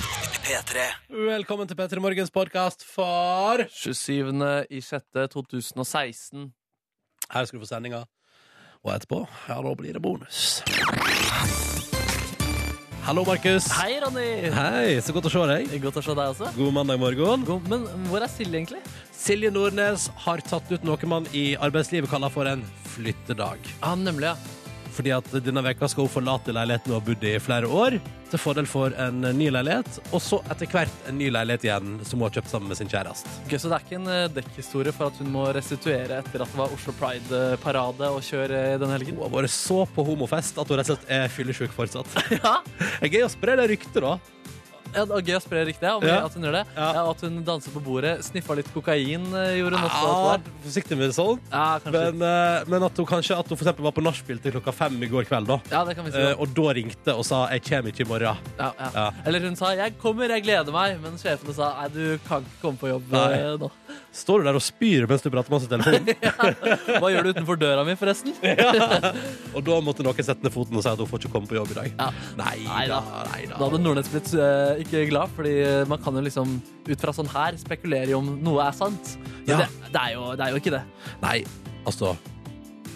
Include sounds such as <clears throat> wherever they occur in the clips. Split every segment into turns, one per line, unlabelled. P3.
Velkommen til Petter Morgens podkast for
27. i 6. 2016.
Her skal du få sendinga. Og etterpå, ja, da blir det bonus. Hallo, Markus.
Hei, Ronny!
Hei, så godt å se deg.
Godt å se deg også.
God mandag morgen.
God, men hvor er Silje, egentlig?
Silje Nordnes har tatt ut noe man i arbeidslivet kaller for en flyttedag.
Ja, nemlig, ja.
Fordi at denne veka skal hun forlate leiligheten hun har bodd i i flere år, til fordel for en ny leilighet, og så etter hvert en ny leilighet igjen, som hun har kjøpt sammen med sin kjæreste.
Gøy, så det er ikke en eh, dekkhistorie for at hun må restituere etter at det var Oslo Pride-parade og kjør eh, denne helgen?
Hun har vært så på homofest at hun rett og slett er fyllesyk fortsatt.
<laughs> Ja,
Det er gøy å spre det ryktet, da.
ja det var Gøy å spre riktig om
Ja.
at hun gjør det.
Ja.
Ja. og at hun danser på bordet, sniffa litt kokain, eh, gjorde hun også.
Ja,
alt det der.
forsiktig med sånt.
Ja, kanskje.
Men, eh, men at hun kanskje at hun for eksempel var på nachspiel til klokka fem i går kveld, da.
ja, det kan vi si.
Eh, og da ringte og sa 'jeg kommer ikke i morgen'.
Ja, ja.
ja.
Eller hun sa 'jeg kommer, jeg gleder meg', men sjefene sa 'nei, du kan ikke komme på jobb
Nei.
eh, nå'.
Står du der og spyr mens du prater med oss i <laughs> telefonen?
Hva gjør du utenfor døra mi, forresten?
og da måtte noen sette ned foten og si at hun får ikke komme på jobb i dag.
Ja.
Nei
Nei
da,
da.
nei da.
Da hadde Nordnes blitt eh, ikke glad, fordi eh, man kan jo liksom ut fra sånn her spekulere i om noe er sant. Men
Ja.
det, det, er jo, det er jo ikke det.
Nei, altså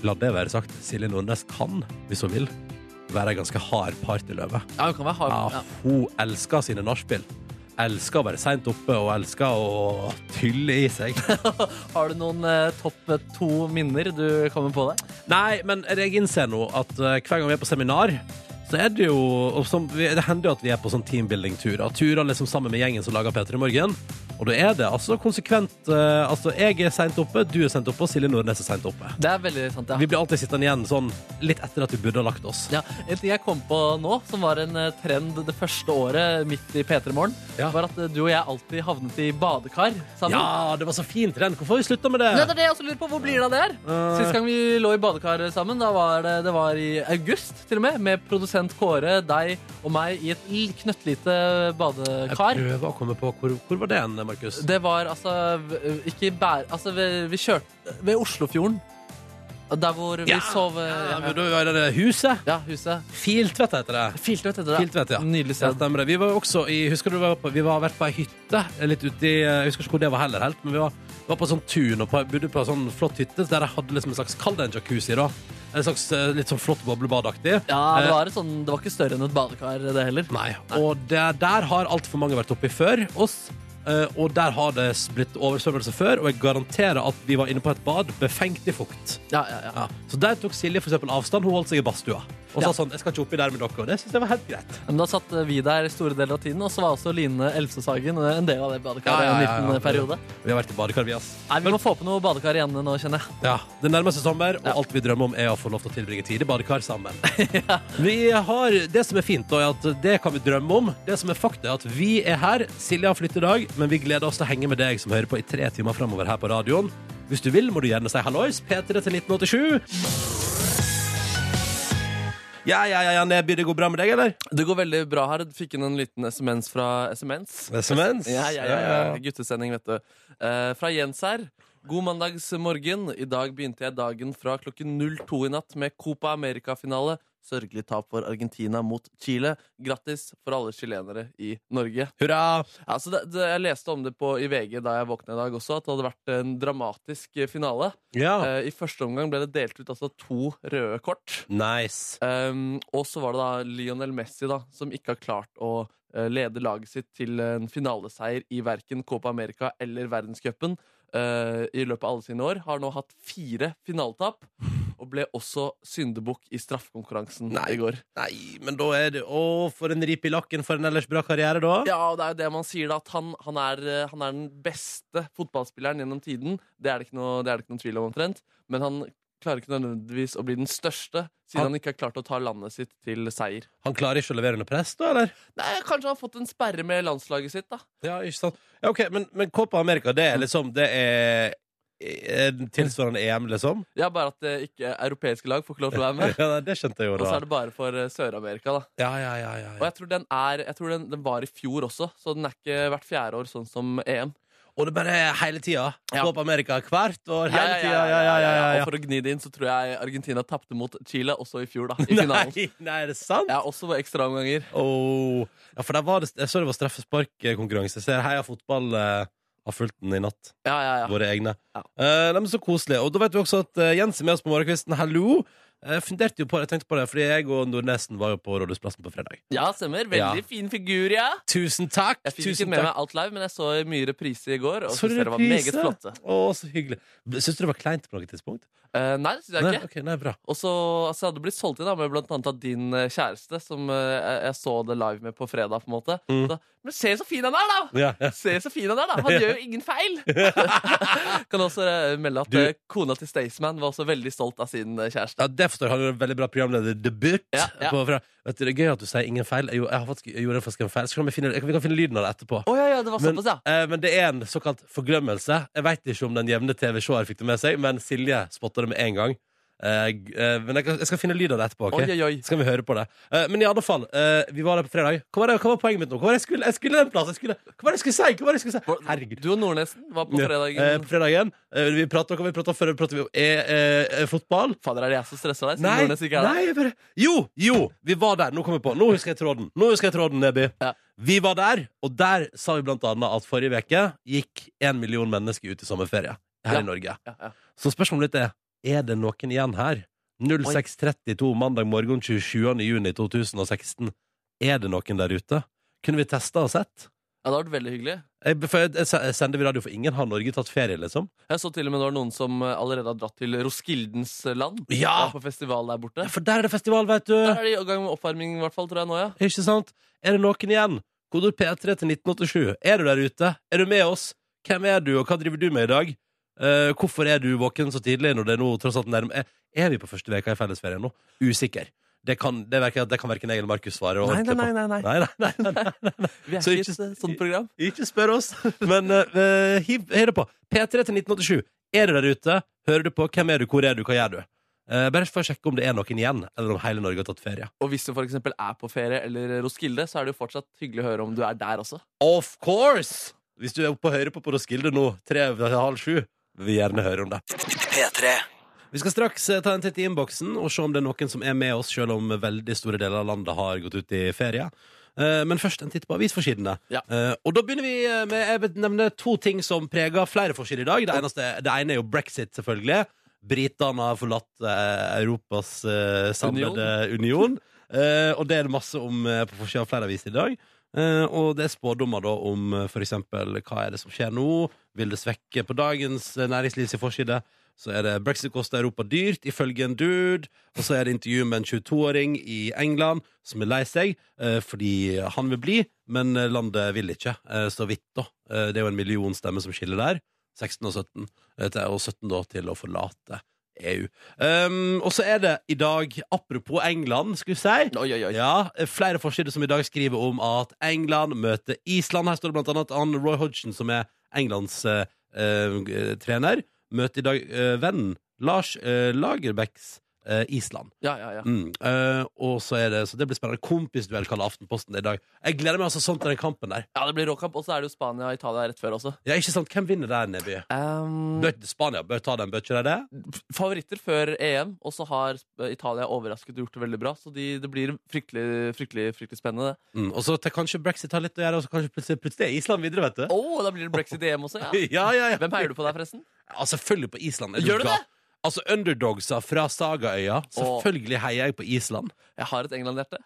La det være sagt, Silje Nordnes kan, hvis hun vil, være ei ganske hard partyløve.
Ja, hun kan være hard.
Ja,
Ja.
hun elsker sine nachspiel. Elsker å være seint oppe og elsker å tylle i seg.
Har du noen eh, topp to minner du kommer på deg?
Nei, men jeg innser nå at eh, hver gang vi er på seminar, så er det jo og som, vi- Det hender jo at vi er på sånn teambuilding-turer. Turer liksom sammen med gjengen som lager P3 Morgen. Og da er det altså konsekvent eh, Altså, jeg er seint oppe, du er seint oppe, og Silje Nordnes er seint oppe.
Det er veldig sant, ja.
Vi blir alltid sittende igjen sånn litt etter at vi burde ha lagt oss.
ja. En ting jeg kom på nå, som var en eh, trend det første året midt i P3 Morgen,
Ja.
var at eh, du og jeg alltid havnet i badekar sammen.
Ja, det var så fint, Ren. Hvorfor har vi slutta med
Nei, det
det?
er det jeg også lurer på. Hvor blir det av det her?
Eh.
Sist gang vi lå i badekar sammen, da var det, det var i august til og med, med produsent Kåre, deg og meg i et l- knøttlite
Jeg
badekar.
prøver å komme på hvor, hvor var det hen, Markus?
Det var altså v- ikke bær... Altså, vi, vi kjørte ved Oslofjorden. Der hvor vi
Ja,
sov eh,
Ja, men
Ja,
da var det det huset.
ja, huset.
Filtvet heter det.
Filtvet heter det.
Filtvet, ja.
Nydelig
Ja,
sted.
stemmer det. Vi var jo også i Husker du vi var på, vi var vært på ei hytte litt uti eh, Jeg husker ikke hvor det var heller helt, men vi var, var på sånn tun og på, bodde på ei sånn flott hytte der de hadde liksom en slags Kall det en jacuzzi, da. En slags eh, litt sånn flott boblebadaktig. Eh,
Ja, det var, et sånn, det var ikke større enn et badekar, det heller.
Nei. Og det, der har altfor mange vært oppi før oss. eh, og der har det blitt oversvømmelse før, og jeg garanterer at vi var inne på et bad befengt i fukt.
Ja, ja, ja.
Ja. Så der tok Silje for eksempel avstand. Hun holdt seg i badstua og
Ja.
sa sånn 'Jeg skal ikke oppi der med dere', og det syns jeg var helt greit.
Men da satt vi der store deler av tiden, og så var også Line Elvsesagen en del av det badekaret en liten eh, periode.
Vi har vært i badekar, vi, ass.
Nei, Vi må få på noe badekar igjen nå, kjenner jeg.
Ja, Det nærmer seg sommer, og alt vi drømmer om, er å få lov til å tilbringe tid i badekar
<laughs>
sammen. vi har, Det som er fint, da, er at det kan vi drømme om. Det som er fakta, er at vi er her. Silje har flyttedag, men vi gleder oss til å henge med deg som hører på i tre timer framover her på radioen. Hvis du vil, må du gjerne si hallois. P3 til 1987. Ja, ja, ja, ja, Nedby, det går bra med deg, eller?
Det går veldig bra her. Fikk inn en liten SMS fra SMS.
SMS?
Ja, ja, ja, ja. Guttesending, vet du. Eh, fra Jens her. God mandagsmorgen. I dag begynte jeg dagen fra klokken 02 i natt med Copa America-finale. Sørgelig tap for Argentina mot Chile. Grattis for alle chilenere i Norge.
Hurra!
Ja, så det, det, jeg leste om det på, i VG da jeg våkna i dag også, at det hadde vært en dramatisk eh, finale.
Ja.
Eh, I første omgang ble det delt ut altså, to røde kort.
Nice.
Um, og så var det da Lionel Messi da, som ikke har klart å eh, lede laget sitt til en finaleseier i verken Copa America eller verdenscupen eh, i løpet av alle sine år. Har nå hatt fire finaletap og ble også syndebukk i straffekonkurransen
Nei.
i går.
Nei, men da er det Å, for en rip i lakken for en ellers bra karriere, da.
Ja, og det er jo det man sier, da, at han, han, er, eh, han er den beste fotballspilleren gjennom tiden. Det er det ikke noe, det er det ikke noe tvil om omtrent. Men han klarer ikke nødvendigvis å bli den største,
Han-
siden han ikke har klart å ta landet sitt til seier.
Han klarer ikke å levere under press, da, eller?
Nei, Kanskje han har fått en sperre med landslaget sitt. da
Ja, ikke sant. Ja, ok, men, men Copa America, det er liksom Det er er tilsvarende EM, liksom?
Ja, Bare at eh, ikke europeiske lag får ikke lov til å være med.
<laughs> Ja, nei, det skjønte jeg jo
Og så
da.
er det bare for eh, Sør-Amerika. da
Ja, ja, ja, ja,
Og
ja.
jeg tror, den, er, jeg tror den, den var i fjor også, så den er ikke hvert fjerde år sånn som EM.
Og det bare er hele tida.
Ja.
Copa America hvert år.
Ja,
Hele
ja,
tida. Ja, ja, ja, ja, ja.
Og for å gni det inn, så tror jeg Argentina tapte mot Chile også i fjor, da. I finalen.
<laughs> Nei, nei, er det sant?
Ja, også på ekstraomganger.
Åh. Ja, for der var det, jeg så det var straffesparkkonkurranse. Jeg ser Heia Fotball eh, har fulgt den i natt.
Ja, ja, ja.
Våre egne.
Ja.
Eh, nei, men så koselig. Og da vet vi også at eh, Jens er med oss på morgenkvisten. Hallo! Jeg funderte jo på det, jeg tenkte på det, fordi jeg og Nordnesen var jo på Rådhusplassen på fredag.
Ja, stemmer. Veldig
Ja.
fin figur, ja.
Tusen takk!
Jeg fikk ikke
tusen
med
takk.
meg alt live, men jeg så mye reprise i går. Og
Så
så det var
reprise?
meget flotte.
Å, så hyggelig. Syns du det var kleint på noe tidspunkt?
Eh, nei, det syns jeg
Nei,
ikke.
ok, nei, bra.
Og så altså, jeg hadde blitt solgt inn da, med blant annet av din eh, kjæreste, som eh, jeg, jeg så det live med på fredag. på en måte
Mm.
så, Men se så fin han er, da!
Ja, ja.
Se så fin han er, da! <laughs> Han gjør jo ingen feil! kan også eh, melde at
Du-
eh, kona til Staysman var også veldig stolt av sin eh, kjæreste.
Ja, det forstår jeg. Han gjorde en veldig bra programlederdebut.
Ja, ja.
på fra- Vet du, Det er gøy at du sier ingen feil. Jeg, gjorde- jeg, har faktisk, jeg gjorde faktisk en feil. Så kan vi, finne, vi kan finne lyden av det etterpå.
Å ja, ja, det var
Men-
såpass, ja.
Eh, men det er en såkalt forglemmelse. Jeg veit ikke om den jevne TV-seer fikk det med seg, men Silje spotta det med en gang. Eh, g- eh, men jeg, kan- jeg skal finne lyd av det etterpå. ok?
Oi, oi, oi.
Så kan vi høre på det. Eh, men i alle fall, eh, vi var der på fredag. Hva var, det, hva var poenget mitt nå? Hva var det jeg skulle, jeg skulle en plass? Jeg skulle, hva var det jeg skulle si? Hva var det jeg skulle si? Herregud.
Du og Nordnesen var på
Ja, eh,
fredagen.
på fredagen. Eh, vi prata hva vi prata før. Prata vi om eh, eh, fotball.
Fader, er det jeg som stresser deg? siden
Nei,
Nordnes ikke er der?
nei jeg bare, jo, jo, vi var der. Nå kom jeg på. Nå husker jeg tråden. Nå husker jeg tråden, Neby.
Ja.
Vi var der, og der sa vi blant annet at forrige uke gikk en million mennesker ut i sommerferie her
Ja.
i Norge.
Ja, ja.
Så spørsmålet mitt er er det noen igjen her. 06.32 mandag morgen 27. juni 2016. Er det noen der ute? Kunne vi testa og sett?
Ja, det har vært veldig hyggelig.
Jeg, for jeg, jeg, jeg sender vi radio for ingen. Har Norge tatt ferie, liksom?
Jeg så til og med det var noen som eh, allerede har dratt til Roskildens land.
Ja!
Var På festival der borte.
For der er det festival, vet du!
Der er de i gang med oppvarming, i hvert fall, tror jeg nå, ja.
Ikke sant? Er det noen igjen? Kodord P3 til 1987. Er du der ute? Er du med oss? Hvem er du, og hva driver du med i dag? Eh, hvorfor er du våken så tidlig når det er nå tross alt nærme? Er, er vi på første veka i fellesferien nå? Usikker. Det kan, det verker, det kan verken jeg eller Markus svare. ordentlig på.
nei, nei.
Nei, nei, nei, nei, nei, nei.
Vi er
Så
ikke
ikke-
et eh, sånt program.
Ikke spør
<laughs>
oss. Men eh, hiv, hiv det på. P3 til 1987. Er du der ute? Hører du på? Hvem er du? Hvor er du? Hva gjør du? Eh, bare for å sjekke om det er noen igjen, eller om hele Norge har tatt ferie.
Og hvis du for eksempel er på ferie eller Roskilde, så er det jo fortsatt hyggelig å høre om du er der også.
Of course! Hvis du er oppe og hører på på Roskilde nå, tre over halv sju, vil vi gjerne høre om det. Vi skal straks eh, ta en titt i innboksen og se om det er noen som er med oss, selv om veldig store deler av landet har gått ut i ferie. Eh, Men først en titt på avisforsidene.
Ja.
Eh, Og da begynner vi eh, med Jeg vil nevne to ting som preger flere forsider i dag. Det, eneste, det ene er jo brexit, selvfølgelig. Britene har forlatt eh, Europas eh, samlede union. Eh, og det er det masse om eh, på forsida av flere aviser i dag. Eh, og det er spådommer da om eh, for eksempel hva er det som skjer nå. Vil det svekke på dagens eh, næringslivs forside? Så er det brexit koster Europa dyrt, ifølge en dude. Og så er det intervju med en 22-åring i England som er lei seg eh, fordi han vil bli, men eh, landet vil ikke. eh, så vidt, da. Eh, det er jo en million stemmer som skiller der. 16 og 17. eh, til- Og 17 da til å forlate EU. Um, og så er det i dag, apropos England, skulle jeg si
Oi, oi, oi.
ja, flere forsider som i dag skriver om at England møter Island. Her står det blant annet at Roy Hodgson, som er Englands eh, eh, trener, møter i dag eh, vennen Lars eh, Lagerbäcks eh, Island.
Ja, ja, ja.
Mm. Eh, og så er det, så det blir spennende. Kompisduell kaller Aftenposten det i dag. Jeg gleder meg altså sånn til den kampen der.
ja det blir råkamp. Og så er det jo Spania og Italia rett før også.
Ja, ikke sant? Hvem vinner der, Neby?
Ehm,
Bør, Spania bør ta den, bør ikke de det?
Mm. favoritter før EM, og så har eh, Italia overrasket og gjort det veldig bra. Så de, det blir fryktelig, fryktelig, fryktelig spennende.
Mm. Og så til kanskje brexit har litt å gjøre, og så kanskje plutselig, plutselig er Island videre, vet
Å,
du.
da blir det brexit-EM også, ja.
<laughs> Ja, ja, ja.
Hvem heier du på der, forresten?
Ja, Altså, selvfølgelig på Island. Er
Gjør du
gal?
det?
Altså underdogsa fra Sagaøya. Selvfølgelig heier jeg på Island.
Jeg har et England-hjerte.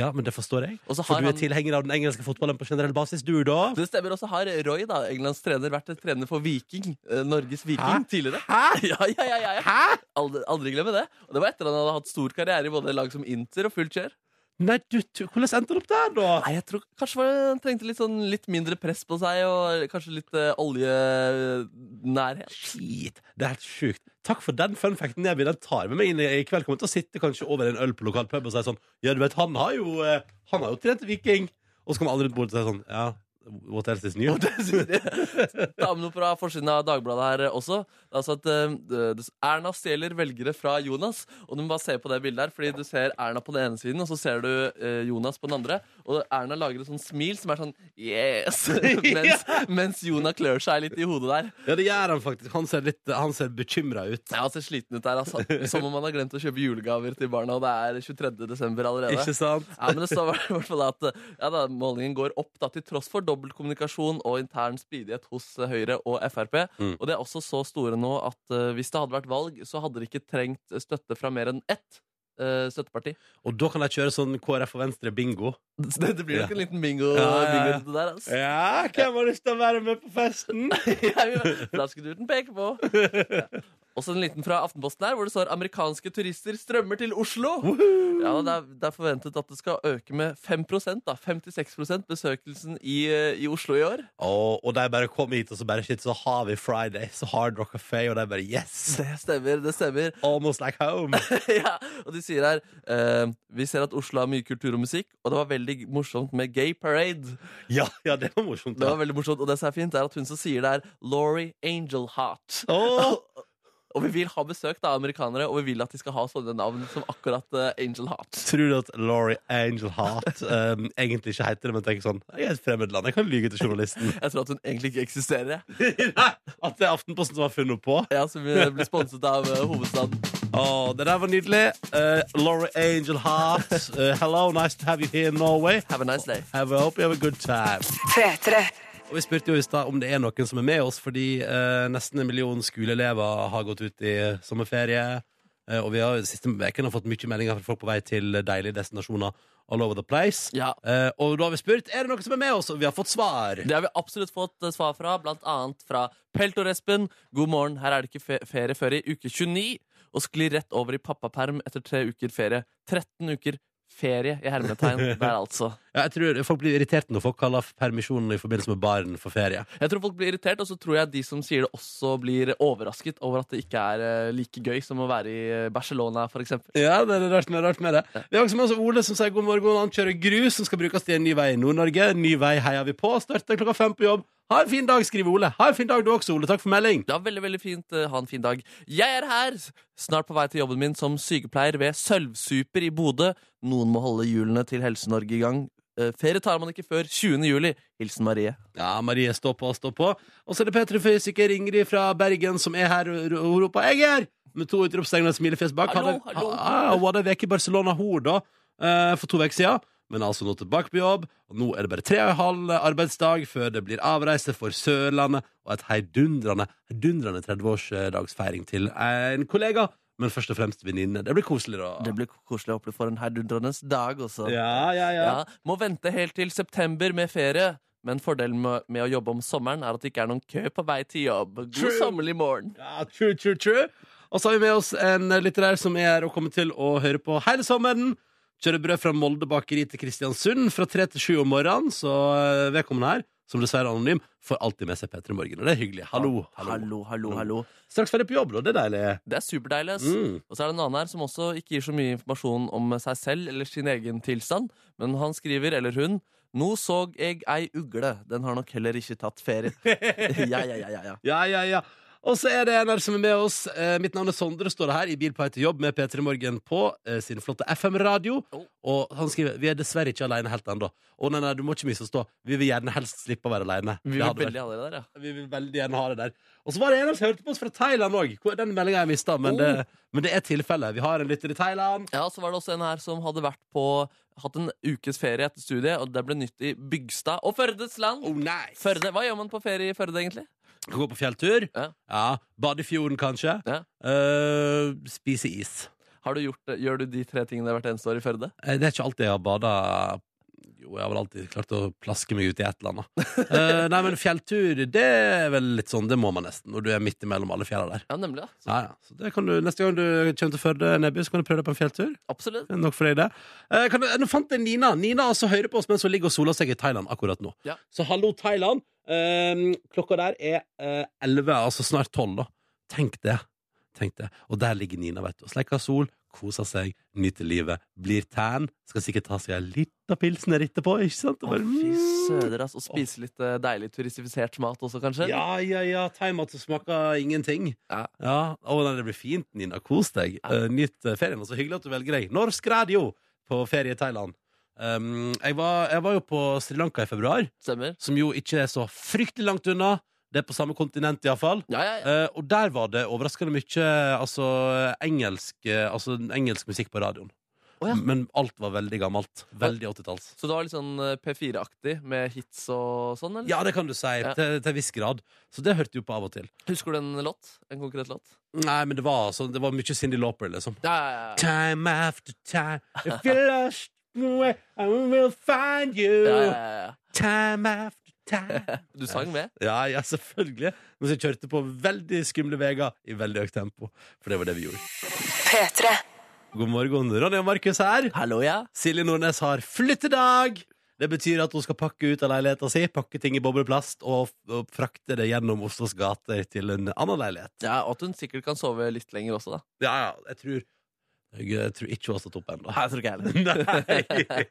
Ja, men det forstår jeg.
Og så
For
har
du er
han-
tilhenger av den engelske fotballen på generell basis, du, da?
<laughs> Det stemmer. også har Roy, da, Englands trener, vært trener for Viking. eh, Norges Viking
Hæ?
tidligere.
Hæ?
<laughs> Ja, ja, ja, ja, ja.
Hæ?
Aldri, aldri glemme det. Og det var etter han hadde hatt stor karriere i både lag som Inter og fullt kjør.
Nei, du, tu- hvordan endte han opp der, da?
Nei, jeg tror Kanskje var det, han trengte litt, sånn, litt mindre press på seg og kanskje litt eh, oljenærhet.
Shit, det er helt sjukt. Takk for den fun facten. Nebby. Den tar med meg inn i i kveld. Kommer til å sitte kanskje over en øl på lokal pub og si sånn Ja, du vet, han har jo, eh, han har jo trent viking. Og så kommer alle rundt bordet og sier sånn Ja, What else is new?
Ta med noe fra forsiden av Dagbladet her eh, også. Det er Altså at eh, det- Erna stjeler velgere fra Jonas. Og du må bare se på det bildet her, fordi du ser Erna på den ene siden, og så ser du eh, Jonas på den andre. Og Erna lager et sånt smil som er sånn yes! <laughs> mens, mens Jonas klør seg litt i hodet der.
<laughs> Ja, det gjør han faktisk. Han ser, litt- han ser bekymra ut.
Ja, han ser sliten ut der, altså. Som om han har glemt å kjøpe julegaver til barna, og det er 23. desember allerede.
Ikke sant?
<laughs> Ja, men det står i hvert fall at eh, ja, da, målingen går opp da, til tross for dobbeltkommunikasjon og intern stridighet hos eh, Høyre og Frp.
Mm.
Og de er også så store nå at eh, hvis det hadde vært valg, så hadde de ikke trengt eh, støtte fra mer enn ett eh, støtteparti. <laughs>
Og da kan de kjøre sånn KrF og Venstre-bingo.
Det, det blir
Ja.
nok en liten bingo,
Ja, ja, ja.
bingo der, <laughs> altså.
Ja, hvem har lyst til å være med på <laughs> festen?
Jeg vil- Da skulle du den peke på. Ja. Også en liten fra Aftenposten her, hvor det står 'Amerikanske turister strømmer til Oslo'. Ja, det, er, det er forventet at det skal øke med 5 da, 56 besøkelsen i, eh, i Oslo i år.
Og, og de bare kom hit, og så bare shit, så har vi Friday, så Hard Rock Café, og de bare yes!
Det stemmer, det stemmer. <laughs>
Almost like <laughs> home.
ja, og de sier her eh, Vi ser at Oslo har mye kultur og musikk, og det var veldig morsomt med Gay Parade.
Ja, ja det var morsomt.
Det var
Da.
veldig morsomt, Og det som er fint, er at hun som sier det, er Laurie Angel Heart.
Åh,
Og vi vil ha besøk da, av amerikanere, og vi vil at de skal ha sånne navn som akkurat eh, Angel Heart.
tror du at Laurie Angel Heart um, egentlig ikke heter det, men tenker sånn Jeg er et fremmed land, jeg kan lyge til journalisten.
Jeg tror at hun egentlig ikke eksisterer. jeg.
<laughs> Nei, at det er Aftenposten som har funnet på.
Ja, Som eh, blir sponset av eh, hovedstaden.
Åh, det der var nydelig. Eh, Laurie Angel Heart, eh, hello, nice to have you here in Norway.
Have a nice day.
Have a, hope you have a good time.
P3.
Og Vi spurte jo i stad om det er noen som er med oss, fordi eh, nesten en million skoleelever har gått ut i sommerferie. Eh, og vi har de siste vekene fått mye meldinger fra folk på vei til deilige destinasjoner all over the place.
Ja,
Eh, og da har vi spurt er det noen som er med oss, og vi har fått svar.
Det har vi absolutt fått eh, svar fra, blant annet fra Peltorespen. God morgen, her er det ikke fe ferie før i uke 29, og sklir rett over i pappaperm etter tre uker ferie. 13 uker ferie i hermetegn der, altså.
Ja, jeg tror Folk blir irritert når folk kaller permisjonen i forbindelse med barn for ferie.
Jeg tror folk blir irritert, og så tror jeg de som sier det, også blir overrasket over at det ikke er eh, like gøy som å være i eh, Barcelona, for eksempel.
Ja, det er rart med, rart med det. Vi har også med oss Ole som sier god morgen. Han kjører grus som skal brukes til en ny vei i Nord-Norge. Ny vei heier vi på. Starter klokka fem på jobb. Ha en fin dag, skriver Ole. Ha en fin dag du også, Ole. Takk for melding.
Ja, veldig, veldig fint. eh, Ha en fin dag. Jeg er her! Snart på vei til jobben min som sykepleier ved Sølvsuper i Bodø. Noen må holde hjulene til Helse-Norge i gang. Eh, Ferie tar man ikke før 20. juli. Hilsen Marie.
Ja, Marie, stå på, stå på. Og så er det Petra Fysiker Ingrid fra Bergen som er her og og roper 'Jeg er her!' med to utropstegn og et smilefjes bak.
Hallo,
Hadde-
hallo.
Ah, Hun hadde en uke i Barcelona, hun, da, eh, for to uker siden. Men altså nå tilbake på jobb, og nå er det bare tre og en halv arbeidsdag før det blir avreise for Sørlandet og et heidundrende, heidundrende 30-årsdagsfeiring til en kollega, men først og fremst venninne. Det blir koselig, da.
Det blir koselig å oppleve for en heidundrende dag også.
Ja, ja, ja.
Ja, må vente helt til september med ferie. Men fordelen med, med å jobbe om sommeren er at det ikke er noen kø på vei til jobb. God
True.
sommerlig morgen.
Ja, true, true, true. Og så har vi med oss en litterær som er her og kommer til å høre på hele sommeren. Kjører brød fra Molde bakeri til Kristiansund fra tre til sju om morgenen. Så eh, vedkommende her, som dessverre er anonym, får alltid med seg P3 Morgen. Og det er hyggelig. Hallo. hallo.
hallo, hallo. hallo.
Straks ferdig på jobb, da. Det er deilig.
Det er superdeilig. ass.
Mm.
Og så er det en annen her som også ikke gir så mye informasjon om seg selv eller sin egen tilstand. Men han skriver, eller hun, nå såg eg ei ugle. Den har nok heller ikke tatt
<laughs>
ferie. ja, ja, ja, ja, ja.
Ja, ja, ja. Og så er det en her som er med oss. Eh, mitt navn er Sondre, står det her, i bil på vei til jobb med P3 Morgen på eh, sin flotte FM-radio.
Oh.
Og han skriver vi er dessverre ikke alene helt ennå. Å nei, nei, du må ikke misforstå. Vi vil gjerne helst slippe å være alene. Det
Vi vil
hadde vært-
veldig ha dere der, ja.
Vi vil veldig gjerne ha det der. Og så var det en som hørte på oss fra Thailand òg. Den meldinga jeg mista, men, det- men det er tilfellet. Vi har en lytter i Thailand.
Ja, så var det også en her som hadde vært på Hatt en ukes ferie etter studiet, og det ble nytt i Bygstad og Førdes land.
nei!
Førde, Hva gjør man på ferie i Førde, egentlig?
Kan gå på fjelltur.
Ja.
Bade i fjorden, kanskje.
Ja.
Eh, spise is.
Har du gjort, det- gjør du de tre tingene hvert eneste år i Førde?
Eh, Det er ikke alltid jeg har bada Jo, jeg har vel alltid klart å plaske meg ut i et eller annet. Eh, nei, men fjelltur, det er vel litt sånn, det må man nesten når du er midt imellom alle fjella der.
Ja, nemlig. da. Så,
Ja, ja. Så det kan du, neste gang du kommer til Førde, Nebby, så kan du prøve deg på en fjelltur.
absolutt.
Nok for deg det. Eh, kan du, nå fant jeg Nina. Nina altså hører på oss mens hun ligger og soler seg i Thailand akkurat nå.
Ja.
Så hallo, Thailand. Eh, klokka der er eh, 11, altså snart 12, da. Tenk det. Tenk det. Og der ligger Nina, vet du. og Sleiker sol, koser seg, nyter livet, blir tan, skal sikkert ta seg en liten pilsner etterpå, ikke sant? Og
Å,
bare,
fy
mm.
søder, ass. Og spise litt eh, deilig turistifisert mat også, kanskje?
Ja, ja, ja. Thaimat som smaker ingenting.
Ja.
Ja, å, nei, Det blir fint, Nina. Kos deg. Eh, nytt eh, ferien. Og så hyggelig at du velger deg norsk radio på ferie i Thailand. Um, jeg, var, jeg var jo på Sri Lanka i februar,
Stemmer?
som jo ikke er så fryktelig langt unna. Det er på samme kontinent, iallfall.
Ja, ja, ja.
Uh, og der var det overraskende mye altså, engelsk, eh, altså, engelsk musikk på radioen.
Å, ja.
Men alt var veldig gammelt. Veldig 80-talls.
Så det var litt sånn eh, P4-aktig med hits og sånn, eller?
Ja, det kan du si.
Ja.
Til, til en viss grad. Så det hørte jo på av og til.
Husker du en låt? En konkret låt?
Nei, men det var, altså, det var mye Cindy Lauper, liksom.
Ja, ja, ja.
Time after time, if you're lost, away, I will find you.
ja, ja, ja, ja.
Time after
<laughs>
time.
Du sang med?
Ja, ja, selvfølgelig. Mens jeg kjørte på veldig skumle veier i veldig høyt tempo. For det var det vi gjorde. God morgen, Ronny og Markus her.
Hallo, ja.
Silje Nordnes har flyttedag. Det betyr at hun skal pakke ut av leiligheten sin, pakke ting i bobleplast og, og frakte det gjennom Oslos gater til en annen leilighet.
ja. Og at hun sikkert kan sove litt lenger også, da.
Ja, ja, jeg tror jeg, eh, tror ikke hun har stått opp ennå.
Jeg tror ikke heller.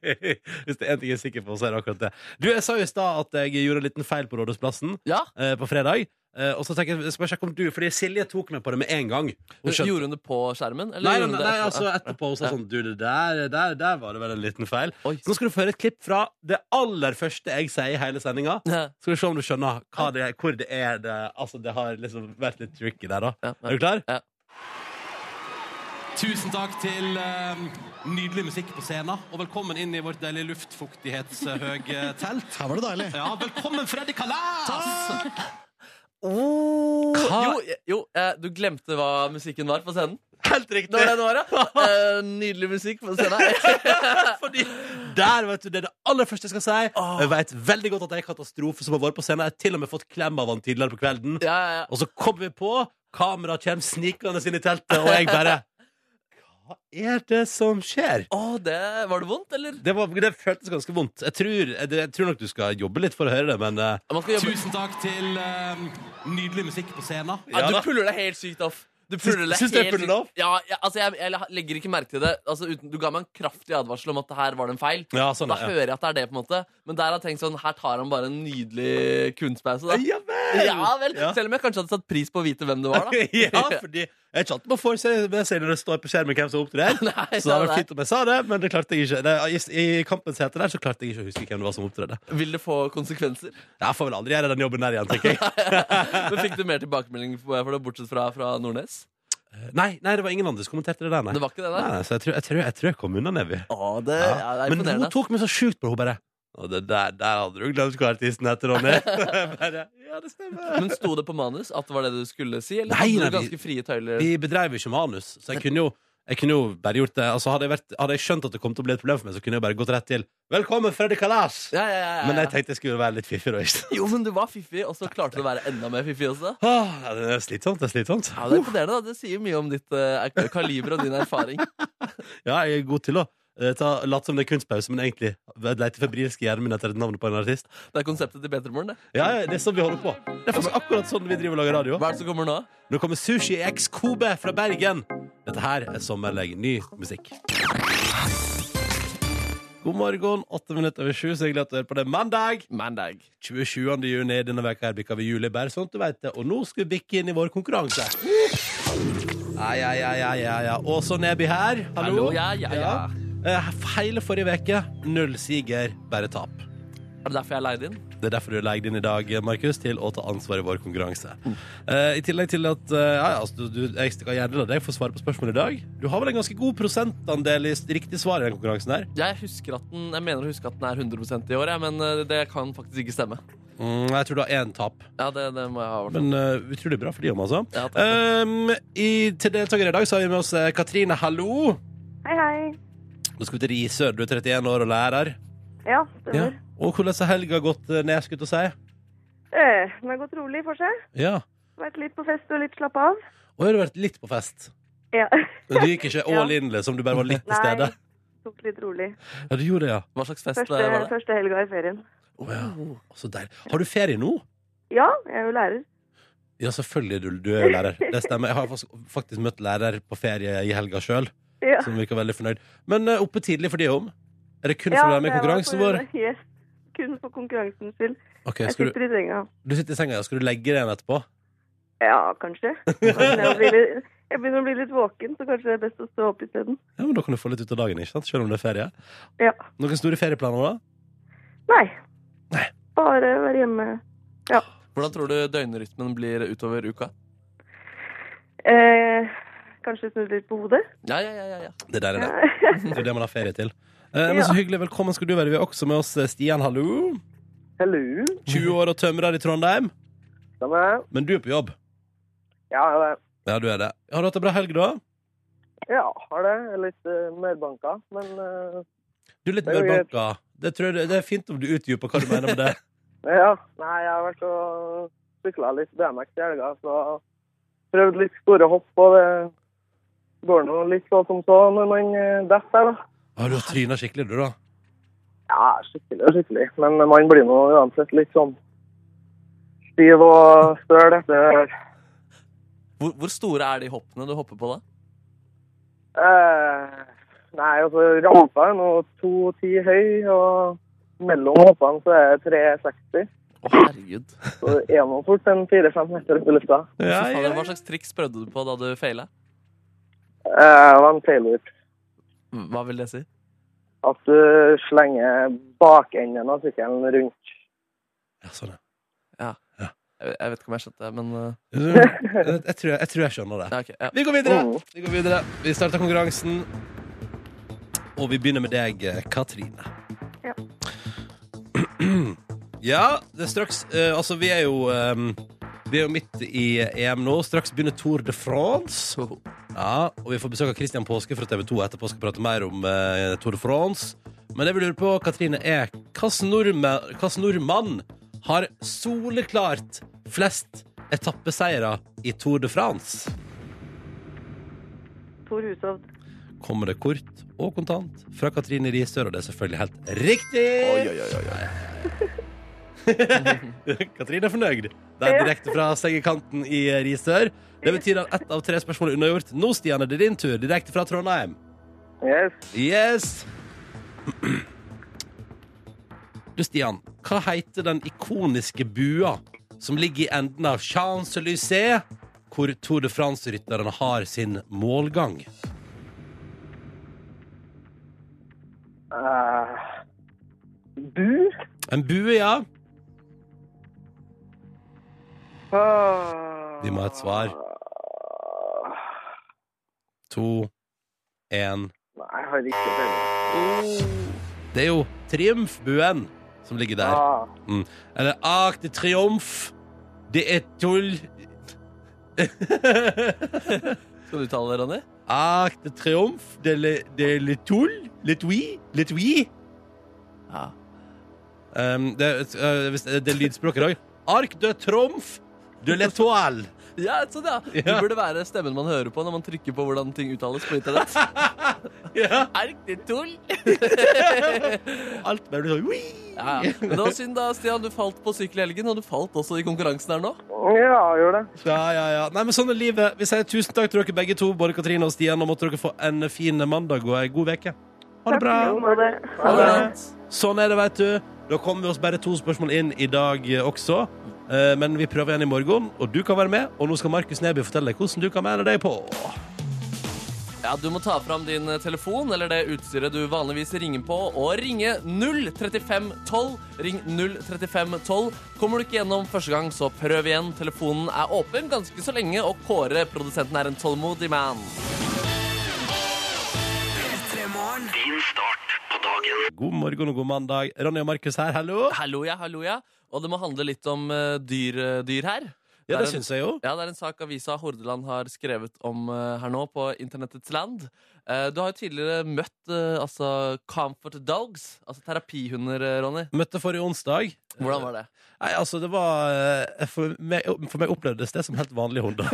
<laughs> Nei! Hvis det er én ting jeg er sikker på, så er det akkurat det. Du, Jeg sa jo i stad at jeg gjorde en liten feil på Rådhusplassen
Ja,
eh, på fredag. Eh, og så tenker jeg, skal jeg sjekke om du Fordi Silje tok meg på det med en gang. Hun skjønte-
Gjorde hun det på skjermen? Eller
Nei, nei,
gjorde hun
nei,
det
nei,
etterpå?
altså etterpå hun sa sånn Du, det der, der, der var det vel en liten feil.
Oi.
Så nå skal du få høre et klipp fra det aller første jeg sier i hele sendinga.
Ja.
Skal vi se om du skjønner hva det er, hvor det er det Altså, det har liksom vært litt tricky der, da.
Ja, ja.
Er du klar?
<laughs> Ja.
Tusen takk til eh, nydelig musikk på scenen, og velkommen inn i vårt deilige luftfuktighetshøye telt.
<laughs> Her var det deilig.
Ja, velkommen, Freddy Kalas!
Oh,
Hva?
jo, jo eh, du glemte hva musikken var på scenen.
Helt riktig!
Når den var, ja. <laughs> Eh, nydelig musikk på scenen. <laughs>
Fordi der, vet du, det er det aller første jeg skal si. Jeg vet veldig godt at det er katastrofe som har vært på scenen. Jeg har til og med fått klem av han tidligere på kvelden.
Ja, ja, ja.
Og så kommer vi på, kameraet kommer snikende inn i teltet, og jeg bare Hva er det som skjer?
Å, det, var det vondt, eller?
Det, var, det føltes ganske vondt. Jeg tror, jeg, jeg tror nok du skal jobbe litt for å høre det, men eh,
Man skal jobbe.
takk til ehm, nydelig musikk på scenen.
Ja,
Ja,
du
da.
puller deg helt sykt off. Du puller deg
Syns- syns du jeg
helt
puller
sykt-
det off?
Ja, ja, altså, jeg, jeg legger ikke merke til det. Altså, uten, du ga meg en kraftig advarsel om at det her var det en feil.
ja, sånn
Da
er det.
hører jeg at det er det, på en måte. Men der har jeg tenkt sånn, her tar han bare en nydelig kunstpause. Da.
Ja vel!
Ja vel,
Ja.
Selv om jeg kanskje hadde satt pris på å vite hvem det var. da
<laughs> ja, fordi jeg er ikke alltid man får se med seg når det står på skjermen hvem som opptrer.
<laughs> Nei,
Så det hadde
nei,
vært fint om jeg sa det, men det klarte jeg ikke. Det, i, I kampens hete der så klarte jeg ikke å huske hvem det var som opptredde.
nei. <laughs> Vil det få konsekvenser?
Jeg får vel aldri gjøre den jobben der igjen, tenker jeg.
<laughs> Men Fikk du mer tilbakemelding for det, bortsett fra fra Nordnes?
Nei, nei, det var ingen andre som kommenterte det der, nei.
Det var ikke det
Nei,
der?
nei, så jeg tror, jeg, tror, jeg tror jeg kom unna, Nevi.
Å, det, ja. det er
Men hun
imponerende.
tok meg så sjukt på, hun bare Og det der, der hadde du glemt hva artisten heter, Ronny. <laughs> Jeg bare, ja, det stemmer.
Men sto det på manus at det var det du skulle si, eller
Nei,
hadde du
nei, vi-
ganske frie tøyler?
Vi bedreiv jo ikke manus, så jeg kunne jo jeg kunne jo bare gjort det altså, hadde, jeg vært, hadde jeg skjønt at det kom til å bli et problem for meg, så kunne jeg bare gått rett til 'Velkommen, Freddy Kalas'!
Ja, ja, ja, ja, ja.
Men jeg tenkte jeg skulle være litt fiffig. da, ikke sant?
Jo, men du var fiffig, og så klarte du å være enda mer fiffig også.
Åh, Ah, ja, det er slitsomt. det er slitsomt
Ja, Det er imponerende. da Det sier mye om ditt eh, kaliber og din erfaring.
Ja, jeg er god til å eh, ta, late som det er kunstpause, men egentlig leite febrilsk i hjernen min etter et navn på en artist.
Det er konseptet til Peter Morgen. det.
Ja, ja, det er sånn vi holder på. Det er faktisk akkurat sånn vi driver og lager radio.
Hva er det som kommer nå?
Nå kommer Sushi X Kobe fra Bergen. Dette her er sommerleg ny musikk. God morgen, åtte minutter over sju, så hyggelig at du hører på det mandag.
Mandag.
27. juni denne veka her bikka vi juli, bare sånn at du vet det. Og nå skal vi bikke inn i vår konkurranse. Ja, ja, ja, ja, ja, ja. Åse og Neby her. Hallo.
Hallo, ja, ja, ja.
Eh, Hele forrige veke, null siger, bare tap.
Er det derfor jeg er leid inn?
Det er derfor du legger inn i dag, Markus, til å ta ansvar i vår konkurranse. Eh, I tillegg til at eh, ja, ja, altså, du, du, jeg skal gjerne la deg få svare på spørsmålet i dag. Du har vel en ganske god prosentandel i s- riktig svar i den konkurransen her?
Jeg, husker at den, jeg mener å huske at den er 100 i år, jeg, men eh, det kan faktisk ikke stemme.
Mm, jeg tror du har én tap.
Ja, det, det må jeg ha vært.
Men eh, utrolig bra for de om, altså.
Ja, takk.
Um, i, til deltakere i dag så har vi med oss eh, Katrine, hallo.
Hei, hei.
Nå skal vi til Risør. Du er 31 år og lærer.
Ja, stemmer.
Og hvordan har helga gått eh, ned, skulle jeg til å si?
Eh, det har gått rolig for seg.
Ja.
Vært litt på fest og litt slappa av.
Og har du vært litt på fest?
Ja. <laughs>
Du gikk ikke all in, liksom? Du bare var litt til
Nei,
stede?
tok litt rolig.
Ja, du gjorde det, ja.
Hva slags fest
Første,
eh, var det?
første helga i ferien.
Å, ja. Å, Så deilig. Har du ferie nå?
Ja, jeg er jo lærer.
Ja, selvfølgelig. Du, du er jo lærer. Det stemmer. Jeg har faktisk- faktisk møtt lærer på ferie i helga sjøl.
Ja.
som virka veldig fornøyd. Men eh, oppe tidlig for de om? Er det kun for å være med i
det var
konkurransen
for-
vår?
Yes. Kun for konkurransens skyld.
Ok,
Jeg
skal du,
sitter i senga.
du sitter i senga, ja. Skal du legge deg igjen etterpå?
Ja,
<laughs>
kanskje. Kanskje Jeg blir litt- jeg begynner å bli litt våken, så kanskje det er best å stå opp isteden.
Ja, men Da kan du få litt ut av dagen, ikke sant? selv om det er ferie.
Ja.
Noen store ferieplaner, da?
Nei.
Nei.
Bare være hjemme.
Hvordan tror du døgnrytmen blir utover uka?
Eh, kanskje snu litt på hodet.
Ja, ja, ja, ja, ja.
Det
<laughs>
der er det. Det er det man har ferie til. Eh, men
Ja.
så hyggelig. Velkommen skal du være. Vi har også med oss eh, Stian,
<laughs>
hallo.
Hello.
20 år og tømrer i Trondheim.
Stemmer.
Men du er på jobb.
Ja, ja, det.
Ja, du er det. Har du hatt ei bra helg, da?
Ja, har det. Jeg er Litt uh, merbanka, men eh,
Du er litt
Det er
mer
jo
banka. Det, tror jeg, det er fint om du utdyper hva du mener med det. <laughs>
ja. Nei, jeg har vært og sykla litt BMX i helga, så prøvd litt store hopp, og det går nå litt så som så når man eh, detter, da.
Har du tryna skikkelig, du, da?
Ja, skikkelig og skikkelig. Men man blir nå uansett litt sånn stiv og støl etter
Hvor, hvor store er de hoppene du hopper på, da?
Eh, nei, altså rampa er nå 2,10 høy, og mellom hoppene så er det 3,60.
Å, herregud.
Så det er nå fort en 4-5 meter opp i lufta.
Ja,
Fy
ja,
fader, Hva slags triks prøvde du på da du feila?
Eh, og en tailwhip.
Hva vil det si?
At du slenger bakenden av sykkelen rundt.
ja. Sånn, ja.
Jeg, vet- jeg vet ikke om jeg skjønte det, men eh,
Jeg, jeg, tror jeg, jeg tror jeg skjønner det.
ja, ok, ja.
Vi går videre.
Mm.
Vi går videre. Vi starter konkurransen. Og vi begynner med deg, eh, Katrine.
Ja.
<clears throat> Ja, det er straks eh, Altså, vi er jo eh, Vi er jo midt i eh, EM nå. Straks begynner Tour de France.
Så-
Ja, og vi får besøk av Christian Påske fra TV 2 etterpå skal prate mer om eh, Tour de France. Men det vi lurer på, Katrine, er hvilken nordme- hvilken nordmann har soleklart flest etappeseire i Tour de France?
Tor Hushovd.
Kommer det kort og kontant fra Katrine Risør, og det er selvfølgelig helt riktig!
Oi, oi, oi, oi.
<laughs> Katrine er fornøyd. Det er direkte fra sengekanten i Risør. Det betyr at ett av tre spørsmål er unnagjort. Nå, Stian, er det din tur, direkte fra Trondheim.
Yes.
Yes! Du, Stian, hva heter den ikoniske bua som ligger i enden av Champs-Élysées, hvor Tour de France-rytteren har sin målgang?
Eh, bu?
En bue, ja.
Ah.
Vi må ha et svar. To, én
Nei, jeg har ikke peiling.
Det er jo Triumfbuen som ligger der.
Ah.
Eller Arc de Triomphe. Det er tull.
Skal du uttale det, Ronny?
<laughs> Arc de Triomphe. Det er le, det er le tull. Le tui. Le tui.
Ja.
Um, det, er- øh, hvis- det er lydspråk i dag. Arc de tromf de l'étoile.
Ja, sånn, ja.
Ja.
Du burde være stemmen man hører på når man trykker på hvordan ting uttales på internett.
<laughs> Ja.
<laughs> Er det tull?
Alt bare blir sånn «Wii!»
Ja, ja. Men det var synd, da, Stian. Du falt på sykkel i helgen, og du falt også i konkurransen her nå.
Ja, gjør det.
Ja, ja, ja. Nei, men sånn er livet. Vi sier tusen takk til dere begge to, både Katrine og Stian, og måtte dere få en fin mandag og ei god uke. Ha det bra.
Jo, nå det.
Ha det bra.
Sånn er det, vet du. Da kommer vi oss bare to spørsmål inn i dag eh, også. Eh, Men vi prøver igjen i morgen, og du kan være med. Og nå skal Markus Neby fortelle deg hvordan du kan melde deg på.
Ja, Du må ta fram din eh, telefon eller det utstyret du vanligvis ringer på, og ringe 03512. Ring 03512. Kommer du ikke gjennom første gang, så prøv igjen. Telefonen er åpen ganske så lenge, og Kåre, produsenten, er en tålmodig man.
God morgen og god mandag. Ronny og Markus her, hallo.
Hallo, ja, hallo, ja. Og det må handle litt om eh, dyr, eh, dyr her.
Ja, det
er en-
syns jeg jo.
Ja, det er en sak avisa Hordaland har skrevet om eh, her nå på internettets land. Eh, du har jo tidligere møtt eh, altså comfort dogs, altså terapihunder, eh, Ronny.
Møtte forrige onsdag.
Hvordan var det?
<laughs> Nei, altså, det var eh, For meg, for meg opplevdes det som helt vanlige
<laughs>
hunder.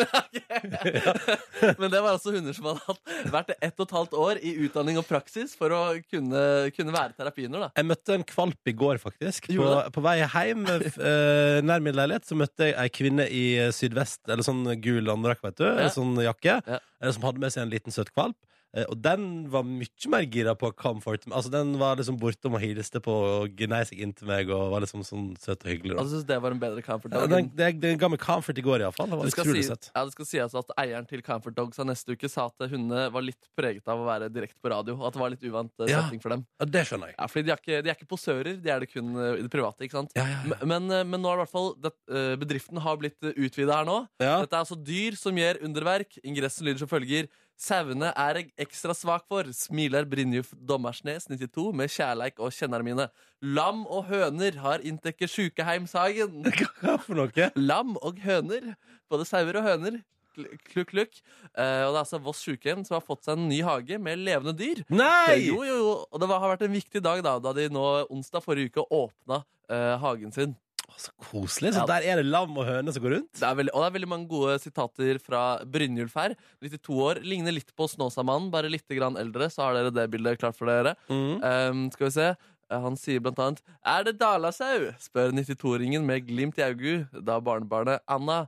Men det var altså hunder som hadde hatt vært ett og et halvt år i utdanning og praksis for å kunne, kunne være terapihunder. da.
Jeg møtte en kvalp i går, faktisk. På,
Gjorde
på vei hjem eh, nær min leilighet så møtte jeg ei kvinne i eh, sydvest, eller sånn gul anorakk, vet du, eller sånn jakke,
Ja.
eh, som hadde med seg en liten søt kvalp. Eh, Og den var mye mer gira på comfort. Altså Den var liksom bortom og hilste på og gnei seg inntil meg og var liksom sånn søt og hyggelig. Da.
Altså, Jeg synes det var en bedre comfort
Ja,
dog.
den, den, den ga meg comfort i går, iallfall. Det var
Det skal,
utrolig
si,
søtt.
ja, det skal sies at eieren til Comfort Dogs av neste uke sa at hundene var litt preget av å være direkte på radio. og At det var litt uvant eh,
Ja.
setting for dem.
Ja, det skjønner jeg.
Ja, fordi de er, ikke, de er ikke posører, de er det kun eh, i det private. ikke sant?
Ja, ja, ja.
M- Men, eh, men nå er det i hvert fall det, eh, bedriften har blitt utvida her nå.
Ja.
Dette er altså dyr som gjør underverk. Ingressen lyder som følger. Sauene er jeg ekstra svak for, smiler Brynjulf Dommersnes 92 med kjærleik og kjennerne mine. Lam og høner har inntekket sjukeheimshagen.
Hva for noe?
Lam og høner. Både sauer og høner. Kl- Klukk, klukk. Eh, og det er altså Voss sjukehjem som har fått seg en ny hage med levende dyr.
Nei!
Jo, jo, jo. Og det var, har vært en viktig dag da, da de nå onsdag forrige uke åpna eh, hagen sin.
Så koselig. Så der er det lam og høne som går rundt?
Det er veldig, og det er veldig mange gode sitater fra Brynjulf her. 92 år. Ligner litt på Snåsamannen, bare litt grann eldre. Så har dere det bildet klart for dere.
Mm.
Ehm, skal vi se. Eh, Han sier blant annet Er det dalasau? spør 92-åringen med glimt i augu da barnebarnet Anna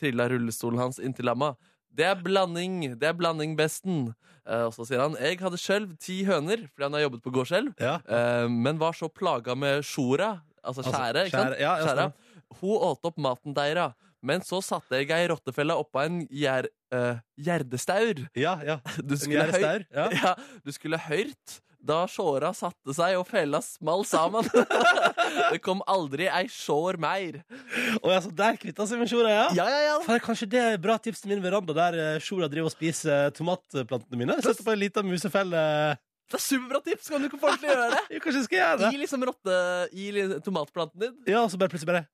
trilla rullestolen hans inntil lamma. Det er blanding, det er blanding besten. Eh, og så sier han jeg hadde skjelv ti høner fordi han har jobbet på gårdsskjelv,
Ja.
eh, men var så plaga med sjora, altså
Altså,
skjæret, ikke sant?
skjæret, ja, ja,
Skjæret. Hun åt opp maten deira, men så satte jeg ei rottefelle oppå en gjer, eh, gjerdestaur.
Ja, <laughs> ja.
Du
En
skulle høy,
gjerdestaur, <laughs> Ja.
ja, du skulle hørt da sjåra satte seg og fella small <laughs> sammen. det kom aldri ei sjår meir.
Og altså, der kvitta seg med sjora, ja?
Ja, ja, ja.
Faen, Kanskje det er bra tips til min veranda, der eh, sjora driver og spiser eh, tomatplantene mine? Sette på en liten musefelle
Det er superbra tips! Kan du ikke få ordentlig gjøre det?
Jo, kanskje jeg skal gjøre det?
Gi liksom rotte i li- tomatplanten din.
Ja, og så bare plutselig bare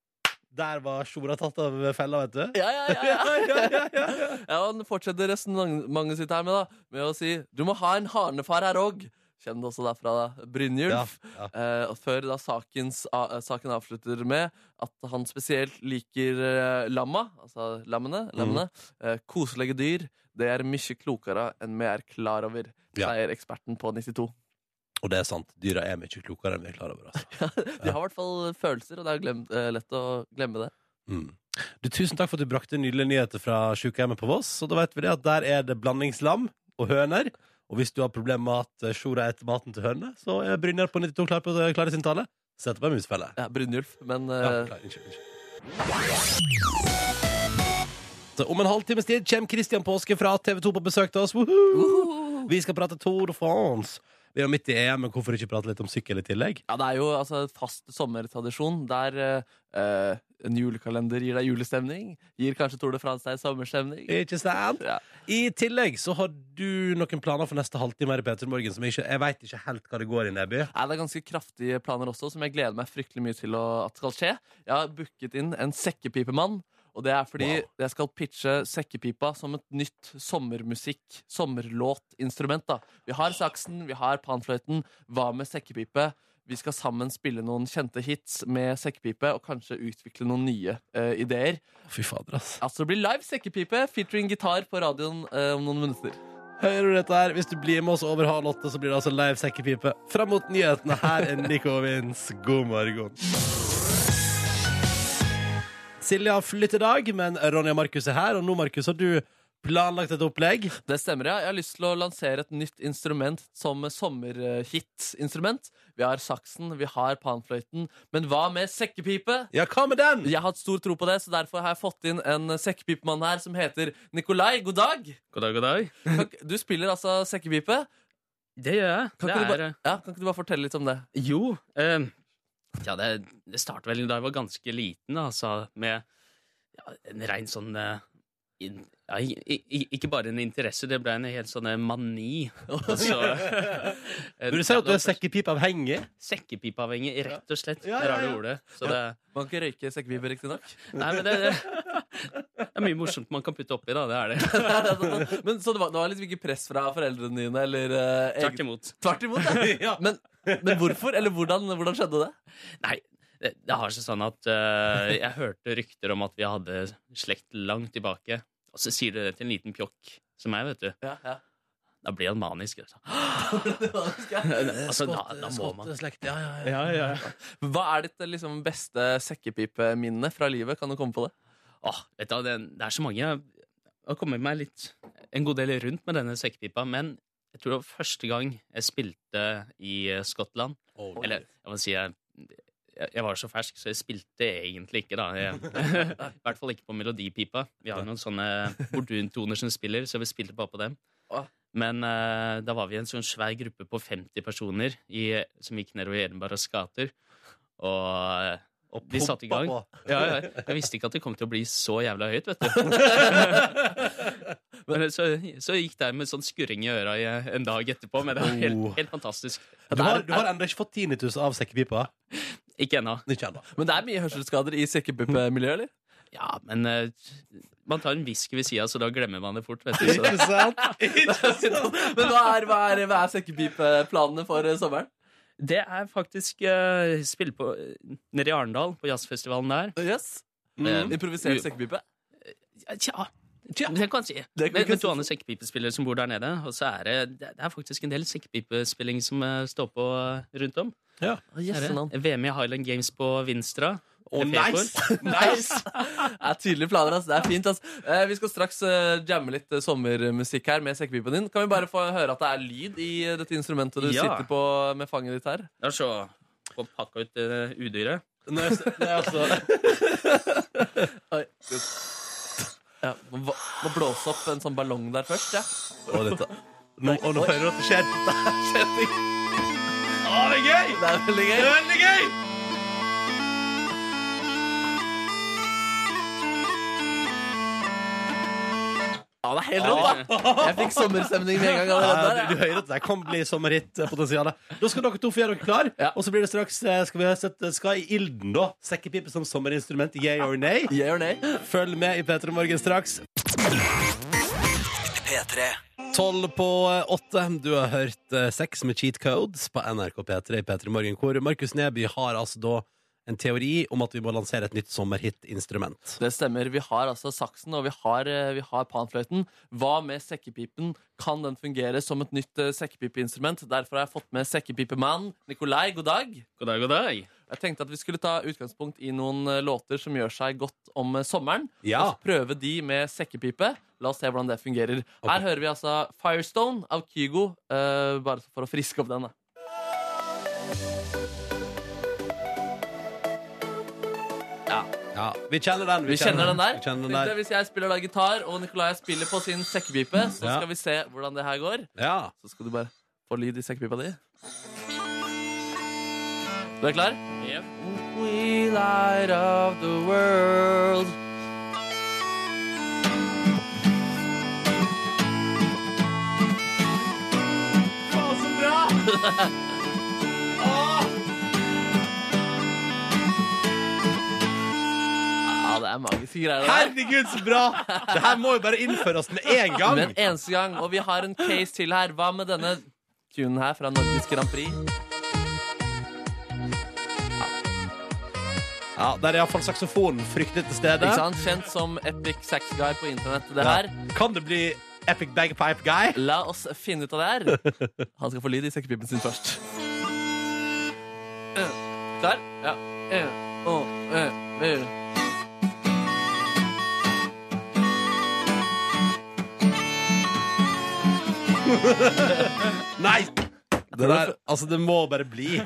Der var sjora tatt av fella, vet du.
Ja, ja, <laughs> ja. ja, ja han fortsetter resonnementet sitt her med, da, med å si du må ha en hanefar her òg. Kjenn det også derfra, da.
Ja,
Brynjulf.
ja.
Eh, og før da sakens, a, eh, saken avslutter med at han spesielt liker eh, lamma, altså lammene,
Mm.
lammene eh, koselige dyr. Det er mye klokere enn vi er klar over,
Ja.
sier eksperten på 92.
Og det er sant. Dyra er mye klokere enn vi er klar over. Altså.
De har i hvert fall følelser, og det er glemt, eh, lett å glemme det.
Mm. Du, tusen takk for at du brakte nydelige nyheter fra sykehjemmet på Voss. Og da vet vi det at der er det blandingslam og høner. Og hvis du har problemer med at eh, sjora eter maten til hønene, så er Brynjar på 92 klar på å klare sin tale. Sett på en musefelle.
Ja, Brynjulf, men eh,
Ja, klar, unnskyld, unnskyld. Så om en halvtimes tid kommer Christian Påske fra TV 2 på besøk til oss. Woohoo! Vi skal prate Tour de France. Vi er jo midt i EM, men hvorfor ikke prate litt om sykkel i tillegg?
Ja, det er jo altså fast sommertradisjon der eh, eh, en julekalender gir deg julestemning. Gir kanskje Tour de France deg sommerstemning.
Ikke sant?
Ja.
I tillegg så har du noen planer for neste halvtime her i Peter Morgen som jeg, ikke, jeg vet ikke helt hva det går i, Neby.
Nei, det er ganske kraftige planer også, som jeg gleder meg fryktelig mye til å, at skal skje. Jeg har booket inn en sekkepipemann, og det er fordi
Wow.
jeg skal pitche sekkepipa som et nytt sommermusikk, sommerlåtinstrument. da. Vi har saksen, vi har panfløyten, hva med sekkepipe? Vi skal sammen spille noen kjente hits med sekkepipe, og kanskje utvikle noen nye eh, ideer.
Fy fader, ass.
Altså, det blir live sekkepipe featuring gitar på radioen eh, om noen minutter.
Hører du dette her? Hvis du blir med oss over halv åtte, så blir det altså live sekkepipe. Fram mot nyhetene. Her er Nico Vince. God morgen. Silja flytter dag, men Ronja og Markus er her. Og nå, Markus, har du planlagt et opplegg.
Det stemmer, ja. Jeg har lyst til å lansere et nytt instrument som sommerhit-instrument. Vi har saksen, vi har panfløyten, men hva med sekkepipe?
Ja, hva med den?
Jeg har hatt stor tro på det, så derfor har jeg fått inn en sekkepipemann her som heter Nikolai. God dag!
God dag, god dag.
Kan ikke- Du spiller altså sekkepipe.
Det gjør jeg.
Kan
det
ikke, du
er,
bare, ja, kan ikke du bare fortelle litt om det?
Jo. eh, ja, det, det startet vel da jeg var ganske liten, da, altså, med ja, en rein sånn eh, in, ja, i, i, Ikke bare en interesse, det ble en helt sånn eh, mani. Og så, eh,
Du ser jo at du
ja,
er sekkepipeavhengig.
Sekkepipeavhengig, rett og slett.
Ja,
Det er
ja,
rare
ja.
ordet. Så det,
Man kan røyke sekkepipe, riktignok.
nei, men det, det, det er mye morsomt man kan putte oppi, da. Det er
<laughs> <laughs>
det.
Men så det var, det var liksom ikke press fra foreldrene dine? Eller, eh, eget-
Tvert imot.
Tvert imot, ja. Men, men hvorfor? Eller hvordan, hvordan skjedde det?
Nei, det, det har seg sånn at eh, jeg hørte rykter om at vi hadde slekt langt tilbake. Og så sier du det til en liten pjokk som meg, vet du.
Ja, <laughs> ja.
Da blir han manisk. Altså, altså da, da må man
Slekt, ja, ja, ja.
Hva er ditt eh, liksom, beste sekkepipeminne fra livet? Kan du komme på det?
Åh, vet du, hva, det, det er så mange Jeg har kommet meg litt en god del rundt med denne sekkepipa, men Jeg tror det var første gang jeg spilte i eh, Skottland. Eller jeg må si jeg, jeg jeg var så fersk, så jeg spilte egentlig ikke, da. Jeg, <laughs> I hvert fall ikke på melodipipa. Vi har jo noen sånne borduntoner som spiller, så vi spilte bare på dem.
Å.
Men eh, da var vi en sånn svær gruppe på 50 personer i, som gikk nedover i Edinburghs gater. Og eh, vi satte i gang.
på.
Ja, ja. Jeg visste ikke at det kom til å bli så jævla høyt, vet du. <laughs> Men så, så gikk det med sånn skurring i øra i en dag etterpå, men det var helt,
Oh.
helt fantastisk.
Du har, du har ennå ikke fått tinnitus av sekkepipa.
Ikke ennå.
Ikke ennå.
Men det er mye hørselsskader i sekkepuppemiljøet, <laughs> eller?
Ja, men eh, man tar en whisky ved sida, så da glemmer man det fort, vet du. Så
Ikke sant?
Men hva er, hva er, hva er sekkepipeplanene for eh, sommeren?
<laughs> det er faktisk uh, spille på nede i Arendal, på jazzfestivalen der.
Yes.
Mm.
Improvisert
Jo.
sekkepipe?
Ja, Eh, Tja, men det kan jeg si.
Det kan
Med,
jeg
med
si.
to andre sekkepipespillere som bor der nede. Og så er det, det er faktisk en del sekkepipespilling som eh, står på eh, rundt om. Er
Jøsse navn.
det VM i Highland Games på Vinstra.
Å, nice!
Nice! Det er tydelige planer, ass. Det er fint, ass. Eh, vi skal straks eh, jamme litt eh, sommermusikk her med sekkepipen din. Kan vi bare få høre at det er lyd i eh, dette instrumentet du
Ja.
sitter på med fanget ditt her?
Ja, så få pakka ut eh, udyret.
Nei, nei, altså.
altså- <laughs> Ja, må, må blåse opp en sånn ballong der først, ja.
Å, dette. Nå, å, nå hører du at det skjer.
Det er veldig gøy. Ja, det er helt rått, da. Jeg fikk sommerstemning med en gang. allerede
Ja,
der,
du, du hører at det her kan bli sommerhit-potensialet. Da skal dere to få gjøre dere klar,
Ja.
og så blir det straks eh, Skal vi sette Skal i ilden, da. Sekkepipe som sommerinstrument. Yeah or nay?
ja. Yeah or nay?
Følg med i P3 Morgen straks. Tolv på eh, åtte. Du har hørt eh, Sex med cheat codes på NRK P3 i P3 Morgen, hvor Markus Neby har altså da en teori om at vi må lansere et nytt sommerhit-instrument.
Det stemmer. Vi har altså saksen, og vi har, eh, vi har panfløyten. Hva med sekkepipen? Kan den fungere som et nytt eh, sekkepipeinstrument? Derfor har jeg fått med sekkepipemannen Nikolai. God dag.
God dag, god dag.
Jeg tenkte at vi skulle ta utgangspunkt i noen eh, låter som gjør seg godt om eh, sommeren.
Ja.
Og så prøve de med sekkepipe. La oss se hvordan det fungerer. Her hører vi altså Firestone av Kygo, eh, bare for å friske opp den. da.
Ja, vi kjenner den.
Vi kjenner den der.
Vi kjenner den
Tenkte jeg,
der.
Hvis jeg spiller da gitar, og Nikolai spiller på sin sekkepipe, så
Ja.
skal vi se hvordan det her går.
Ja.
Så skal du bare få lyd i sekkepipa di. Du er klar?
Yep.
We light of the world. <laughs> Ja, det er magiske greier. det der.
Herregud, så bra! Det her må jo bare innføres med en gang.
Med en eneste gang. Og vi har en case til her. Hva med denne tunen her fra Norges Grand Prix?
Ja, Der er iallfall saksofonen fryktelig til stede.
Ikke sant? Kjent som Epic Sax Guy på internett. Det
Ja.
her.
Kan det bli Epic Bagpipe Guy?
La oss finne ut av det
<laughs>
her. Han skal få lyd i sekkepipen sin først. Eh, Klar? Ja. Eh,
Øh.
å, eh, eh.
Nei! Det der, altså, det må bare bli.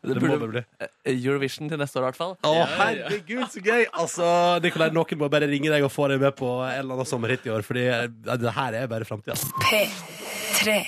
Det, må
burde- Eh,
bare bli.
Eurovision til neste år, i hvert fall.
Å, herregud, så gøy! Altså, Nikolai, noen må bare ringe deg og få deg med på en eller annen sommerhit i år, Fordi eh, ja, det her er bare framtida.
P3.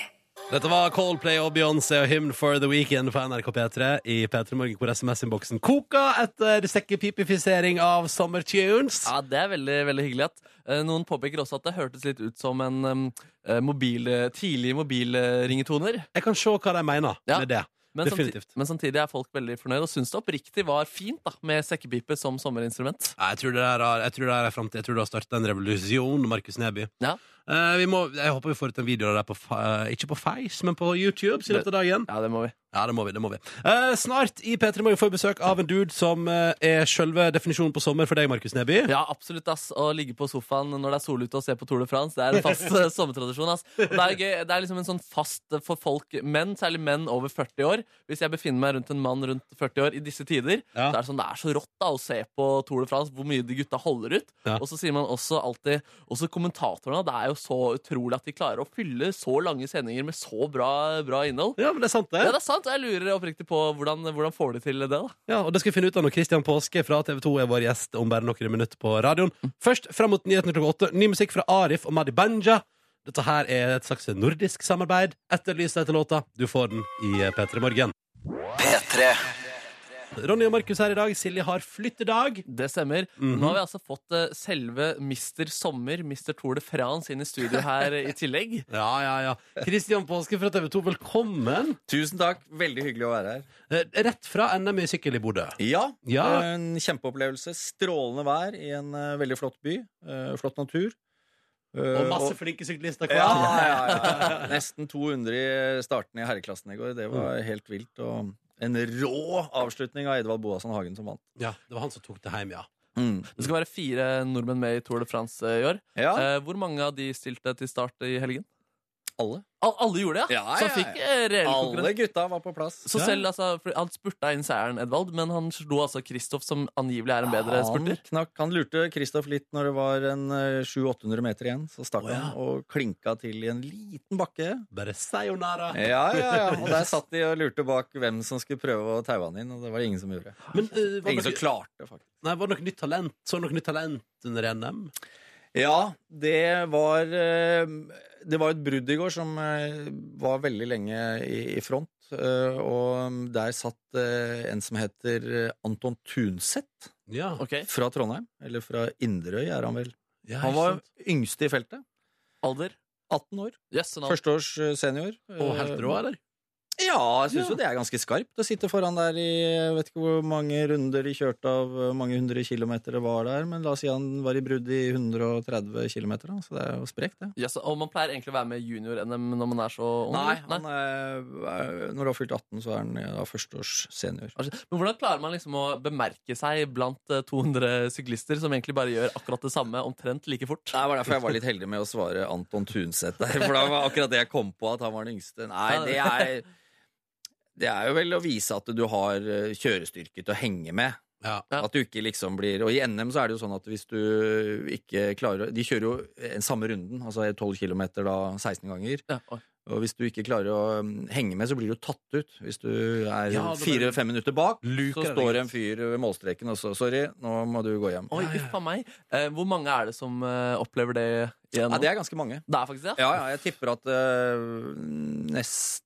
Dette var Coldplay og Beyoncé og Hymn for the Weekend på NRK P3 i P3 Morgen, hvor SMS-innboksen koker etter sekkepipifisering av sommertunes.
Ja, Det er veldig veldig hyggelig. at eh, Noen påpeker også at det hørtes litt ut som en em, eh, mobil, eh, tidlig mobilringetoner.
Jeg kan se hva de mener
Ja.
med det.
Men, samti-
Definitivt.
men samtidig er folk veldig fornøyd og syns det oppriktig var fint da, med sekkepipe som sommerinstrument.
Nei, Jeg tror det der har, jeg tror det der er fremtid. Jeg tror du har startet en revolusjon, Markus Neby.
Ja.
Eh, vi må, jeg håper vi får ut en video av det på, fa- eh, ikke på Face, men på YouTube i løpet av dagen.
Ja, det må vi.
Ja, det må vi. det må vi. Eh, snart i P3 Morgen får vi besøk av en dude som eh, er selve definisjonen på sommer for deg, Markus Neby.
Ja, absolutt, ass. Å ligge på sofaen når det er sol ute og se på Tour de France, det er en fast
<laughs>
eh, sommertradisjon, ass. Og Det er, jo gøy, det er liksom en sånn fast eh, for folk, menn, særlig menn over 40 år. Hvis jeg befinner meg rundt en mann rundt 40 år i disse tider,
Ja.
så er det sånn, det er så rått da å se på Tour de France, hvor mye de gutta holder ut.
Ja.
Og så sier man også alltid, også kommentatorene, det er jo så utrolig at de klarer å fylle så lange sendinger med så bra, bra innhold.
Ja, men det er sant,
Ja,
det.
det er sant, og Jeg lurer oppriktig på hvordan, hvordan får de til det. da
Ja, og det skal vi finne ut av når Kristian Påske fra TV 2 er vår gjest om bare noen minutter på radioen.
Mm.
Først fram mot nyhetene klokka åtte. Ny musikk fra Arif og Madi Banja. Dette her er et slags nordisk samarbeid. Etterlys etter låta. Du får den i eh, P3 Morgen. P3 Ronny og Markus her i dag. Silje har flyttedag.
Det stemmer. Nå
Mhm.
har vi altså fått eh, selve Mister Sommer, Mister Tour de France, inn i studio her eh, i tillegg.
Ja, ja, ja. Kristian Påske fra TV 2, velkommen.
Tusen takk. Veldig hyggelig å være her.
Eh, Rett fra NM i sykkel i Bodø.
Ja,
Ja.
En kjempeopplevelse. Strålende vær i en eh, veldig flott by. eh, flott natur. Eh,
Og masse flinke syklister hver.
ja, ja, ja, <laughs> ja. Nesten 200 i starten i herreklassen i går. Det var helt vilt. Og en rå avslutning av Edvald Boasson Hagen som vant.
Ja, det var han som tok det hjem, ja.
Mm.
Det skal være fire nordmenn med i Tour de France eh, i år.
Ja,
Eh, Hvor mange av de stilte til start i helgen?
alle.
Al alle gjorde det, ja?
Ja,
Så
ja,
han fikk eh, reell konkurranse.
Alle gutta var på plass.
Så selv, altså, for Han spurta inn seieren, Edvald, men han slo altså Kristoff, som angivelig er en bedre spurter.
Han, knakk, han lurte Kristoff litt når det var en eh, 700-800 meter igjen. Så
Å,
stakk
ja.
han og klinka til i en liten bakke.
Bare sayonara.
Ja, ja, ja. Og der satt de og lurte bak hvem som skulle prøve å taue han inn, og det var det ingen som gjorde.
Men eh, var,
Ingen
det
som
noe,
klarte, faktisk.
nei, var det noe nytt talent? Så du noe nytt talent under NM?
Ja, det var eh, Det var et brudd i går som eh, var veldig lenge i, i front. eh, Og der satt eh, en som heter eh, Anton Tunseth
Ja.
Ok,
fra Trondheim. Eller fra Inderøy, er han vel.
ja
Han
ikke
var
sant.
yngste i feltet.
Alder?
18 år.
Yes, en alder.
Førsteårs eh, senior. eh,
Og helt rå, eller?
Ja, jeg syns jo det er ganske skarpt å sitte foran der i jeg vet ikke hvor mange runder de kjørte av, hvor mange hundre kilometer det var der, men la oss si han var i brudd i 130 kilometer, da, så det er jo sprekt, det.
Yes, og man pleier egentlig å være med i junior-NM når man er så ung.
Nei,
eller?
han eh, er, er- når du har fylt 18, så er han eh, ja, førsteårs senior.
Altså, Men hvordan klarer man liksom å bemerke seg blant eh, 200 syklister som egentlig bare gjør akkurat det samme omtrent like fort?
Det var derfor jeg var litt heldig med å svare Anton Tunseth der, for da var akkurat det jeg kom på, at han var den yngste. Nei, det er, det er jo vel å vise at du har eh, kjørestyrke til å henge med.
Ja.
At du ikke liksom blir Og i NM så er det jo sånn at hvis du ikke klarer å- De kjører jo en samme runden, altså 12 km da 16 ganger.
Ja, oi.
Og hvis du ikke klarer å mm, henge med, så blir du tatt ut. Hvis du er
Ja, det blir-
fire-fem minutter bak,
Luker
så
er det
står
greit.
det en fyr ved målstreken og så 'sorry, nå må du gå hjem'.
Oi, uff a meg. Eh, Hvor mange er det som eh, opplever det igjen?
Ja, det er ganske mange.
det er faktisk det. ja.
Ja, ja, jeg tipper at øh, nest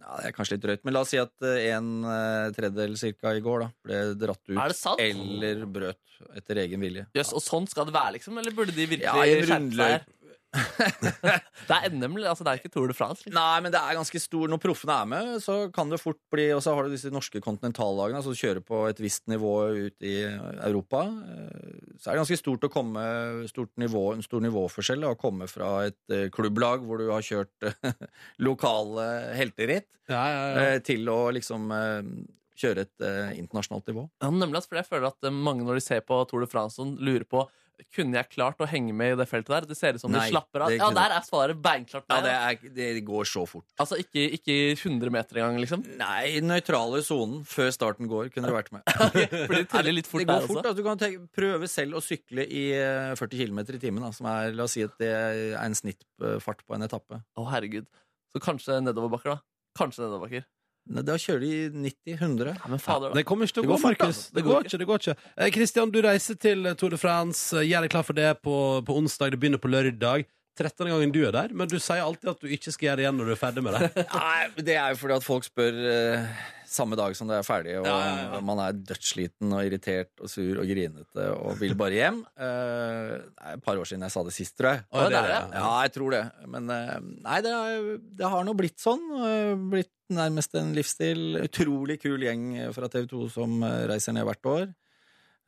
ja, Det er kanskje litt drøyt, men la oss si at øh, en øh, tredjedel cirka i går da ble dratt ut
Er det sant?
eller brøt etter egen vilje.
Jøss, og sånn skal det være, liksom? Eller burde de virkelig
Ja, i en
skjerpe seg?
rundløype.
her? <laughs> det er NM, altså det er ikke Tour de France. Liksom.
Nei, men det er ganske stor Når proffene er med, så kan det fort bli Og så har du disse norske kontinentallagene som kjører på et visst nivå ut i Europa. Eh, Så er det ganske stort å komme stort nivå, En stor nivåforskjell da, å komme fra et eh, klubblag hvor du har kjørt <laughs> eh, lokale helteritt,
Ja, ja,
eh, til å liksom eh, kjøre et eh, internasjonalt nivå.
Ja, nemlig, altså, for jeg føler at eh, mange når de ser på Tour de France, sånn, lurer på kunne jeg klart å henge med i det feltet der. Det ser ut som
Nei,
de slapper av.
det
Ja,
kunne-
der er svaret beinklart nei.
Ja,
da.
det, er, det går så fort.
Altså ikke, ikke 100 meter engang, liksom.
Nei, nøytrale sonen før starten går, kunne du vært <laughs> med.
Fordi det teller litt fort
det går
der
fort. altså.
også.
Da. Du kan tenke, prøve selv å sykle i eh, 40 km i timen, da, som er la oss si at det er en snittfart på en etappe.
Å, herregud. Så kanskje nedoverbakker, da. Kanskje nedoverbakker.
Nei, Da kjører de i 90-100.
Nei, men fader, da.
Det kommer ikke til å
Det
gå,
går fort,
Markus.
altså.
Det går ikke. det går ikke Eh, Kristian, du reiser til Tour de France. eh, Gjør deg klar for det på, på onsdag. Det begynner på lørdag. 13. gangen du er der, men du sier alltid at du ikke skal gjøre det igjen når du er ferdig med
<laughs>
det.
Nei, men det er jo fordi at folk spør eh, samme dag som det er ferdig, og man er dødssliten og irritert og sur og grinete og vil bare hjem. Eh, det er et par år siden jeg sa det sist, tror jeg.
Å, det er det,
ja, jeg tror det. Men eh, nei, det, er, det har nå blitt sånn. eh, Blitt nærmest en livsstil. Utrolig kul gjeng fra TV 2 som eh, reiser ned hvert år.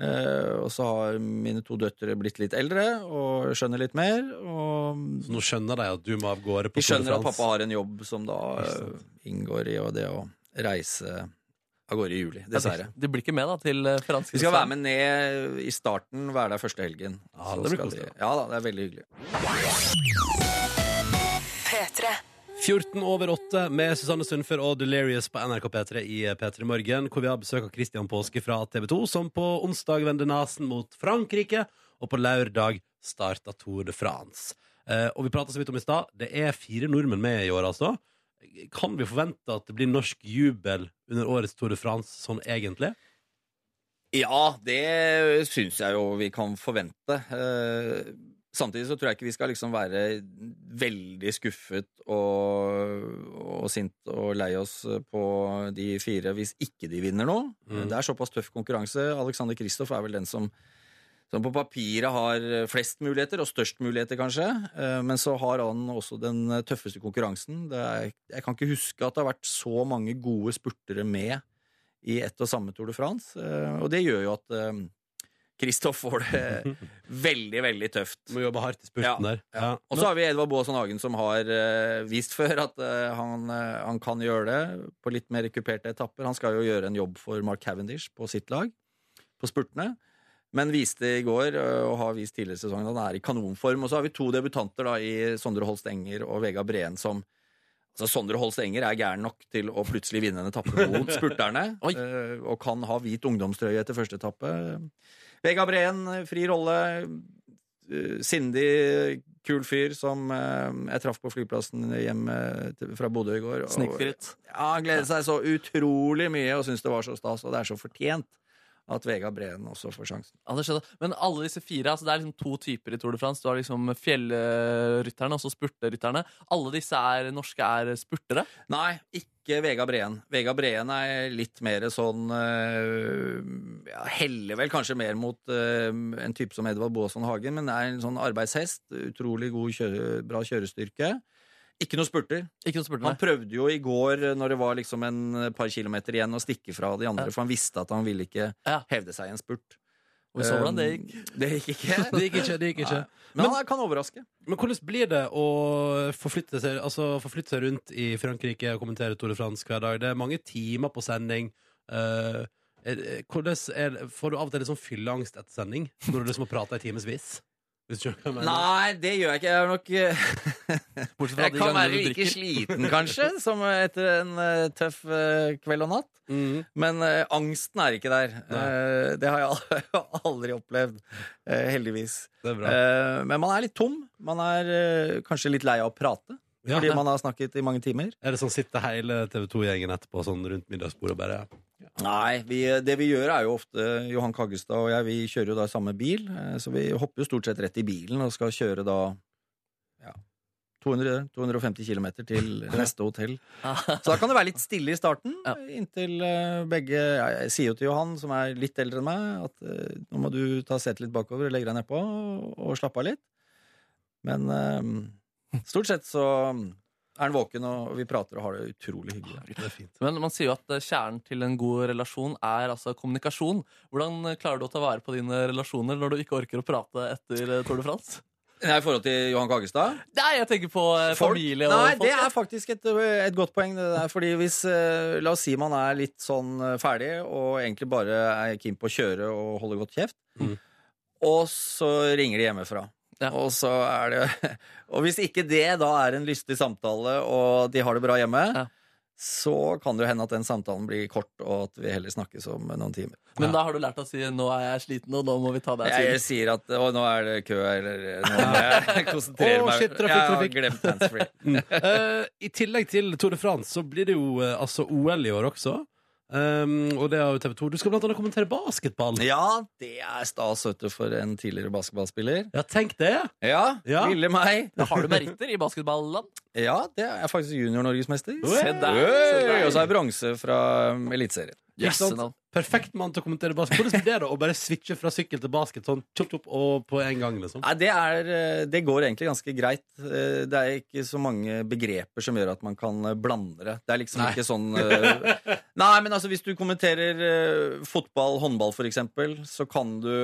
Eh, og så har mine to døtre blitt litt eldre og skjønner litt mer. Og
Så nå skjønner de at du må av gårde på
vi
Tour de
skjønner at
France.
pappa har en jobb som da eh, inngår i og det å reise av gårde i juli, dessverre.
De blir ikke med, da, til eh, franske
Vi skal være med ned i starten, være der første helgen.
Ja, det
Så
blir
skal
koselig,
de- Ja da, det er veldig hyggelig.
P3.
14 over 8 med Susanne Sundfør og Delirious på NRK P3 i P3 Morgen, hvor vi har besøk av Christian Påske fra TV 2, som på onsdag vender nesen mot Frankrike, og på lørdag starter Tour de France. Eh, og vi prata så vidt om i stad. Det er fire nordmenn med i år, altså. Kan vi forvente at det blir norsk jubel under årets Tour de France sånn egentlig?
Ja, det syns jeg jo vi kan forvente. Eh, Samtidig så tror jeg ikke vi skal liksom være veldig skuffet og, og sint og lei oss på de fire hvis ikke de vinner nå.
Mm.
Det er såpass tøff konkurranse. Alexander Kristoff er vel den som, som på papiret har flest muligheter, og størst muligheter kanskje. Eh, Men så har han også den tøffeste konkurransen. Det er, jeg kan ikke huske at det har vært så mange gode spurtere med i ett og samme Tour de France. eh, Og det gjør jo at eh, Kristoff får det veldig, veldig tøft.
Må jobbe hardt i spurten der. Ja.
Og så har vi Edvard Boasson Hagen, som har eh, vist før at eh, han, eh, han kan gjøre det på litt mer kuperte etapper. Han skal jo gjøre en jobb for Mark Cavendish på sitt lag, på spurtene. Men viste i går, eh, og har vist tidligere i sesongen, at han er i kanonform. Og så har vi to debutanter da, i Sondre Holst Enger og Vega Breen som Altså, Sondre Holst Enger er gæren nok til å plutselig vinne en etappe mot spurterne. eh, og kan ha hvit ungdomstrøye etter første etappe. Vega Breen, fri rolle. eh, Sindig, kul fyr som eh, jeg traff på flyplassen hjemme til- fra Bodø i går. og-
Snikskritt.
Ja, Han gledet seg så utrolig mye og syntes det var så stas, og det er så fortjent at Vega Breen også får sjansen.
Ja, det skjønner jeg. Men alle disse fire, altså det er liksom to typer i Tour de France. Du har liksom fjellrytterne og så spurterytterne. Alle disse er, norske er spurtere.
Nei, ikke Vega Breen. Vega Breen er litt mer sånn øh, ja, Heller vel kanskje mer mot øh, en type som Edvard Boasson Hagen, men er en sånn arbeidshest. Utrolig god kjøre, bra kjørestyrke. Ikke noe spurter.
Ikke noe spurtere.
Han prøvde jo i går, øh, når det var liksom en par kilometer igjen, å stikke fra de andre,
Ja.
for han visste at han ville ikke
Ja.
hevde seg i en spurt.
Og vi så hvordan det gikk.
Um, Det gikk ikke.
Det gikk ikke. det gikk ikke
Nei. Men han kan overraske.
Men hvordan blir det å forflytte seg, altså forflytte seg rundt i Frankrike og kommentere Tour de France hver dag? Det er mange timer på sending. Eh, er, er- hvordan er, får du av og til litt sånn fylleangst etter sending? Når du liksom har prata i timevis? Hvis du skjønner hva jeg mener.
Nei, det gjør jeg ikke. Jeg er nok eh,
Bortsett fra
<laughs> Jeg
de
kan
gangene
være
du
like
drikker.
sliten, kanskje, som etter en eh, tøff eh, kveld og natt.
Mhm.
Men eh, angsten er ikke der. Eh, det har jeg al- <laughs> aldri opplevd, eh, heldigvis.
Det er bra.
Eh, men man er litt tom. Man er eh, kanskje litt lei av å prate,
Ja.
fordi man har snakket i mange timer.
Er det sånn sitter hele TV 2-gjengen etterpå sånn rundt middagsbordet og bare
Nei, vi, det vi gjør er jo ofte Johan Kaggestad og jeg, vi kjører jo da i samme bil, eh, så vi hopper jo stort sett rett i bilen og skal kjøre da ja, 200, 250 km til neste hotell. Så da kan det være litt stille i starten,
Ja.
inntil eh, begge ja, Jeg sier jo til Johan, som er litt eldre enn meg, at eh, nå må du ta setet litt bakover og legge deg nedpå og, og slappe av litt. Men eh, stort sett så er han våken, og vi prater og har det utrolig hyggelig.
Det er fint.
<laughs> Men man sier jo at eh, kjernen til en god relasjon er altså kommunikasjon. Hvordan eh, klarer du å ta vare på dine relasjoner når du ikke orker å prate etter eh, Tour de France?
Nei, I forhold til Johan Kaggestad?
Nei, jeg tenker på eh,
Folk?
familie og
Nei,
folk.
det
ja.
er faktisk et, et godt poeng. Det der, fordi hvis eh, La oss si man er litt sånn eh, ferdig og egentlig bare er keen på å kjøre og holde godt kjeft,
Mhm.
og så ringer de hjemmefra.
Ja.
Og så er det <laughs> Og hvis ikke det da er en lystig samtale, og de har det bra hjemme,
Ja.
så kan det jo hende at den samtalen blir kort, og at vi heller snakkes om noen timer.
Men da har du lært å si 'nå er jeg sliten, og nå må vi ta deg
Jeg
siden'.
sier at Å, nå er det kø, eller
<laughs>
Nå må jeg konsentrere
Å,
meg.
shit, trafikk,
jeg har
trafikk.
glemt handsfree.
<laughs> Eh, I tillegg til Tour de France så blir det jo eh, altså OL i år også. Um, og det har jo TV 2. Du skal blant annet kommentere basketball.
Ja, det er stas vet du, for en tidligere basketballspiller.
Ja, tenk det!
Ja,
Ja.
lille meg.
Da <laughs> har du meritter i basketballand.
Ja, det er jeg faktisk junior-norgesmester.
Se
der, se der.
Og så er jeg bronse fra um, Eliteserien.
Ikke sant?
Jøssenavn.
Perfekt mann til å kommentere basket. Hvordan blir det å bare switche fra sykkel til basket sånn tjopp, tjopp, og på en gang, liksom?
Nei, det, er, eh, det går egentlig ganske greit. Eh, Det er ikke så mange begreper som gjør at man kan eh, blande det. Det er liksom
Nei.
ikke
<laughs>
sånn eh, Nei, men altså, hvis du kommenterer eh, fotball, håndball, for eksempel, så kan du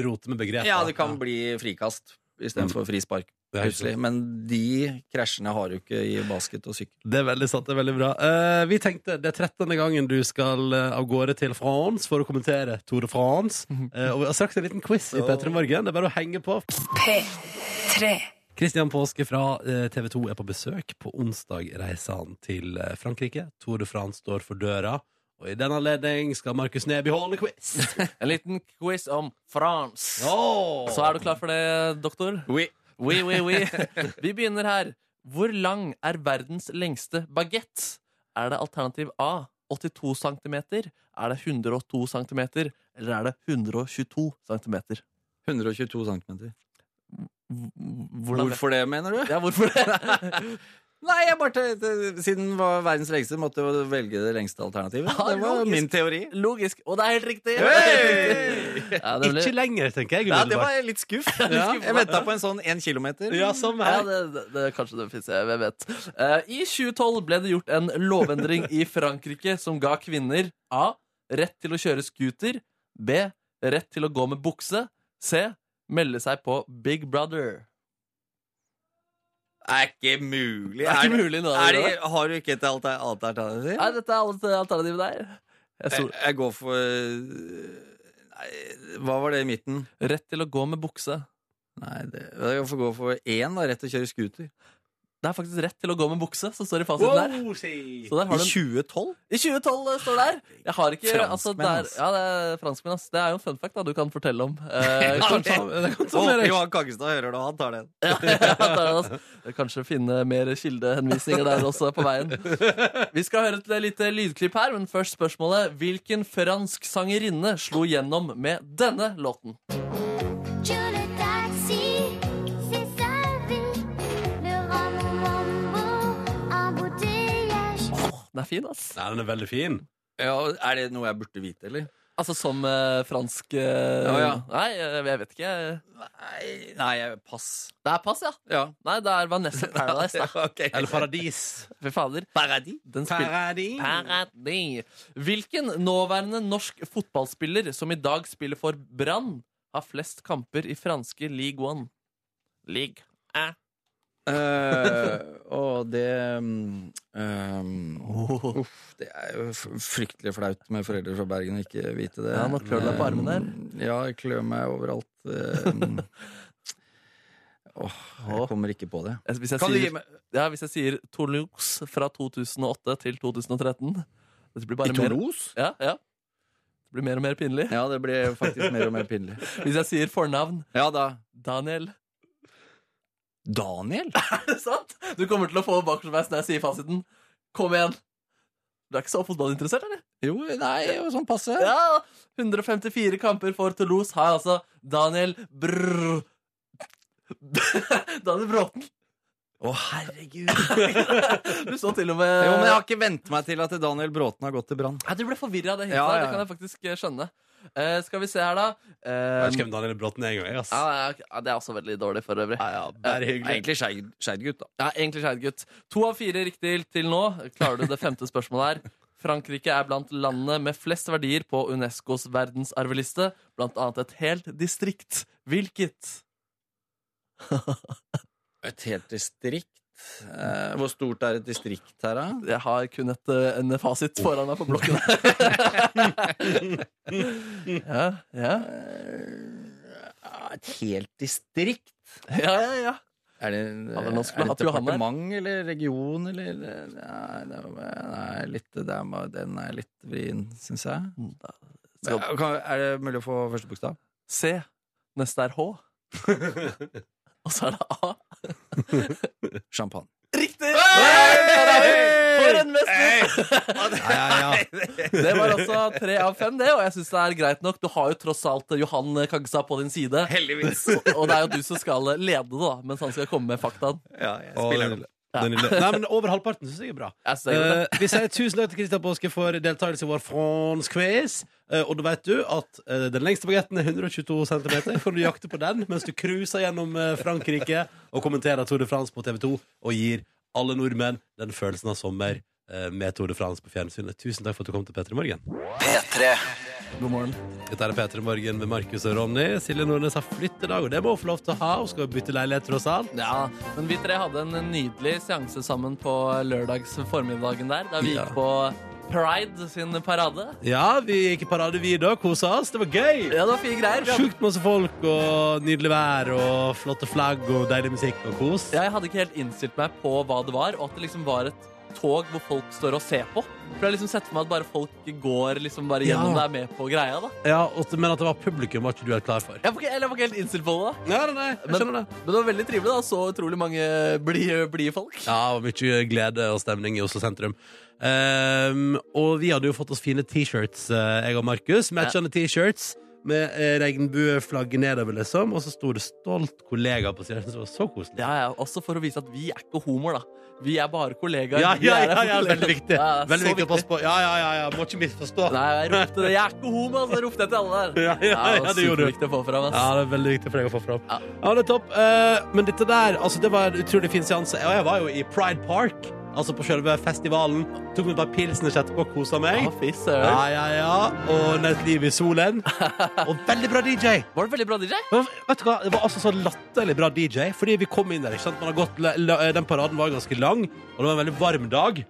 Rote med begrepet.
Ja, det kan bli frikast istedenfor frispark,
Det er
plutselig. Men de krasjene har du ikke i basket og sykkel.
Det er veldig sant. Det er veldig bra. Eh, vi tenkte det er 13. gangen du skal eh, av gårde til France for å kommentere Tour de France. Eh, og vi har straks en liten quiz i P3 Morgen. Det er bare å henge på.
P3.
Kristian Påske fra eh, TV 2 er på besøk. På onsdag reiser han til eh, Frankrike. Tour de France står for døra. Og i den anledning skal Markus Neby holde quiz.
En liten quiz om France. Så er du klar for det, doktor?
Oui.
Oui, oui, oui. <laughs> Vi begynner her. Hvor lang er verdens lengste bagett? Er det alternativ A 82 cm? Er det 102 cm? Eller er det 122 cm?
122 cm.
Hvordan
Hvorfor det, mener du?
Ja, hvorfor det?
<laughs> Nei, jeg bare te- te- Siden det var verdens lengste, måtte jeg jo velge det lengste alternativet.
Ja,
det var
logisk.
min teori.
<laughs> Logisk. Og det er helt riktig! <laughs> Ja, det,
Ikke
ble,
lenger, tenker jeg.
Ja, det
umiddelbart.
var jeg litt skuff. Jeg venta på en sånn én kilometer.
Ja, samme
ja,
her.
det, det, det Kanskje det fins, jeg vet. Eh, I 2012 ble det gjort en lovendring i Frankrike som ga kvinner A. Rett til å kjøre scooter. B. Rett til å gå med bukse. C. Melde seg på Big Brother.
er ikke mulig.
Det er ikke mulig nå.
Er det,
det-
har du ikke et alter- alternativ?
Nei, dette er alt- alternativet der. Jeg
Jeg,
så,
jeg går for Nei, hva var det i midten?
rett til å gå med bukse.
Nei, det, jeg får gå for én, da. Rett til å kjøre scooter.
Det er faktisk rett til å gå med bukse, som står i fasiten der.
Wow, si.
Så der
I
har du en
2012?
I 2012 står det der. Jeg har ikke
Franskmenn,
altså, det er,
ass.
Ja, det er franskmenn, ass. Det er jo en fun fact da, du kan fortelle om. Eh,
<laughs> Ja, det-
kanskje, det kan ta
Håper
mer-
Johan Kaggestad hører det, og han tar den.
ja, ja, det er altså- det, ass. kanskje finne mer kildehenvisninger der også på veien. Vi skal høre et lite lydklipp her, men først spørsmålet. Hvilken fransk sangerinne slo gjennom med denne låten? Den er fin, ass.
Nei, den er veldig fin.
Ja, er det noe jeg burde vite, eller?
Altså som eh, fransk eh,
Ja, ja.
Nei, eh, jeg vet ikke.
Nei, nei jeg- pass.
Det er pass, ja.
Ja.
Nei, det er Vanessa Paradise,
<laughs>
da.
<laughs> Ok.
Eller
<laughs>
Paradis.
Fy fader.
Paradis.
Den spil- Paradis. Hvilken nåværende norsk fotballspiller som i dag spiller for Brann, har flest kamper i franske League One? League.
Eh, og det mm, ehm, Uff, det er jo f- fryktelig flaut med foreldre fra Bergen å ikke vite det.
Ja, nå klør du deg på armen
der. Ja, jeg klør meg overalt. <laughs> ehm. Åh, jeg kommer ikke på det.
Hvis jeg,
Kan du gi
sier,
meg
ja, hvis jeg sier Toulouse fra 2008 til 2013 Dette blir bare mer
Toulouse?
ja, ja. Det blir mer og mer pinlig.
Ja, det blir faktisk mer og mer pinlig.
Hvis jeg sier fornavn
<laughs> Ja da.
Daniel.
Daniel?
Er <laughs> det sant? Du kommer til å få bakoversveis når jeg sier fasiten. Kom igjen. Du er ikke så fotballinteressert, eller?
Jo, nei, sånn passe.
Ja, 154 kamper for Toulouse har altså Daniel Brr... <laughs> Daniel Bråten.
Å, herregud.
<laughs>
Jo,
Du så til og med
men jeg har ikke vent meg til at Daniel Bråten har gått til brann.
Nei, Du ble forvirra av det hintet.
Ja,
der,
ja,
Det
ja.
kan jeg faktisk eh, skjønne. Eh, skal vi se her, da.
Jeg
Eh,
vet ikke hvem Daniel Bråten er engang. jeg, ass.
ja, ja, ja, det er også veldig dårlig, for øvrig.
Ja, bare hyggelig.
Egentlig Skeid- Skeid-gutt, da.
Ja, egentlig skjedd, gutt. To av fire riktig til nå. Klarer du det femte spørsmålet her? Frankrike er blant landene med flest verdier på Unescos verdensarveliste, blant annet et helt distrikt. Hvilket?
Et helt distrikt. Eh, hvor stort er et distrikt her, da?
Jeg har kun et, eh, en fasit foran meg på <laughs> blokken. ja, ja,
Eh, Et helt distrikt?
ja, ja, ja.
Er det, en-
Ja,
er
men nå
det
skulle vi
et
hatt Johan her.
departement eller region eller Nei, det var- nei litt, det er, bare- den er litt vrien, syns jeg.
Skal-
Men, kan- Er det mulig å få første bokstav?
C. Neste er H. Og så er det A.
Champagne.
Riktig! Der er vi! For en mester!
Ja, ja, ja.
Det var altså tre av fem, det, og jeg syns det er greit nok. Du har jo tross alt Johan Kaggestad på din side. Heldigvis Og, og det er jo du som skal lede det, da, mens han skal komme med faktaen.
Ja, jeg
Og
spiller
den
den.
lille- den lille- Nei, men Over halvparten syns jeg er bra.
Jeg synes det er godt, det.
Eh, vi sier tusen takk til Kristian Påske for deltakelse i vår Frons quiz. Eh, og da vet du at eh, den lengste bagetten er 122 cm. Kan du jakte på den mens du cruiser gjennom eh, Frankrike og kommenterer Tour de France på TV2 og gir alle nordmenn den følelsen av sommer eh, med Tour de France på fjernsynet. Tusen takk for at du kom til P3 Morgen.
God morgen.
Dette er P3 Morgen med Markus og Ronny. Silje Nordnes har flyttedag, og det må hun få lov til å ha. Hun skal jo bytte leilighet, tross alt.
Ja, men vi tre hadde en nydelig seanse sammen på lørdags formiddagen der, da vi
Ja.
gikk på Pride sin parade.
Ja, vi gikk i parade, vi da. Kosa oss. Det var gøy.
Ja, det var fine greier. Vi hadde-
Sjukt masse folk og nydelig vær og flotte flagg og deilig musikk og kos.
Jeg hadde ikke helt innstilt meg på hva det var, og at det liksom var et tog hvor folk står og ser på. For jeg liksom sett for meg at bare folk går liksom bare
Ja.
gjennom det er med på greia. da
Ja, og, men at det var publikum, var ikke du helt klar for?
Jeg var ikke, eller jeg var ikke helt innstilt på det. da
Nei, nei, nei, jeg
men,
skjønner det.
men det var veldig trivelig. da Så utrolig mange blide bli folk.
Ja, og mye glede og stemning i Oslo sentrum. Ehm, og vi hadde jo fått oss fine T-shirts, eh, jeg og Markus. Matchende T-shirts med eh, regnbueflagget nedover, liksom. Og så sto det stolt kollega på siden. Jeg synes det var så koselig.
Ja, ja, Også for å vise at vi er ikke homoer, da. Vi er bare kollegaer.
Ja,
Vi
ja,
er
ja,
her for
ja,
kollegaer.
veldig viktig.
Ja, det er
Veldig
så
viktig å passe på. Ja, ja, ja, ja. må ikke misforstå.
Nei, jeg ropte det. Jeg er ikke homo, altså! Jeg ropte etter alle der.
Ja, ja, ja, det gjorde du.
Superviktig å få fram.
Ja,
ass.
det er veldig viktig for deg å få fram. Ja,
Ja.
det er topp. Eh, men dette der, altså, det var en utrolig fin seanse. Og jeg var jo i Pride Park, altså på selve festivalen. Tok meg et par pilsners etterpå, kosa meg.
Ja, fy søren.
Ja, ja, ja. Og Nødt liv i
<laughs>
solen. Og veldig bra DJ.
Var det veldig bra, DJ?
Men Vet du hva, Det var altså så latterlig bra DJ, fordi vi kom inn der. ikke sant? Man har gått, la- la- den paraden var ganske lang, og det var en veldig varm dag.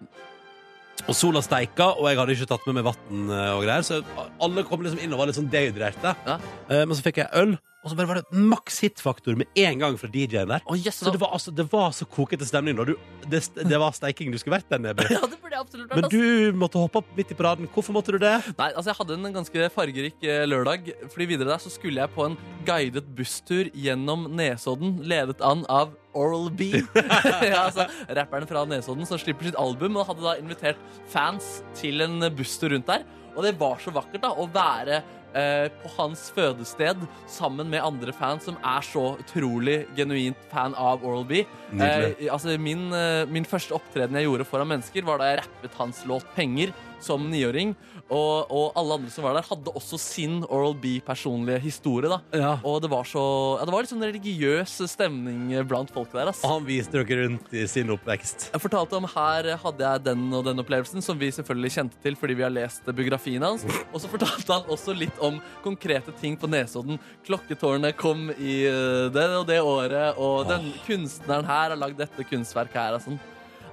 Og sola steika, og jeg hadde ikke tatt med meg vann og greier, så alle kom liksom inn og var litt sånn dehydrerte.
Ja.
Eh, Men så fikk jeg øl, og så bare var det maks hitfaktor med en gang fra DJ-en der.
Å, jøss,
Så det var, altså, det var så kokete stemning. da. Du, det, det var steiking du skulle vært der nede.
<laughs> Ja, det burde jeg absolutt vært.
Men
ass.
du måtte hoppe opp midt i paraden. Hvorfor måtte du det?
Nei, altså Jeg hadde en ganske fargerik eh, lørdag. Fordi Videre der så skulle jeg på en guidet busstur gjennom Nesodden, ledet an av Oral
<laughs>
B. <laughs> ja, altså, rapperen fra Nesodden som slipper sitt album, og hadde da invitert fans til en busstur rundt der. Og det var så vakkert da å være eh, på hans fødested sammen med andre fans som er så utrolig genuint fan av Oral B.
Nydelig.
Eh, altså min, eh, min første opptreden jeg gjorde foran mennesker, var da jeg rappet hans låt 'Penger' som niåring. Og, og alle andre som var der, hadde også sin Oral B-personlige historie. da
Ja.
Og det var så Ja, det var litt sånn religiøs stemning eh, blant folk der. ass
Og han viste dere rundt i sin oppvekst.
jeg fortalte om her hadde jeg den og den opplevelsen, som vi selvfølgelig kjente til fordi vi har lest biografien hans. Og så fortalte han også litt om konkrete ting på Nesodden. Klokketårnet kom i eh, det og det året, og den kunstneren her har lagd dette kunstverket her. og sånn.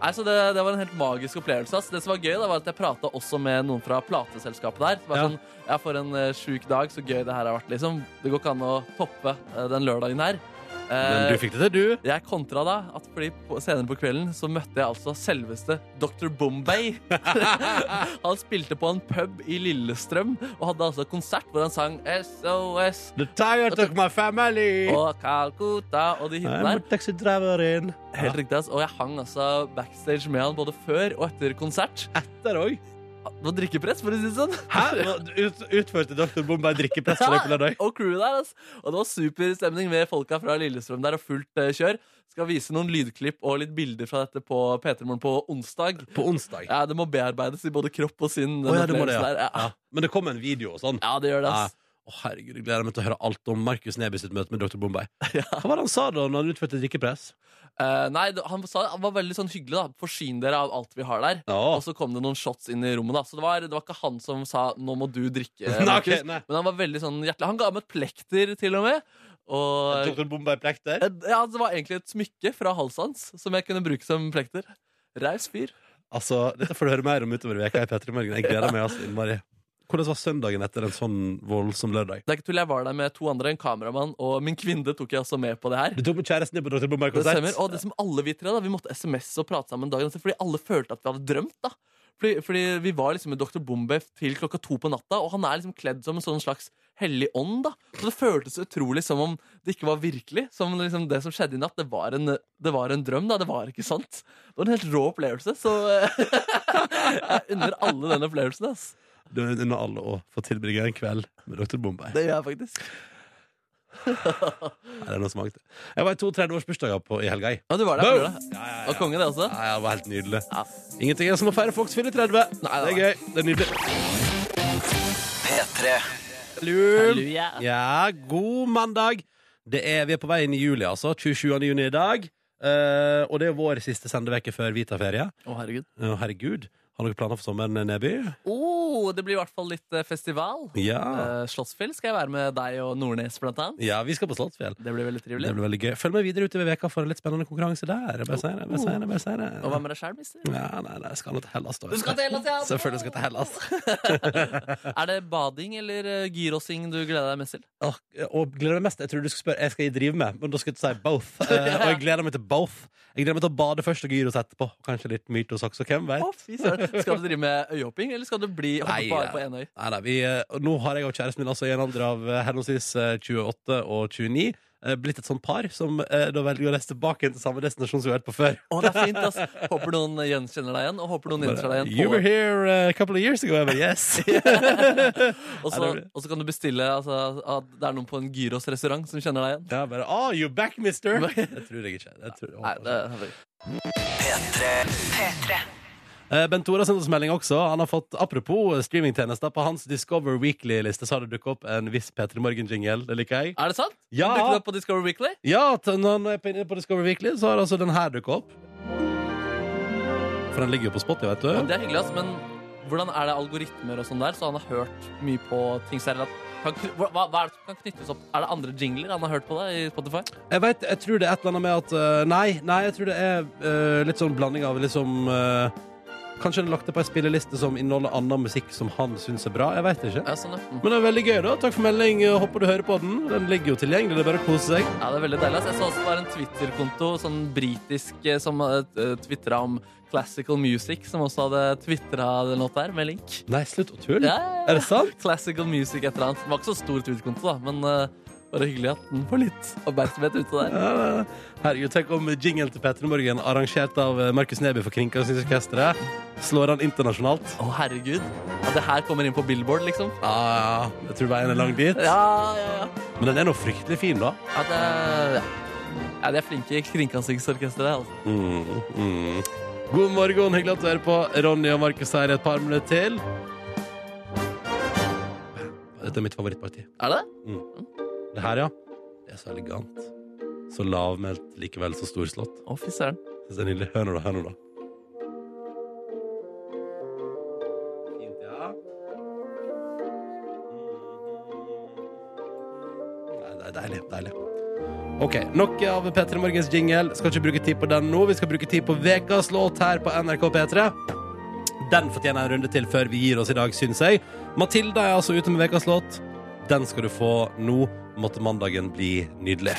Nei, så det, det var en helt magisk opplevelse. ass. Det som var gøy, da, var at jeg prata også med noen fra plateselskapet der. Som var
Ja.
sånn, ja, For en eh, sjuk dag, så gøy det her har vært, liksom. Det går ikke an å toppe eh, den lørdagen her. Eh,
Men du fikk det til, du.
jeg kontra da at fordi på, senere på kvelden så møtte jeg altså selveste Dr. Bombay. <laughs> han spilte på en pub i Lillestrøm og hadde altså konsert hvor han sang SOS
The tired of my family.
og Calcutta og de hitene der.
taxidriveren.
Helt riktig, ass. Og jeg hang altså backstage med han både før og etter konsert.
Etter òg.
Det var drikkepress, for å si det sånn.
Hæ? Ut, utførte Dr. Bombay drikkepress for deg på lørdag?
Og crewet der, ass. Og det var super stemning med folka fra Lillestrøm der og fullt eh, kjør. Skal vise noen lydklipp og litt bilder fra dette på P3 Morgen på onsdag.
På onsdag.
Ja, det må bearbeides i både kropp og sinn. den
Å, ja, det må det,
opplevelsen der. ja.
Ja. Men det kom en video og sånn.
ja, det gjør det.
Ja.
ass.
Å, herregud, jeg gleder meg til å høre alt om Markus Neby sitt møte med Dr.
<laughs>
Bombay. Hva var det han sa da når han utførte drikkepress?
Eh, nei, det- han, sa, han var veldig sånn hyggelig. da Forsyn dere av alt vi har der.
Ja.
Og så kom det noen shots inn i rommet. da Så det var, det var ikke han som sa 'nå må du drikke'.
<laughs> Nei, ok,
Markus.
nei.
Men han var veldig sånn hjertelig. Han ga meg et plekter, til og med. Og
Dr. Bombay plekter?
eh, ja, det var egentlig et smykke fra halsen hans som jeg kunne bruke som plekter. Raus fyr.
Altså, dette får du høre mer om utover veka i P3 Morgen. Jeg gleder meg altså innmari. Hvordan var søndagen etter en sånn voldsom lørdag?
Det er ikke tull, jeg var der med to andre, en kameramann og min kvinne tok jeg også med på det her.
Du tok med kjæresten din på Dr.
Det
Bombay-konsert?
stemmer. Og det som alle vi tre da, vi måtte SMS og prate sammen dagen etter, fordi alle følte at vi hadde drømt. da fordi, fordi vi var liksom med Dr. Bombay til klokka to på natta, og han er liksom kledd som en sånn slags hellig ånd. da Så det føltes utrolig som om det ikke var virkelig. Som liksom det som skjedde i natt, det var en, det var en drøm. da Det var ikke sant. Det var en helt rå opplevelse, så <laughs> jeg unner alle den opplevelsen. ass
Du er under alle å få tilbringe en kveld med Dr. Bombay.
Det gjør jeg faktisk.
Nei, det er noe som mangler. Jeg var i to 30-årsbursdager på- i helga. jeg.
Ja, du var der,
Boom!
var du det? Og konge, det også.
Nei, det var helt nydelig.
Ja.
Ingenting er som å feire folks fyller 30. det er gøy. Det er nydelig. Lul. Ja, god mandag. Det er, vi er på vei inn i juli, altså. 27. juni i dag. Eh, og det er vår siste sendeveke før vi tar ferie.
Å, herregud.
Å, herregud. Har dere planer for sommeren, eh, Neby?
Oh, det blir i hvert fall litt eh, festival.
Ja.
Eh, Slottsfjell skal jeg være med deg og Nordnes, blant annet.
ja, vi skal på Slottsfjell.
Det blir veldig trivelig.
Det blir veldig gøy. Følg med videre utover veka for en litt spennende konkurranse der. Jeg Bare sier det, bare sier det, bare sier det.
Og hva med deg sjøl, mister?
Ja, nei, nei, jeg skal nå til Hellas, da.
Du skal til Hellas, ja.
Selvfølgelig skal jeg til Hellas.
Er det bading eller eh, gyrosing du gleder deg mest til?
Åh, og gleder meg mest Jeg trodde du skulle spørre Jeg skal drive med, men da skulle jeg si
<laughs>
both. Eh, og jeg gleder meg til both. Jeg gleder meg til å bade først og gyros etterpå. Kanskje litt mytosaks og hvem vet.
Å, fy søren. Skal du drive med øyhopping, eller skal du bli hoppe
Nei,
bare
ja.
på én øy?
Nei, nei, vi, eh, nå har jeg og kjæresten min altså i en alder av eh, henholdsvis eh, 28 og 29 eh, blitt et sånt par som eh, da velger å reise tilbake igjen til samme destinasjon som vi har vært på før.
Å, det er fint, ass. Håper noen gjenkjenner deg igjen, og håper noen innser deg
You were
igjen.
here eh, a couple of years ago. Jeg bare,
<laughs>
yes
På, og, så,
Nei, det blir-
og så kan du bestille altså, at det er noen på en gyros-restaurant som kjenner deg igjen.
Ja, bare, oh, you're back,
<laughs>
mister! Det tror jeg ikke. Jeg tror,
Nei, det er
Eh, Bent Tore har sendt oss melding også. Han har fått, Apropos eh, streamingtjenester, på hans Discover Weekly-liste så har det dukket opp en viss P3 Morgen-jingle. Det liker jeg.
Er det sant?
Ja.
Dukket det opp på Discovery Weekly?
Ja, t- når når jeg er inne på Discover Weekly, så har altså den her dukket opp. For den ligger jo på Spotify, vet du.
Ja, det er hyggelig, ass, men hvordan er det algoritmer og sånn der? Så han har hørt mye på ting særlig at kan, kny- hva, hva er det som kan knyttes opp? Er det andre jingler han har hørt på da i Spotify?
Jeg vet, jeg tror det er et eller annet med at eh, Nei, nei, jeg tror det er eh, litt sånn blanding av liksom eh, Kanskje han har lagt det på ei spilleliste som inneholder annen musikk som han syns er bra. Jeg vet ikke.
Ja, sånn, ja. Mm.
Men det er veldig gøy, da. Takk for melding. Jeg Håper du hører på den. Den ligger jo tilgjengelig. Det er bare å kose seg.
ja, det er veldig deilig. ass. Jeg så også det var en Twitter-konto, sånn britisk, eh, som uh, tvitra om classical music, som også hadde tvitra den låta her, med link.
Nei, slutt å tulle.
Ja, ja, ja.
Er det sant?
Classical music et eller annet. Det var ikke så stor Twitter-konto, da, men eh, bare hyggelig at den får litt oppmerksomhet ute der.
Ja, Herregud, tenk om jingle til Petter i Morgen, arrangert av eh, Markus Neby for Kringkastingsorkesteret, slår han internasjonalt.
Å, herregud. At det her kommer inn på Billboard, liksom.
Ja, ja, ja. jeg tror veien er lang dit.
Ja, ja, ja.
Men den er nå fryktelig fin, da.
Ja, det er, eh, ja, de er flinke i Kringkastingsorkesteret. Altså.
Mm, mm. God morgen, hyggelig at du hører på. Ronny og Markus her i et par minutter til. Dette er mitt favorittparti.
Er det?
Det her, ja. Det er så elegant. Så lavmælt, likevel så storslått.
Å, fy søren.
Synes det er nydelig. Hør nå, da. Hør nå, da. Fint, ja. Mm-hmm. Nei, det er deilig. Deilig. OK, nok av P3 Morgens jingle. Skal ikke bruke tid på den nå. Vi skal bruke tid på ukas låt her på NRK P3. Den fortjener en runde til før vi gir oss i dag, syns jeg. Matilda er altså ute med ukas låt. Den skal du få nå. Måtte mandagen bli nydelig.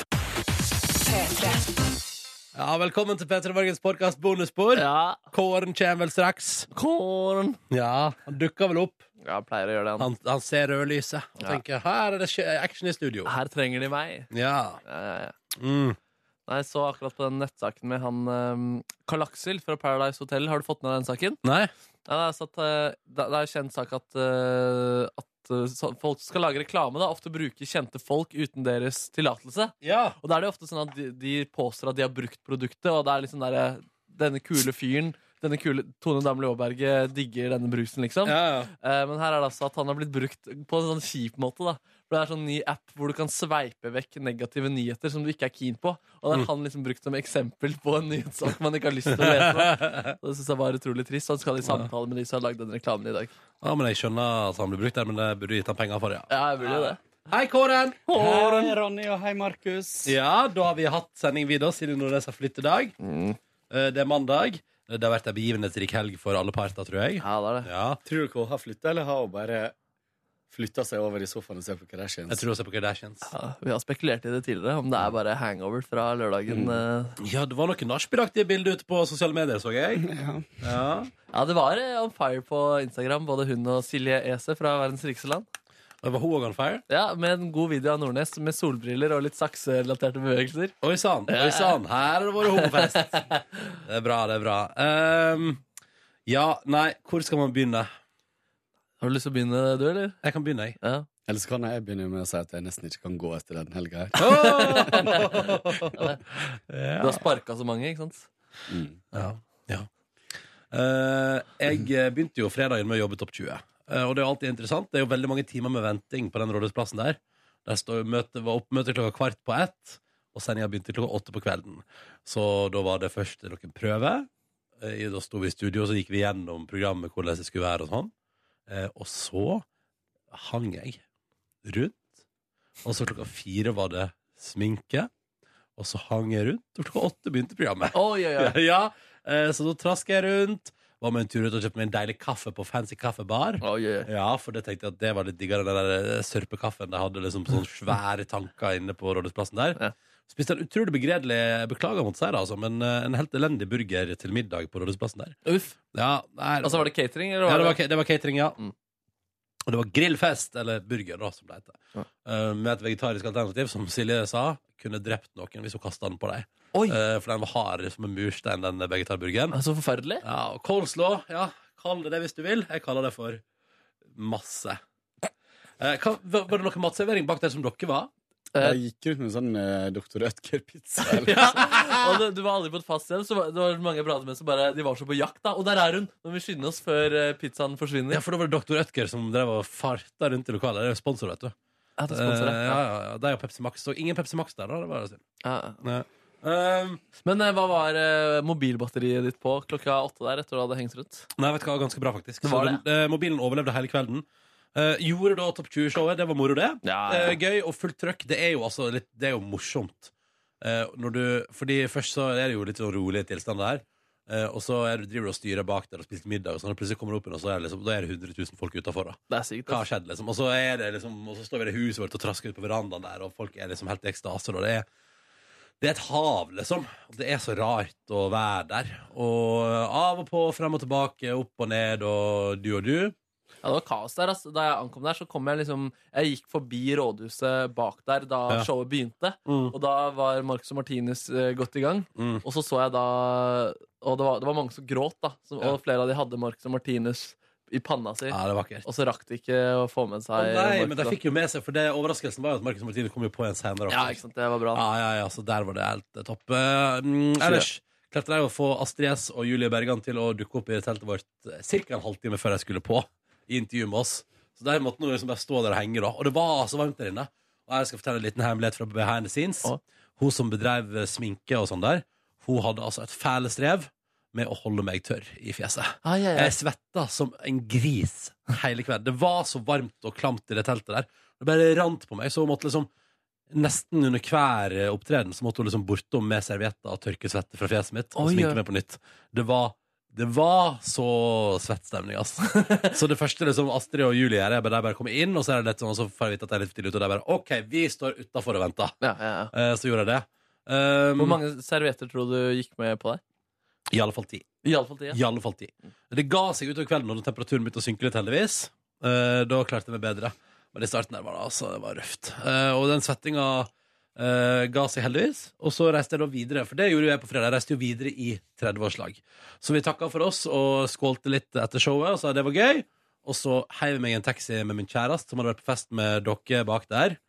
Ja, velkommen til P3 Morgens podkast bonusspor.
Ja,
Kåren kommer vel straks.
korn.
Ja, han dukker vel opp.
Ja, jeg pleier å gjøre det.
Han, han ser rødlyset og
Ja.
tenker her er det skje- action i studio.
Her trenger de meg.
Ja.
Ja, ja, ja.
Mm.
Nei, jeg så akkurat på den nettsaken med han ehm, Karl Aksel fra Paradise Hotel. Har du fått med deg den saken?
Nei?
Ja, det, er sånn at, eh, det det er en kjent sak at, eh, at eh, så- folk som skal lage reklame, da, ofte bruker kjente folk uten deres tillatelse.
Ja.
Og da er det jo ofte sånn at de, de påstår at de har brukt produktet, og det er liksom der, eh, denne kule fyren denne kule Tone Damli Aaberge digger denne brusen, liksom.
ja.
Eh, men her er det altså at han har blitt brukt på en sånn kjip måte. da For Det er en sånn ny app hvor du kan sveipe vekk negative nyheter som du ikke er keen på. Og det er han liksom brukt som eksempel på en nyhetssak man ikke har lyst til å <laughs> lese. om. Og Det synes jeg var utrolig trist. Han skal i samtale med de som har lagd den reklamen i dag.
Ja, men Jeg skjønner at han blir brukt der, men jeg burde gitt han penger for det. ja.
Ja, jeg burde jo det.
Hei, Kåren!
Hei, Ronny, og hei, Markus.
Ja, da har vi hatt sending videre siden Nordnes har flyttet dag. Eh, Det er mandag. Eh, Det har vært en begivenhetsrik helg for alle parter, tror jeg.
Ja, det er det.
Ja,
Tror dere hun har flytta, eller har hun bare flytta seg over i sofaen og ser på
Jeg
Kardashians?
tror også på Kardashians.
Ja, vi har spekulert i det tidligere, om det er bare hangover fra lørdagen. eh,
Ja, det var noen nachspielaktige bilder ute på sosiale medier, så jeg. Ja.
Ja, det var eh, on fire på Instagram, både hun og Silje Ese fra Verdens rikeste land.
Det <laughs> var hun også on fire.
Ja, Med en god video av Nordnes med solbriller og litt sakserelaterte bevegelser.
Oi sann, oi sann. Her har det vært homofest. Det er bra, det er bra. Ehm, ja, nei, hvor skal man begynne?
Har du lyst til å begynne, du, eller?
Jeg kan begynne, jeg.
Ja.
Eller så kan jeg begynne med å si at jeg nesten ikke kan gå etter den helga her.
Du har sparka så mange, ikke sant?
Ja. ja. Eh, jeg eh, begynte jo fredagen med å jobbe Topp 20. Eh, og det er jo alltid interessant. Det er jo veldig mange timer med venting på den rådhusplassen der. Der står jo møte, var oppmøte klokka kvart på ett, og sendinga begynte klokka åtte på kvelden. Så da var det først noen prøver. eh, Da sto vi i studio, og så gikk vi gjennom programmet, hvordan det skulle være og sånn. Eh, Og så hang jeg rundt, og så klokka fire var det sminke, og så hang jeg rundt, og klokka åtte begynte programmet.
Oi, oi, oi.
<laughs> Ja, eh, så da trasker jeg rundt, var med en tur ut og kjøpte meg en deilig kaffe på Fancy Kaffebar.
Oi, oi, oi.
Ja, for det tenkte jeg at det var litt diggere Den der eh, sørpekaffen de hadde liksom sånne svære tanker inne på rådhusplassen der
Ja.
Spiste en utrolig begredelig Beklager mot seg da, altså Men eh, en helt elendig burger til middag på rådhusplassen der
Uff.
Ja, nei, det
Altså, var det catering, eller?
ja, det var, det var catering, ja.
Mm.
Og det var grillfest, eller burger, da, som det heter.
Ja.
Eh, med et vegetarisk alternativ, som Silje sa, kunne drept noen hvis hun kasta den på deg.
Oi.
Eh, for den var hard som en murstein, den vegetarburgeren.
Så forferdelig.
Ja, og coleslaw, ja, kall det det hvis du vil. Jeg kaller det for masse. Eh, hva, var var det noe matservering bak der som dere var?
Eh,
Jeg gikk ut med en sånn uh, Dr. Ødger-pizza.
Ja.
Ah!
Og det, du var aldri på et fast sted, så var- det var mange jeg pratet med som bare De var så på jakt, da. Og der er hun! Nå må vi skynde oss før eh, pizzaen forsvinner.
Ja, for da var det Dr. Ødger som drev og farta rundt i lokalet. Det er jo sponsor, vet du.
Ja, det er
Eh,
sponsoret.
ja, ja, ja. Det er jo Pepsi Max. Så ingen Pepsi Max der, da. Det var synd.
Ja, ja.
Nei. Ehm,
Men eh, hva var eh, mobilbatteriet ditt på klokka åtte der etter du hadde hengt rundt?
Nei, vet du hva, ganske bra faktisk
Det var
Så den, eh, Mobilen overlevde hele kvelden Eh, Gjorde da Topp 20-showet, det var moro det Eh, Gøy og fullt trøkk, det er jo, altså litt, det er jo morsomt Eh, når du, Fordi først så er det jo litt sånn rolig tilstand der eh, Og så er, du- driver du og styrer bak der og spiser middag og sånn, og plutselig kommer du opp igjen, og så er det, liksom, da er det 100 000 folk utenfor da
Det er sykt.
Hva
ass.
har skjedd liksom, og så, er det, liksom, og så står vi i det huset vårt og trasker ut på verandaen der Og folk er liksom helt i ekstase og det er det er et hav, liksom. Og Det er så rart å være der. Og av og på, frem og tilbake, opp og ned, og du og du.
Ja, det var kaos der. ass. Da jeg ankom der, så kom jeg liksom Jeg gikk forbi rådhuset bak der da
Ja.
showet begynte. Og da var Marcus og Martinus eh, godt i gang.
Mm.
Og så så jeg da Og det var, det var mange som gråt, da. Som,
Ja.
Og flere av de hadde Marcus og Martinus i panna si.
Ja, det er vakkert.
Og så rakk de ikke å få
Å
med seg
nei,
Marcus
men de
da.
fikk jo med seg, for det overraskelsen var jo at Marcus og Martinus kom jo på en senere.
Ja, ikke sant. Det var bra.
Ja, ja, ja, så der var det helt eh, topp. Eh, mm, ellers klarte jeg å få Astrid S og Julie Bergan til å dukke opp i teltet vårt ca. eh, en halvtime før jeg skulle på i intervju med oss. Så der måtte hun liksom bare stå der og henge, da. Og det var så varmt der inne. Og jeg skal fortelle en liten hemmelighet fra behind the scenes.
Å.
Hun som bedrev eh, sminke og sånn der, hun hadde altså et fæle strev med å holde meg tørr i fjeset.
Ah, ja, ja.
Jeg Eh, svetta som en gris hele kvelden. Det var så varmt og klamt i det teltet der. Det bare rant på meg, så hun måtte liksom Nesten under hver eh, opptreden Så måtte hun liksom bortom med servietter og tørke svette fra fjeset mitt og
Oi,
sminke
ja.
meg på nytt. Det var, det var så svettstemning, ass. <laughs> så det første liksom Astrid og Julie gjør, er bare de bare kommer inn, og så er det litt sånn, og så får jeg vite at jeg er litt for tidlig ute, og de bare OK, vi står utafor og venter.
Ja, ja, ja.
Eh, så gjorde jeg det. Um,
Hvor mange servietter tror du gikk med på deg?
I alle fall ti.
I alle fall ti. ja.
I alle fall ti. Det ga seg utover kvelden når temperaturen begynte å synke litt, heldigvis. Eh, da klarte jeg meg bedre. Men i starten der var det, altså, det var røft. Eh, og den svettinga eh, ga seg heldigvis. Og så reiste jeg da videre, for det gjorde jo jeg på fredag. Jeg reiste jo videre i 30-årslag. Så vi takka for oss og skålte litt etter showet og sa det var gøy. Og så heiv jeg meg i en taxi med min kjæreste, som hadde vært på fest med dere bak der.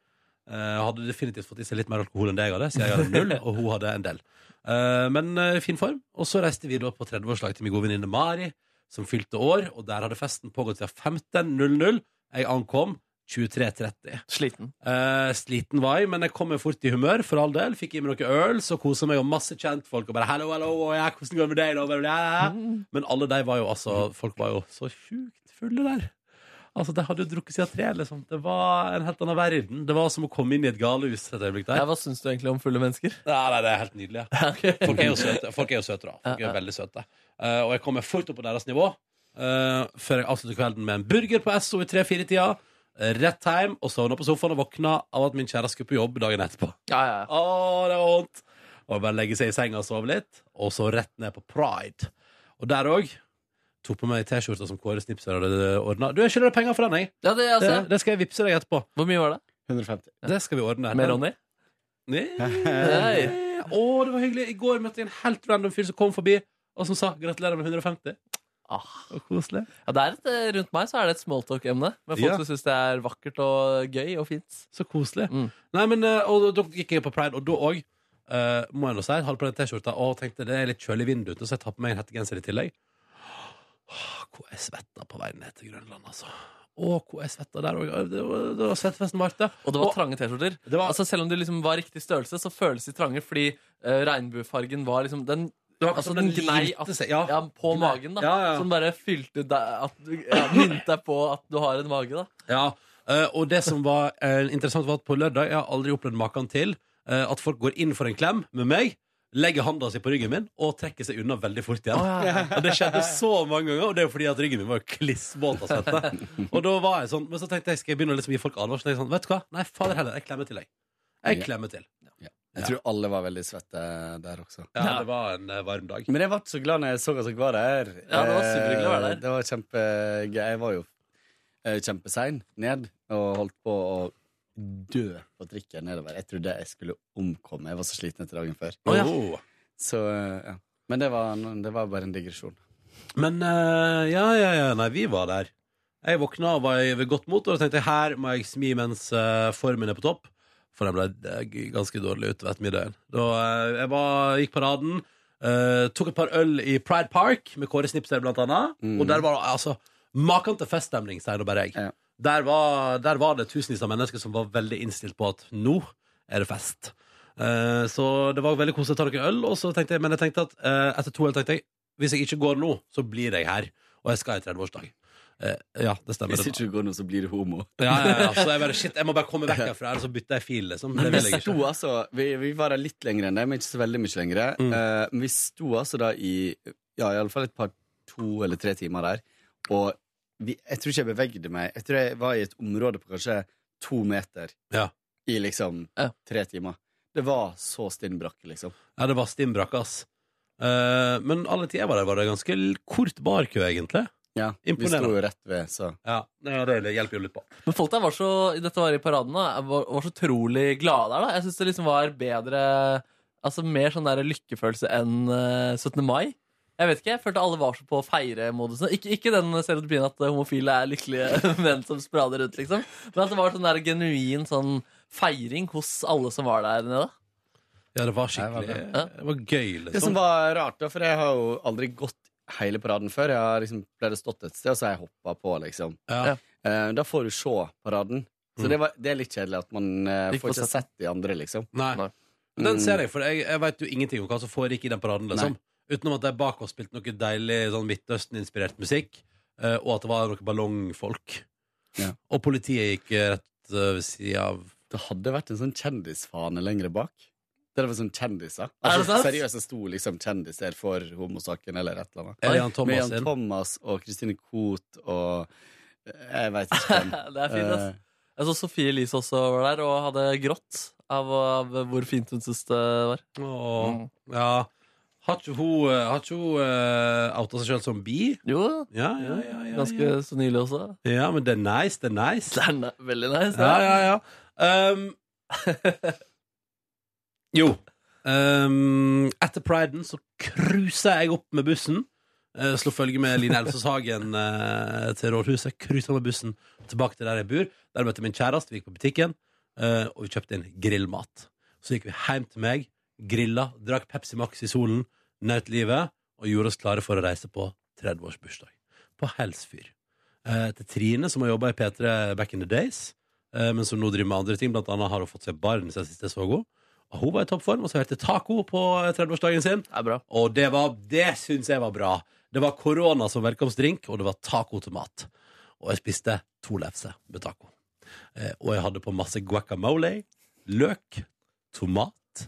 Eh, hadde definitivt fått i seg litt mer alkohol enn det jeg hadde, så jeg hadde null, og hun hadde en del. Eh, men eh, fin form. Og så reiste vi da på 30-årslag til min gode venninne Mari, som fylte år, og der hadde festen pågått siden 15.00. Jeg ankom 23.30.
Sliten.
Eh, sliten var jeg, men jeg kom jo fort i humør, for all del. Fikk i meg noe øl, så kosa meg og masse kjentfolk og bare 'hallo, hallo, og ja, hvordan går det med deg', da? Bla, bla, bla. Men alle de var jo altså Folk var jo så sjukt fulle der. Altså, De hadde jo drukket siden tre. liksom Det var en helt annen verden. Det var som å komme inn i et galehus et øyeblikk der.
Ja, hva syns du egentlig om fulle mennesker?
Nei, nei, det er helt
<laughs>
nydelig. Ja. Folk er jo søte, Folk er jo søte da. Folk er
Ja,
jo veldig søte. Eh, og jeg kommer fort opp på deres nivå eh, før jeg avslutter kvelden med en burger på SO i 3-4-tida. Rett hjem og sovna på sofaen og våkna av at min kjæreste skulle på jobb dagen etterpå.
Ja, ja, ja.
Å, det var vondt! Og bare legge seg i senga og sove litt, og så rett ned på Pride. Og der òg tok på meg T-skjorta som Kåre Snipser hadde ordna. Du, jeg skylder deg penger for den, jeg.
ja det,
Det,
altså.
det skal jeg vippse deg etterpå.
Hvor mye var det?
150.
Det skal vi ordne.
Med Ronny?
Nei.
Hei.
Å, det var hyggelig. I går møtte jeg en helt random fyr som kom forbi, og som sa 'gratulerer med 150'.
Ah.
Og koselig.
Ja, det er et, eh, rundt meg så er det et smalltalk-emne. Med folk
Ja.
som syns det er vakkert og gøy og fint.
Så koselig.
Mm.
Nei, men, eh, og da da gikk jeg på Pride, og da òg eh, må jeg nå si, hadde på den T-skjorta og tenkte det er litt kjølig vind ute, så jeg tar på meg en hettegenser i tillegg. Åh, Hvor jeg svetta på vei ned til Grønland, altså. Å, hvor jeg svetta der òg. Det var- det var svettefesten varte.
Og det var
Og-
trange T-skjorter.
Det var-
Altså Selv om de liksom var riktig størrelse, så føles de trange fordi eh, regnbuefargen var liksom Den
Det var akkurat
Altså,
som den
nei,
limte
at-
seg. Ja.
Ja, på magen, da.
Ja, ja.
Som bare fylte deg at du, ja, Minnet deg på at du har en mage, da.
Ja, eh, og det som var eh, interessant var at på lørdag, jeg har aldri opplevd maken til, eh, at folk går inn for en klem med meg, legger handa si på ryggen min og trekker seg unna veldig fort igjen. Og det skjedde så mange ganger, og det er jo fordi at ryggen min var klissvåt av svette. Og da var jeg sånn, men så tenkte jeg, skal jeg begynne å liksom gi folk advarsel? Jeg Sånn, vet du hva? Nei, fader heller, jeg klemmer til deg. Jeg
Ja.
klemmer til.
Jeg tror alle var veldig svette eh, der også.
Ja, det var en eh, varm dag.
Men jeg ble så glad når jeg så at dere var der.
Ja, det var
Eh,
superhyggelig å være der.
Det var kjempegøy. Jeg var jo eh, kjempesein ned og holdt på å dø på trikken nedover. Jeg trodde jeg skulle omkomme. Jeg var så sliten etter dagen før.
Oh.
Så, eh, ja. Men det var, en- det var bare en digresjon.
Men eh, ja, ja, ja, nei, vi var der. Jeg våkna og var i ved godt mot, og da tenkte jeg her må jeg smi mens eh, formen er på topp. For den ble eh, g- ganske dårlig utover ettermiddagen. Da eh, jeg var, gikk paraden, eh, tok et par øl i Pride Park med Kåre Snipser blant annet.
Mm.
Og der var det altså maken til feststemning, Stein og Berg.
Ja.
Der, var, der var det tusenvis av mennesker som var veldig innstilt på at nå er det fest. Eh, så det var veldig koselig å ta noen øl, og så tenkte jeg, men jeg tenkte at eh, etter to øl tenkte jeg hvis jeg ikke går nå, så blir jeg her. Og jeg skal i 30-årsdag. Eh, ja, det stemmer.
Hvis
det da.
ikke du går nå, så blir du homo.
Ja, ja, ja. Så jeg bare, shit, jeg må bare komme vekk herfra, eller så bytter jeg fil, liksom. Det
Men
vil
vi
jeg
sto
ikke.
altså vi, vi var der litt lenger enn det, men ikke så veldig mye lenger.
Mm.
Eh, men vi sto altså da i ja, i alle fall et par to eller tre timer der, og vi, jeg tror ikke jeg bevegde meg. Jeg tror jeg var i et område på kanskje to meter
Ja.
i liksom
Ja.
tre timer. Det var så stinn brakke, liksom.
Ja, det var stimbrakk, ass. Eh, men alle tider jeg var der, var det ganske l- kort barkø, egentlig.
Ja, vi
Imponerende.
sto jo rett ved, så
Ja, ja det hjelper jo litt på.
Men folk der var så dette var i paraden da, var, var så utrolig glade der. da Jeg syns det liksom var bedre Altså mer sånn der lykkefølelse enn eh, 17. mai. Jeg vet ikke, jeg følte alle var så på feiremodusen. Ikke, ikke den stereotypien at homofile er lykkelige <laughs> menn som sprader rundt, liksom. Men at det var sånn der genuin sånn feiring hos alle som var der nede.
Ja, det var
Nei,
skikkelig
det
bra.
Det var gøy,
Det som
liksom.
var rart, da, for jeg har jo aldri gått hele paraden før. Jeg har liksom pleid å stått et sted, og så har jeg hoppa på, liksom.
Ja.
Eh, da får du se paraden. Så
Mm.
det, var, det er litt kjedelig at man eh,
Ikke
får
får
ikke
sett
sett de andre, liksom.
Nei.
Nei.
Den ser jeg, for jeg, jeg veit jo ingenting om hva som foregikk i den paraden, liksom. Utenom at de bak oss spilte noe deilig sånn Midtøsten-inspirert musikk, eh, og at det var noen ballongfolk.
Ja.
Og politiet gikk eh, rett eh, ved sida av
Det hadde vært en sånn kjendisfane lengre bak. Det var sånn
Er
kjendiser.
det
Altså,
sant?
seriøst, det sto liksom kjendiser for homosaken eller et eller annet.
Er det Jan
Med
Thomas
Jan
sin.
Thomas og Kristine Koht og eh, Jeg veit ikke <laughs> hvem.
Det er fint, ass. Jeg så Sofie Elise også var der og hadde grått av, av hvor fint hun syntes det var.
Åh, ja. Har ikke hun, eh, har ikke hun eh, outa seg sjøl som bi?
Jo,
Ja, ja, ja. ja,
ganske
ja.
så nylig også.
ja men det er nice, det er nice.
Det er ne- veldig nice.
Ja, ja, ja. Um, <laughs> jo. Um, etter priden så cruiser jeg opp med bussen. Uh, Slo følge med Line Elsås Hagen eh, til rådhuset. Cruiser med bussen tilbake til der jeg bor. Der møtte jeg min kjæreste. Vi gikk på butikken, eh, og vi kjøpte inn grillmat. Så gikk vi hjem til meg, grilla, drakk Pepsi Max i solen, nøt livet og gjorde oss klare for å reise på 30-årsbursdag. På Helsfyr. Eh, til Trine, som har jobba i P3 back in the days. Eh, men som nå driver med andre ting. Blant annet har hun fått seg barn siden sist jeg så henne. Og hun var i toppform, og så hørte jeg taco på eh, 30-årsdagen sin.
Det er bra.
Og det, var- det syns jeg var bra. Det var korona som velkomstdrink, og det var taco til mat. Og jeg spiste to lefser med taco. Eh, og jeg hadde på masse guacamole, løk, tomat,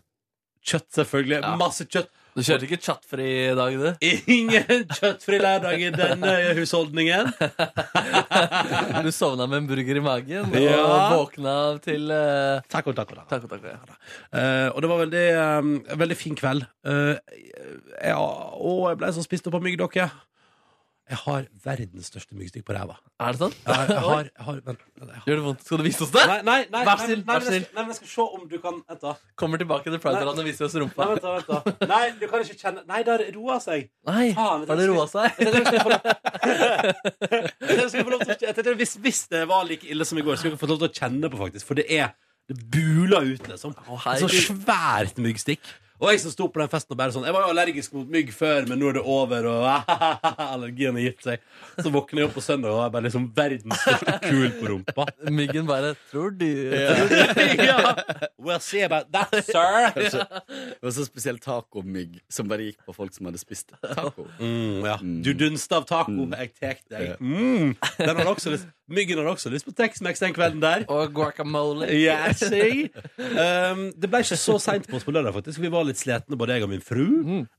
kjøtt selvfølgelig.
Ja.
Masse kjøtt.
Du kjørte ikke chatfri i dag, du?
Ingen kjøttfri lørdag i denne husholdningen.
Du sovna med en burger i magen og
Ja.
våkna til eh,
Taco, taco, taco.
Taco, taco. Ja.
Eh, og det var veldig, eh, en veldig fin kveld. Eh, ja, og jeg ble så spist opp av myggdokke. Jeg har verdens største myggstikk på ræva.
Er det sant?
Jeg har, jeg har, jeg har, vent, vent, jeg har.
Gjør det vondt? Skal du vise oss det?
Nei, nei, nei,
Vær
nei,
snill,
nei,
vær
men jeg
snill.
skal- Nei, men jeg skal se om du kan Vent, da.
Kommer tilbake til Pride-land og viser oss
Nei,
rumpa.
vent, da, vent, da. nei du kan ikke kjenne Nei, det har roa seg.
Nei,
Faen,
Har det roa seg?
Jeg tenkte jeg skulle få lov- Jeg tenkte jeg skulle få lov til å- jeg tenkte Hvis, hvis det var like ille som i går, skulle jeg få lov til å kjenne på, faktisk. For det er Det buler ut, liksom.
Å, hei.
Så svært myggstikk. Og jeg som sto på den festen og bare sånn Jeg var jo allergisk mot mygg før, men nå er det over, og <laughs> allergien har gitt seg. Så våkner jeg opp på søndag og er bare liksom verdens største kul på rumpa.
Myggen bare Tror du
<laughs> ja. We'll see about that, sir.
Eh, Det var så spesiell tacomygg som bare gikk på folk som hadde spist <laughs> taco.
Mm, ja. Du dunste av taco, jeg tek deg. Mm. Den hadde også lyst, myggen hadde også lyst på Tex-Mex den kvelden der.
Og guacamole.
Ja, see? Um, det ble ikke så seint på oss på lørdag, faktisk. Vi var litt slitne, både jeg og min fru.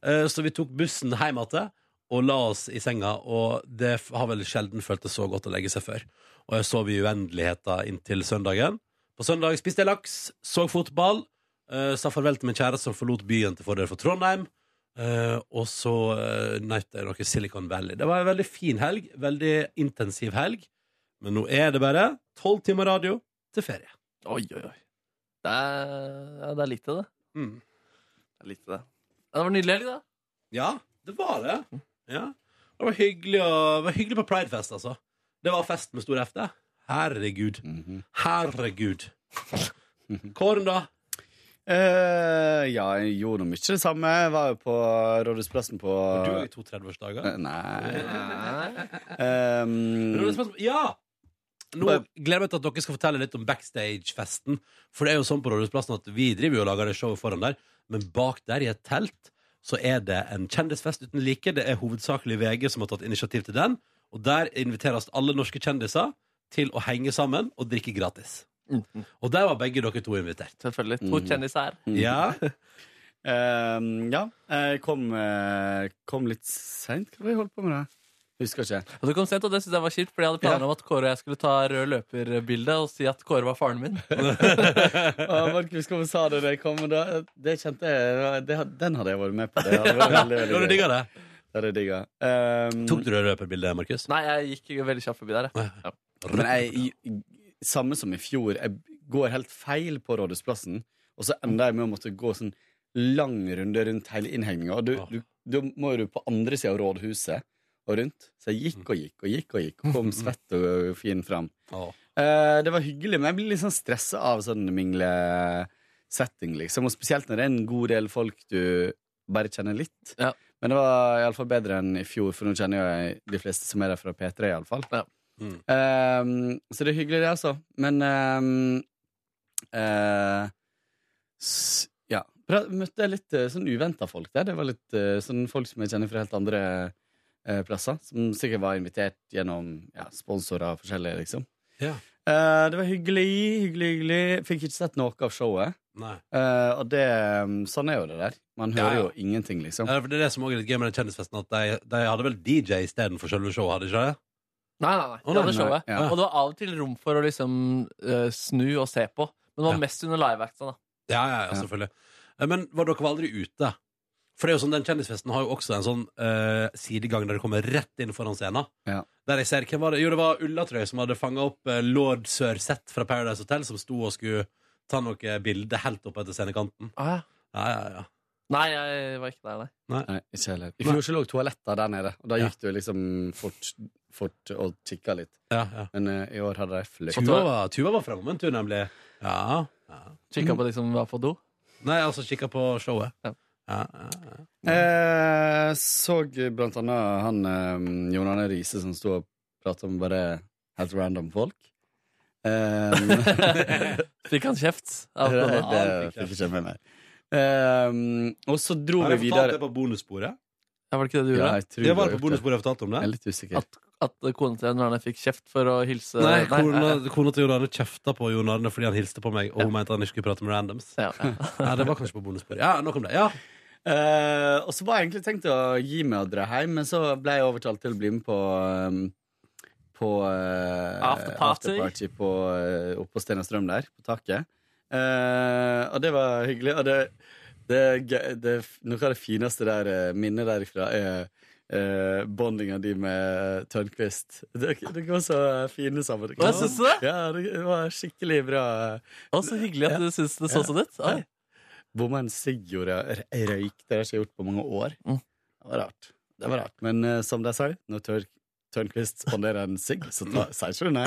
Eh, så vi tok bussen hjem igjen og la oss i senga. Og det f- har vel sjelden føltes så godt å legge seg før. Og jeg sov i uendeligheter inntil søndagen. På søndag spiste jeg laks, så fotball, eh, sa farvel til min kjære som forlot byen til fordel for Trondheim. eh, og så uh, nøt jeg noe Silicon Valley. Det var en veldig fin helg. Veldig intensiv helg. Men nå er det bare tolv timer radio til ferie.
Oi, oi, oi. Det er, ja, det er litt til det.
Mm.
Det er litt til det. Ja, det var nydelig helg, da.
Ja, det var det. Ja. Det var hyggelig, å- det var hyggelig på Pridefest, altså. Det var fest med stor F, det. Herregud. Herregud. Kåren, da?
Eh, ja, jeg gjorde mye det samme. Jeg var jo på Rådhusplassen på
Var du i to
eh,
30-årsdager?
Nei um,
liksom Ja! Nå gleder jeg meg til at dere skal fortelle litt om backstage-festen. For det er jo sånn på Rådhusplassen at vi driver jo og lager det showet foran der, men bak der i et telt så er det en kjendisfest uten like. Det er hovedsakelig VG som har tatt initiativ til den. Og der inviteres alle norske kjendiser til å henge sammen og drikke gratis.
Mhm.
Og der var begge dere to invitert.
Selvfølgelig. To
Mm.
kjendiser.
Ja. <laughs>
ehm, Ja, jeg kom, eh, kom litt seint. Hva var det jeg holdt på med da? Husker ikke.
Og du kom sent, og det synes jeg var kjipt, fordi jeg hadde planer om at Kåre og jeg skulle ta rød løperbilde og si at Kåre var faren
<laughs>
min.
Ah, Markus, hvorfor sa du det? jeg Kom, da? Det kjente jeg det, had- Den hadde jeg vært med på. Det hadde vært
Nå
veldig,
har
veldig
du
gøy.
digga det.
Det hadde jeg digga. Ehm,
Tok du det røperbildet, Markus?
Nei, jeg gikk veldig kjapt forbi der. jeg.
Men jeg, i- samme som i fjor, jeg går helt feil på Rådhusplassen. Og så ender jeg med å måtte gå sånn lang runde rundt hele innhegninga. Og du, du, da må jo du på andre sida av rådhuset og rundt. Så jeg gikk og gikk og gikk og gikk. Og kom svett og fin fram.
Åh.
Eh, det var hyggelig, men jeg blir litt sånn stressa av sånn minglesetting, liksom. Og spesielt når det er en god del folk du bare kjenner litt.
Ja.
Men det var iallfall bedre enn i fjor, for nå kjenner jeg de fleste som er der fra P3, iallfall.
Ja.
Mm.
Um, så det er hyggelig, det, altså. Men um, eh, s Ja. Pra møtte jeg litt eh, sånn uventa folk der. Det var litt eh, sånn folk som jeg kjenner fra helt andre eh, plasser. Som sikkert var invitert gjennom ja, sponsorer og forskjellige, liksom.
Ja.
Eh, det var hyggelig, hyggelig, hyggelig. Fikk ikke sett noe av showet.
Nei.
Eh, og det um, Sånn er jo det der. Man
Ja,
hører
ja.
jo ingenting, liksom.
Ja, for Det er det som også er litt gøy med den kjendisfesten, at de, de hadde vel DJ istedenfor selve showet, hadde de ikke det?
Nei, nei, nei.
Å,
Det
nei,
hadde showet.
nei, ja.
Og det var av og til rom for å liksom eh, snu og se på. Men det var
Ja.
mest under liveacta, da.
Ja, ja, ja, selvfølgelig. Eh, Men var dere var aldri ute? For det er jo sånn, den kjendisfesten har jo også en sånn eh, sidegang der det kommer rett inn foran scenen.
Ja.
Der jeg ser, hvem var det? Jo, det var Ullatrøy som hadde fanga opp eh, lord Sørseth fra Paradise Hotel, som sto og skulle ta noe bilde helt opp etter scenekanten.
Ah, ja.
Ja, ja, ja.
Nei, jeg var ikke der, nei.
Nei, ikke heller. I fjor så lå toaletter der nede, og da
Ja.
gikk du liksom fort, fort og kikka litt.
ja, ja.
Men eh, i år hadde de fløy.
Tuva var, Tuva var framme en tur, nemlig. Ja. ja.
Kikka på de som var på do.
Nei, altså kikka på showet.
Ja.
Ja, ja, ja.
Eh, så blant annet han eh, Jon Arne Riise som sto og prata med bare helt random folk. Eh, <laughs>
Fikk han kjeft?
det
Av
det
kona?
fikk jeg ikke med meg. Eh, og så dro
Har
vi
jeg fortalt
videre.
det på bonussporet?
Ja, var det ikke det du gjorde?
Ja, jeg tror
Det
du
var det på
har gjort det.
bonussporet jeg fortalte om det.
Jeg er litt usikker.
At, at kona til Jon Arne fikk kjeft for å hilse
Nei,
nei,
kona,
nei.
kona til Jon Arne kjefta på Jon Arne fordi han hilste på meg, og hun mente han ikke skulle prate med randoms.
Ja, <laughs> ja.
Nei, det var kanskje på bonussporet. Ja, nok om det. Ja.
Eh, og så var jeg egentlig tenkt å gi meg og dra hjem, men så ble jeg overtalt til å bli med på um, På eh,
Afterparty.
afterparty på, eh, oppe på Stena Strøm der, på taket. Eh, og det var hyggelig. Og det, det, er gøy- det er f- Noe av det fineste der, eh, minnet derifra er uh, bondinga di med eh, Tørnquist. Dere, dere var så fine sammen.
Å, syns du det?
Ja, det var skikkelig bra. eh,
Å, så hyggelig at du syns det så sånn ut. Oi.
Bomma en sigg og rø- røyk. Det har jeg ikke gjort på mange år.
Mm.
Det var rart. Det var rart. Men eh, som de sier, når Tør Tørnquist ånder en sigg, så ta- sier ikke du nei.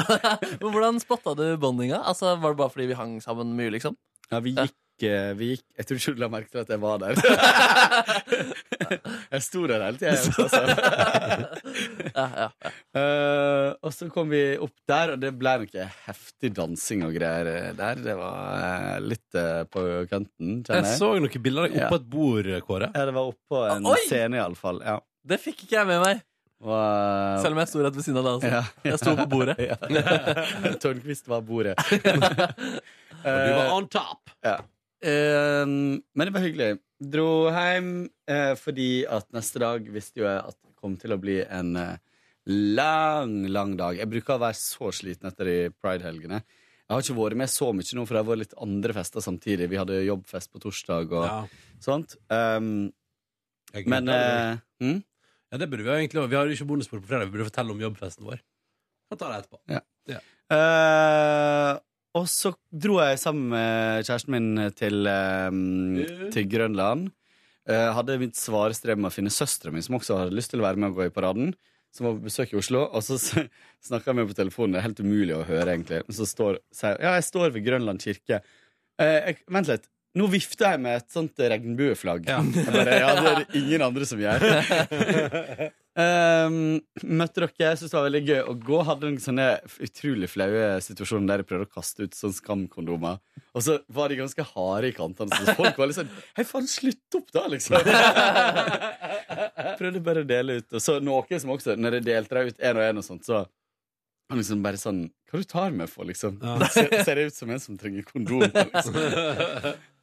Men hvordan spotta du bondinga? Altså, var det bare fordi vi hang sammen mye, liksom?
Ja, vi gikk eh, vi gikk Jeg tror ikke du la merke til at jeg var der.
<laughs>
jeg sto der hele tida.
Ja, ja.
Eh, og så kom vi opp der, og det ble noe heftig dansing og greier eh, der. Det var eh, litt eh, på kanten, kjenner
Jeg
jeg.
så noen bilder av deg oppå et bord, Kåre.
Ja, det var oppå en
Oi!
scene, iallfall. Ja.
Det fikk ikke jeg med meg,
Og, eh,
selv om jeg sto rett ved siden av deg. Altså.
ja.
Jeg sto på
<laughs>
bordet.
Ja. <laughs> Tørnquist var bordet.
Og du var on top.
Eh, men det var hyggelig. Dro hjem eh, fordi at neste dag visste jo jeg at det kom til å bli en eh, lang, lang dag. Jeg bruker å være så sliten etter de Pride-helgene. Jeg har ikke vært med så mye nå, for det har vært litt andre fester samtidig. Vi hadde jobbfest på torsdag og
Ja.
sånt. Um,
Jeg
men
glemte det.
eh, hm?
Ja, det burde vi jo egentlig Vi har jo ikke bonusbord på fredag. Vi burde fortelle om jobbfesten vår. Kan ta det etterpå.
Eh, Og så dro jeg sammen med kjæresten min til, eh, til Grønland. Eh, hadde mitt svare strev med å finne søstera mi, som også hadde lyst til å være med og gå i paraden. Som var på besøk i Oslo. Og så s- snakka vi på telefonen. Det er helt umulig å høre, egentlig. Men så står, sier jeg, ja, jeg står ved Grønland kirke. Eh, jeg, vent litt. Nå vifter jeg med et sånt regnbueflagg. Jeg bare, ja, det er det ingen andre som gjør. Ehm, møtte dere, jeg synes det var veldig gøy å gå. Hadde noen sånne f- utrolig flaue situasjoner der jeg prøvde å kaste ut sånn skamkondomer. Og så var de ganske harde i kantene. Så folk var litt sånn Hei, faen, slutt opp, da! liksom Prøvde bare å dele ut. Og så noen som også, når jeg delte dem ut én og én og sånt, så han liksom bare sånn Hva du tar meg for, liksom? Ser, ser jeg ut som en som trenger kondom? Liksom.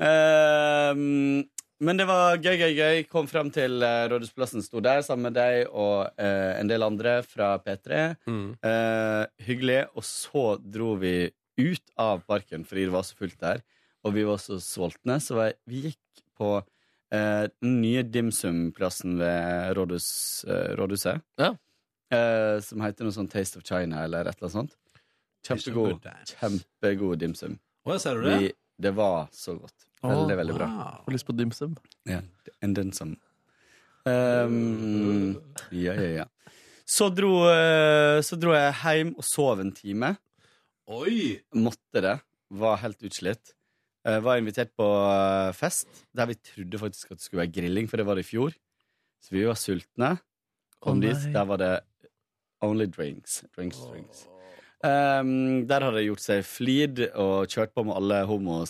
Ehm, men det var gøy, gøy, gøy. Kom fram til eh, Rådhusplassen, sto der sammen med deg og eh, en del andre fra P3. Eh, hyggelig. Og så dro vi ut av parken fordi det var så fullt der. Og vi var så sultne, så vi- vi gikk på eh, den nye dim sum-plassen ved rådhus, eh, rådhuset.
Ja.
Eh, som heter noe sånn Taste of China eller et eller annet sånt. Kjempegod, kjempegod dim sum.
Å, jeg ser du det?
Vi- Det var så godt. Veldig, veldig bra.
Får lyst på dimsum.
Ja, enn den som Ehm, Ja, ja, ja. Så dro, eh, så dro jeg hjem og sov en time.
Oi!
Måtte det. Var helt utslitt. Eh, var invitert på eh, fest der vi trodde faktisk at det skulle være grilling, for det var det i fjor. Så vi var sultne. Kom
Å, nei.
dit, der var det only drinks. Drinks, drinks. Ehm, der hadde de gjort seg flid og kjørt på med alle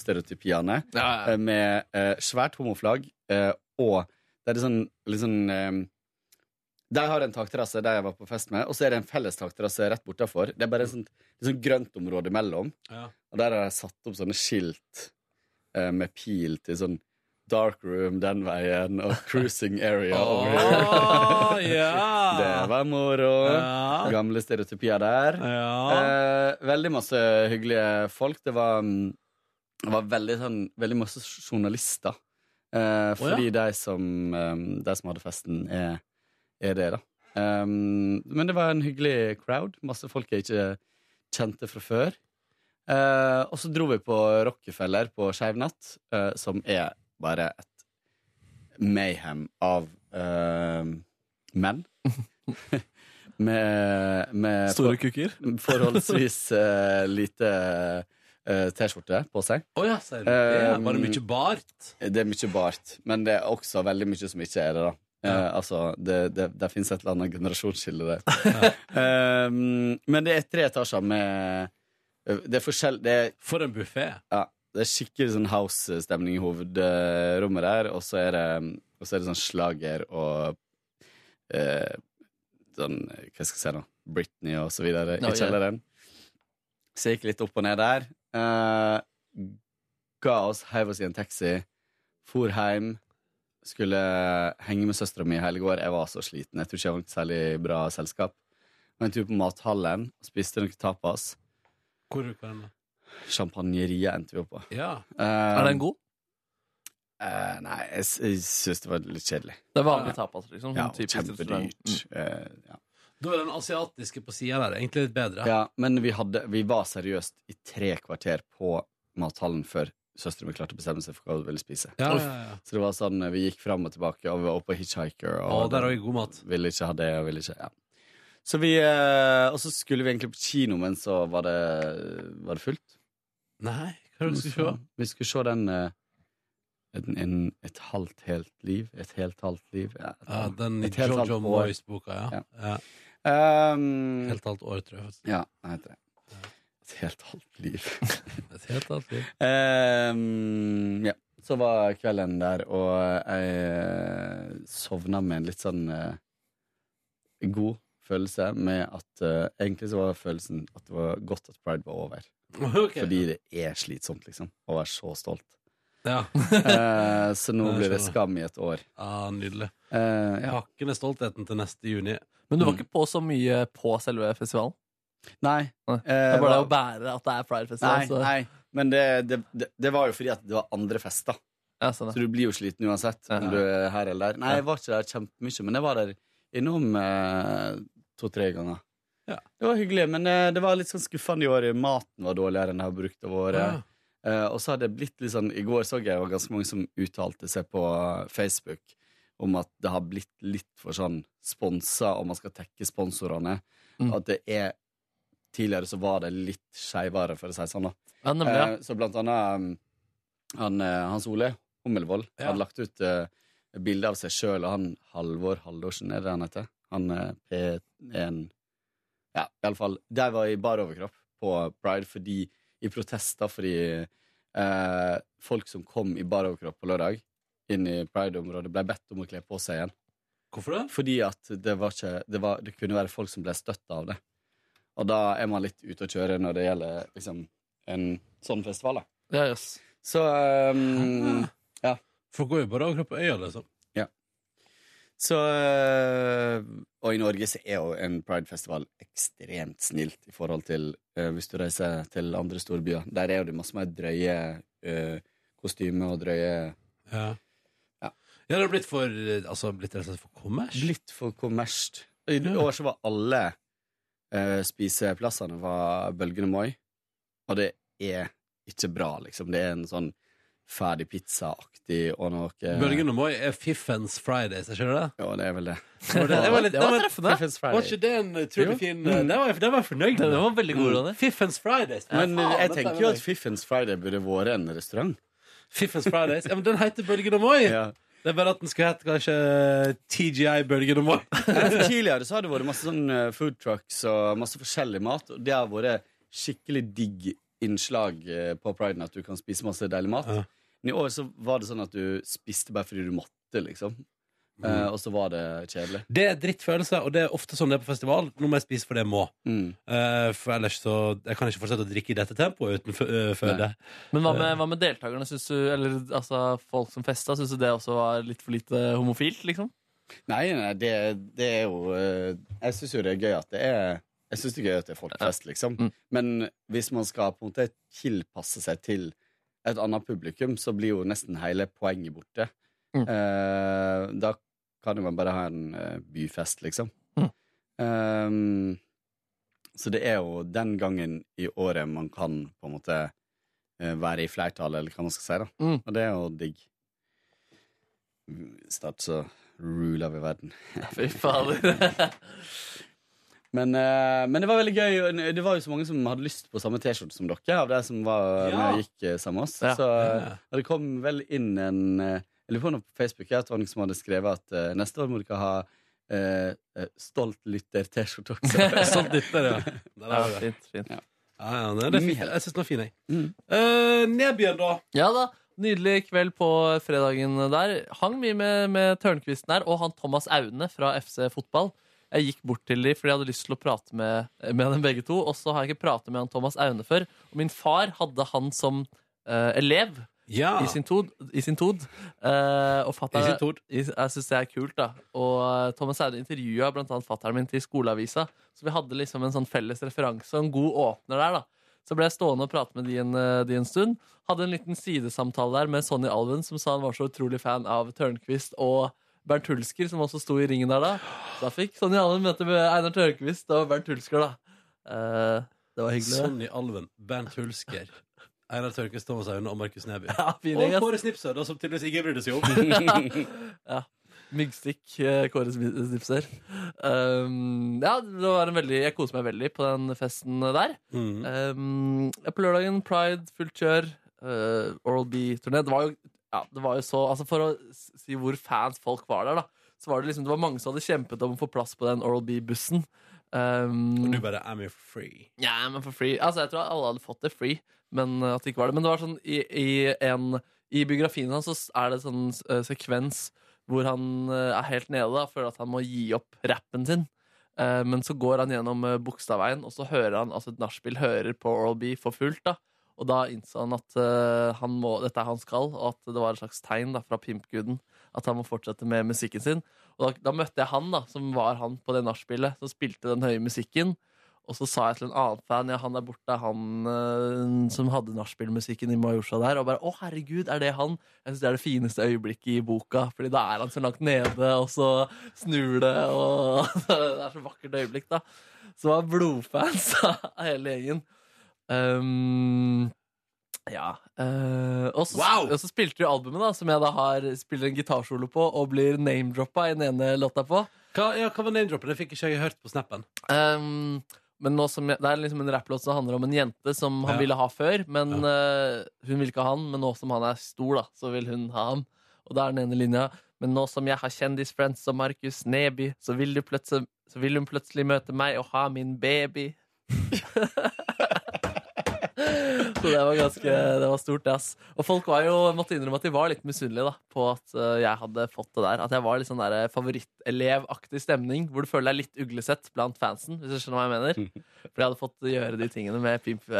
homostereotypiene
Ja, ja.
eh, med eh, svært homoflagg eh, og det er litt sånn, litt sånn eh, De har en takterrasse der jeg var på fest med, og så er det en felles takterrasse rett bortafor. Det er sånn bare et sånt, et sånt grøntområde imellom.
Ja.
Og der har jeg satt opp sånne skilt eh, med pil til sånn Dark room den veien og cruising area over here.
Å,
Det
ja.
var moro.
Ja.
Gamle stereotypier der.
Ja.
Eh, veldig masse hyggelige folk. Det var, mm, det var veldig, sånn, veldig masse journalister. Eh, fordi de, som, eh, de som hadde festen, er, er det, da. Eh, men det var en hyggelig crowd. Masse folk jeg ikke kjente fra før. Eh, og så dro vi på Rockefeller på Skeiv natt, eh, som er bare et mayhem av eh, menn. med, med
Store kuker.
<laughs> forholdsvis eh, lite eh, T-skjorte på seg.
Å ja, ser du det?
Ehm,
Var det mye bart?
Det er mye bart, men det er også veldig mye som ikke er det. da Eh, altså, det, det, det finnes et eller annet generasjonsskille <laughs> der. Eh, men det er tre etasjer med eh, Det er forskjell Det er
For en buffé.
ja, det er skikkelig sånn house-stemning i hovedrommet der, og så er det, og så er det sånn slager og eh, sånn, hva skal jeg si da, Britney og så videre
Ja, ja.
i kjelleren. Så jeg gikk litt opp og ned der. Eh, ga oss, heiv oss i en taxi, for hjem, skulle henge med søstera mi i hele går. Jeg var så sliten, jeg tror ikke jeg var noe særlig bra selskap. Men en tur på mathallen, spiste noen tapas.
Hvor var den? da?
Champagneria endte vi opp på.
Ja.
Eh,
Er den god?
Eh, nei, jeg, s- jeg syns det var litt kjedelig.
Det er vanlig tapas, liksom.
Mm,
Ja,
Sånn
og
typisk restaurant.
Kjempedyrt. Eh, ja.
Da er den asiatiske på sida der egentlig litt bedre.
ja, men vi, hadde, vi var seriøst i tre kvarter på mathallen før søsteren min klarte å bestemme seg for hva hun ville spise.
Ja, ja, ja.
Så det var sånn, eh, vi gikk fram og tilbake, og vi var oppe på Hitchhiker.
Å, der har vi god mat.
Ville ikke ha det, og ville ikke ja. Så vi, eh, Og så skulle vi egentlig på kino, men så var det, var det fullt.
Nei, hva er det du skal se?
Vi skulle se den eh, en, en, et halvt helt liv. Et helt halvt liv. ja, et
Ja,
halvt-
den i
Et helt halvt
Jojo
år.
Moyes-boka, ja.
Ja.
ja.
Ehm,
Helt halvt år, tror jeg. faktisk.
Ja, hva heter det? Et helt halvt
<laughs>
liv.
Et helt halvt liv.
Ehm, ja. Så var kvelden der, og jeg sovna med en litt sånn eh, god følelse med at eh, Egentlig så var følelsen at det var godt at pride var over.
Ok.
Fordi det er slitsomt, liksom, å være så stolt.
<laughs>
Ja,
Eh, så nå
Jeg
blir det
skjønner.
skam i et år.
ah, Nydelig.
Eh, ja.
Pakken er stoltheten til neste juni.
Men du var
Mm.
ikke på så mye på selve festivalen?
Nei.
Nei.
eh,
Det er bare det å
hva-
bære altså. at det er Pride-festival.
Nei,
så-
nei. Men det, det, det, det var jo fordi at det var andre fester.
Ja, sånn,
Så du blir jo sliten uansett om
Ja.
du er her eller der. Nei, jeg var ikke der kjempemye, men jeg var der innom eh, to-tre ganger.
Ja.
Det var hyggelig, men eh, det var litt sånn skuffende i år. Maten var dårligere enn jeg har brukt av året.
Ah.
Eh, og så har det blitt litt sånn I går så jeg det var ganske mange som uttalte seg på Facebook om at det har blitt litt for sånn sponsa, og man skal tekke sponsorene.
Mm.
At det er Tidligere så var det litt skeivere, for å si det sånn. da
ja, nemlig, ja.
Eh, Så blant annet um, han, eh, Hans Ole Hummelvold
Ja.
hadde lagt ut eh, bilde av seg sjøl og han Halvor Haldorsen, er det han heter? Han eh, P1 Ja, iallfall. De var i bar overkropp på Pride fordi, i protester fordi eh, folk som kom i bar overkropp på lørdag, inn i Pride-området, ble bedt om å kle på seg igjen.
Hvorfor det?
Fordi at det, var ikke, det, var, det kunne være folk som ble støtta av det. Og da er man litt ute å kjøre når det gjelder liksom, en sånn festival. Da.
ja jøss.
Så, ehm,
Ah. Folk går jo bare av kropp på øya, liksom.
så ehm, Og i Norge så er jo en pridefestival ekstremt snilt i forhold til eh, hvis du reiser til andre storbyer. Der er jo det masse mer drøye eh, kostymer og drøye
Ja.
Ja.
Ja, det har blitt for eh, Altså, blitt rett og slett for kommers?
Blitt for kommersielt. I
Mm.
år så var alle eh, spiseplassene var Bølgene Moi, og det er ikke bra, liksom. Det er en sånn ferdig pizza-aktig og noe
Bølgen og Moi er Fiffens Fridays, er ikke det?
Ja, det er vel det.
det? Det var litt
Det var treffende.
Fiffens
Var
Friday.
ikke det en utrolig
Jo.
fin eh, Den var jeg den var jeg fornøyd
Den
med.
var veldig god, Ronny.
Fiffens Fridays. eh,
Men
Ja, faen,
jeg
dette
tenker
er
jo
veldig-
at Fiffens Friday burde vært en restaurant.
Fiffens Fridays. Ja, men den heter Bølgen og Moi.
Ja.
Det er bare at den skal hete kanskje eh, TGI Bølgen og Moi.
Tidligere så har det vært masse sånn eh, food trucks og masse forskjellig mat, og det har vært skikkelig digg innslag eh, på priden at du kan spise masse deilig mat.
Ja.
Men i år så var det sånn at du spiste bare fordi du måtte, liksom. Eh, og så var det kjedelig.
Det er drittfølelse, og det er ofte sånn det er på festival. Nå må jeg spise fordi jeg må.
Mm.
Eh, for ellers så Jeg kan ikke fortsette å drikke i dette tempoet uten fø- øh,
Nei.
føde.
Men hva med, hva med deltakerne, synes du, eller altså, folk som festa? Syns du det også var litt for lite homofilt, liksom?
Nei, nei, det, det er jo eh, Jeg syns jo det er gøy at det er Jeg synes det er gøy at det er folkefest, liksom.
Mm.
Men hvis man skal på en måte tilpasse seg til et annet publikum, så blir jo nesten hele poenget borte.
Mm.
Eh, da kan jo man bare ha en eh, byfest, liksom.
Mm.
Ehm, så det er jo den gangen i året man kan på en måte eh, være i flertall, eller hva man skal si, da.
Mm.
Og det er jo digg. Snart så ruler vi verden.
Fy fader.
Men, eh, men det var veldig gøy. og Det var jo så mange som hadde lyst på samme T-skjorte som dere. Av de som var
Ja.
når jeg gikk eh, sammen med oss
Ja.
Så eh, og det kom vel inn en eh, Jeg lurer på noe på Facebook ja, at det var noen som hadde skrevet at eh, neste år må dere ha eh, eh, stolt lytter-T-skjorte <laughs> også.
<laughs> Sånn dytter det. ja. Der
Ja,
er det.
fint, fint.
Ja, ja, nei, det er fint. Jeg syns den var fin, jeg.
Mm.
Eh, Nebjørn, da?
Ja da. Nydelig kveld på fredagen der. Hang mye med, med Tørnquisten her, og han Thomas Aune fra FC Fotball. Jeg gikk bort til de fordi jeg hadde lyst til å prate med, med dem begge to. Og så har jeg ikke pratet med han Thomas Aune før. Og min far hadde han som eh, elev
Ja.
i sin tod. I sin tod. Eh,
Ah.
og
I
fatter,
sin tord.
jeg jeg syns det er kult, da. Og eh, Thomas Aune intervjua bl.a. fatteren min til skoleavisa, så vi hadde liksom en sånn felles referanse og en god åpner der, da. Så ble jeg stående og prate med de en, eh, de en stund. Hadde en liten sidesamtale der med Sonny Alven, som sa han var så utrolig fan av Tørnquist og Bernt Hulsker, som også sto i ringen der da. Så da fikk Sonny Alven møte med Einar Tørnquist og Bernt Hulsker, da. Eh, det var hyggelig. det.
Sonny Alven, Bernt Hulsker, Einar Tørkes, Thomas Aune og Markus Neby.
Ja, fin gjeng,
Og
ass.
Kåre Snipsø, da, som tydeligvis ikke brydde seg <laughs> om.
Myggstikk, eh, Kåre Smi- Snipser. Um, ja, det var en veldig, jeg koser meg veldig på den festen der. Ehm,
Mm.
Um, ja, på lørdagen, Pride, fullt kjør, eh, Oral B-turné. Det var jo ja, det var jo så Altså For å s- si hvor fans folk var der, da, så var det liksom Det var mange som hadde kjempet om å få plass på den Oral B-bussen. Um,
Og du bare I'm your free.
ja, men for free Altså, jeg tror alle hadde fått det free, men uh, at det ikke var det. Men det var sånn i, i, en, i biografien hans så er det sånn uh, sekvens hvor han uh, er helt nede da, føler at han må gi opp rappen sin. Uh, men så går han gjennom uh, Bogstadveien, og så hører han altså et nachspiel hører på Oral B for fullt. da Og da innså han at uh, han må, dette er hans kall, og at det var et slags tegn da, fra pimpguden at han må fortsette med musikken sin. Og da, da møtte jeg han, da som var han på det nachspielet, som spilte den høye musikken. Og så sa jeg til en annen fan Ja, han der borte er han eh, som hadde nachspielmusikken i Majorstua der. Og bare Å, herregud, er det han? Jeg syns det er det fineste øyeblikket i boka. Fordi da er han så langt nede, og så snur det, og <laughs> Det er så vakkert øyeblikk, da. Så var jeg blodfans <laughs> av hele gjengen. Um, ja. eh, og, så,
Wow!
og så spilte de albumet, da, som jeg da har spiller en gitarsolo på, og blir name-droppa i den ene låta på.
Hva, ja, hva var name-droppen? Det fikk ikke jeg hørt på snappen.
Ehm, men nå som jeg, Det er liksom en rapplåt som handler om en jente som han
Ja.
ville ha før. Men eh, Hun vil ikke ha han, men nå som han er stor, da, så vil hun ha ham. Og det er den ene linja. Men nå som jeg har kjendisfriends som Markus Neby, så vil, du pløtse- så vil hun plutselig møte meg og ha min baby. <laughs> så det var ganske Det var stort, det, ass. Og folk var jo, måtte innrømme at de var litt misunnelige da, på at eh, jeg hadde fått det der. At jeg var litt sånn der favorittelevaktig stemning, hvor du føler deg litt uglesett blant fansen. Hvis du skjønner hva jeg mener. For jeg hadde fått gjøre de tingene med pimp... eh,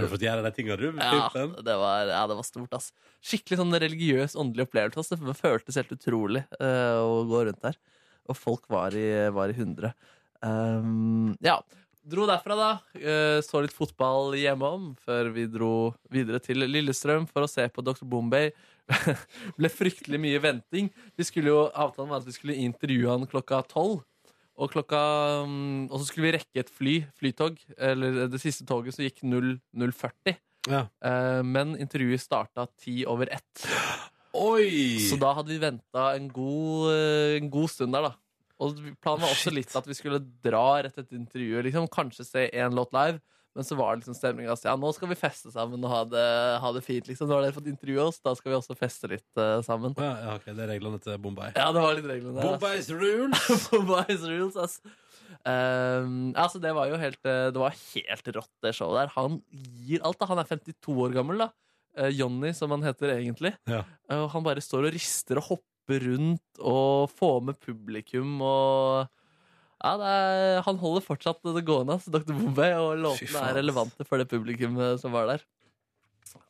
Har du fått gjøre de tingene du med
ja,
pimpen?
det var, ja, det var stort, ass. Skikkelig sånn religiøs, åndelig opplevelse. Ass. Det føltes helt utrolig eh, å gå rundt der. Og folk var i, var i hundre. Um, ja. Dro derfra, da. Eh, så litt fotball hjemom før vi dro videre til Lillestrøm for å se på Dr. Bombay. <laughs> Ble fryktelig mye venting. Vi skulle jo, Avtalen var at vi skulle intervjue han klokka tolv. Og, klokka, mm, og så skulle vi rekke et fly, flytog. Eller det siste toget som gikk 0, 040.
Ja.
Eh, men intervjuet starta ti over ett.
Oi!
Så da hadde vi venta en, god, eh, en god stund der, da. Og planen var også litt at vi skulle dra rett etter intervjuet. Liksom, kanskje se én låt live. Men så var det liksom stemninga at ja, nå skal vi feste sammen og ha det, ha det fint. liksom Nå har dere fått intervjue oss, da skal vi også feste litt eh, sammen.
Ja, ja, ok, det er reglene til Bombay.
Ja, det var litt reglene der. ass. <laughs>
Bombays rules!
Bombay's rules, ass. Ehm, altså, det var jo helt eh, Det var helt rått, det showet der. Han gir alt, da. Han er 52 år gammel, da. Eh, Johnny, som han heter egentlig.
Ja.
Eh, og han bare står og rister og hopper rundt og får med publikum og ja, det er, Han holder fortsatt det gående, ass, Dr. Bombay, og
Fy
låtene
faen, ass.
er relevante for det publikummet som var der.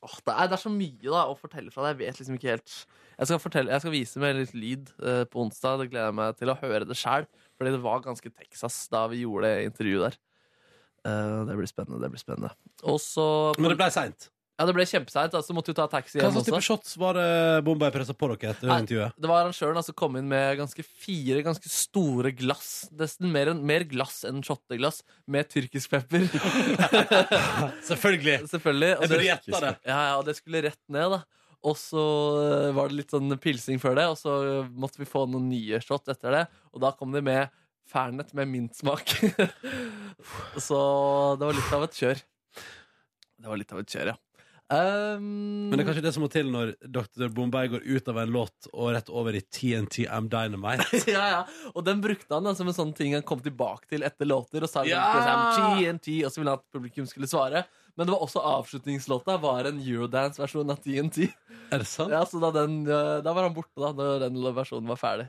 Åh, det, er, det er så mye da å fortelle fra. det. Jeg vet liksom ikke helt jeg skal, fortelle, jeg skal vise med litt lyd eh, på onsdag. Det gleder jeg meg til å høre det sjæl. Fordi det var ganske Texas da vi gjorde det intervjuet der. Eh, det blir spennende. det blir spennende Og så
Men det ble seint.
Ja, det ble kjempeseint. Altså, måtte jo ta taxi
Hva
hjem
slags
også.
type shots var det Bombay pressa på dere etter
Nei.
intervjuet?
Det var han sjøl som kom inn med ganske fire ganske store glass. Nesten mer, enn- mer glass enn shotteglass med tyrkisk
<laughs>
pepper.
Selvfølgelig!
Selvfølgelig. og
Jeg burde gjette det.
Ja, ja, og det skulle rett ned, da. Og så eh, var det litt sånn pilsing før det, og så eh, måtte vi få noen nye shot etter det. Og da kom de med Fernet med mintsmak. <laughs> så det var litt av et kjør. Det var litt av et kjør, ja. Um,
Men det er kanskje det som må til når Dr. Bombay går ut av en låt og rett over i TNT M Dynamite.
<laughs> ja, ja. Og den brukte han da, som en sånn ting han kom tilbake til etter låter. Og sa
Ja!
liksom, TNT, og så ville han at publikum skulle svare. Men det var også avslutningslåta var en Eurodance-versjon av TNT.
Er det sant?
<laughs> Ja, så da, den, eh, da var han borte da når den versjonen var ferdig.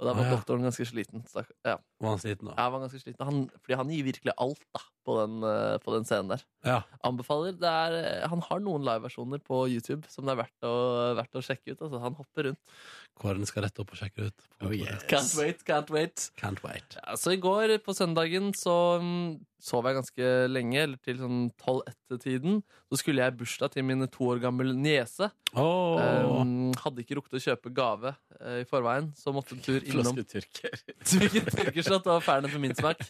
Og da var
Ah, ja.
doktoren ganske sliten. stakk- ja,
Var han sliten da?
jeg var ganske sliten. Han, fordi han gir virkelig alt da, på, den, eh, på den scenen der.
Ja.
Anbefaler. Det er, eh, han har noen liveversjoner på YouTube som det er verdt å, verdt å sjekke ut. Altså, han hopper rundt.
Kåren skal rett opp og sjekke det ut.
Oh, yes.
Can't wait, can't wait.
Can't wait.
Ja, så i går på søndagen så mm, sov jeg ganske lenge, eller til sånn 12-1-tiden. Så skulle jeg i bursdag til min to år gammel niese.
Åh.
Um, hadde ikke rukket å kjøpe gave eh, i forveien, så måtte en tur innom
Flaske tyrker.
<laughs> Hvilket tyrkerslott og fernet for min smak.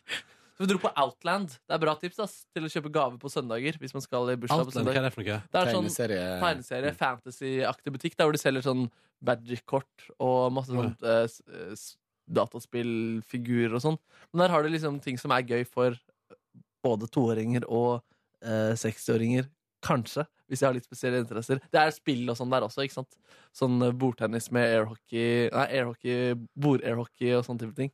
Så vi dro på Outland. Det er bra tips ass, til å kjøpe gave på søndager. Hvis man skal i bursdag på
Outland, hva
søndag
er det for noe?
Det er sånn
Tegneserie.
tegneserie, fantasy-aktig butikk, der hvor de selger sånn magic-kort og masse sånt eh, s- eh, s- dataspillfigurer og sånn. Men der har de liksom ting som er gøy for både toåringer og eh, 60-åringer. eh, Kanskje, hvis jeg har litt spesielle interesser. Det er spill og sånn der også. ikke sant? Sånn eh, bordtennis med airhockey Nei, airhockey, bordairhockey og sånne type ting.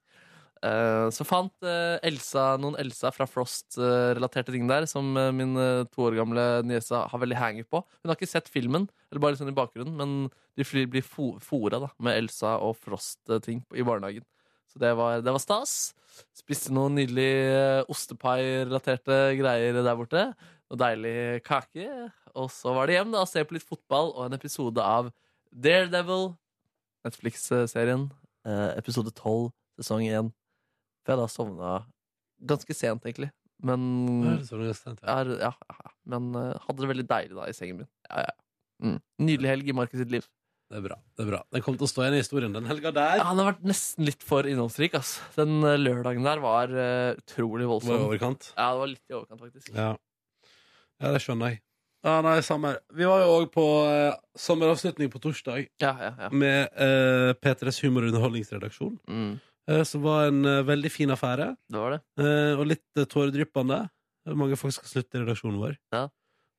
Eh, så fant eh, Elsa, noen Elsa fra Frost-relaterte ting der, som eh, min eh, to år gamle niese har veldig hanger på. Hun har ikke sett filmen, eller bare litt sånn i bakgrunnen, men de fly- blir fo- fora da, med Elsa og Frost-ting i barnehagen. Så det var, det var stas. Spiste noen nydelig eh, ostepai-relaterte greier der borte. Og deilig kake. Og så var det hjem da, og se på litt fotball og en episode av Daredevil. Netflix-serien. Eh, episode 12, sesong 1. For jeg da sovna ganske sent, egentlig. Men,
Hva er det som er stent?
er, ja, ja, men eh, hadde det veldig deilig da i sengen min. Ja, ja. Mm. Nydelig helg i Markus sitt liv.
Det er bra. det er bra Den kommer til å stå igjen i historien den helga der.
Ja, den har vært nesten litt for innholdsrik. Ass. Den eh, lørdagen der var eh,
Det var
utrolig
i
voldsom.
overkant.
Ja, det var litt i overkant, faktisk.
Ja. ja, det skjønner jeg. Ja, nei, samme her. Vi var jo òg på eh, sommeravslutning på torsdag
Ja, ja, ja.
med eh, P3s humor- og underholdningsredaksjon,
Mm,
eh, som var en eh, veldig fin affære.
det var det.
eh, og litt eh, tåredryppende. Mange folk skal slutte i redaksjonen vår.
Ja.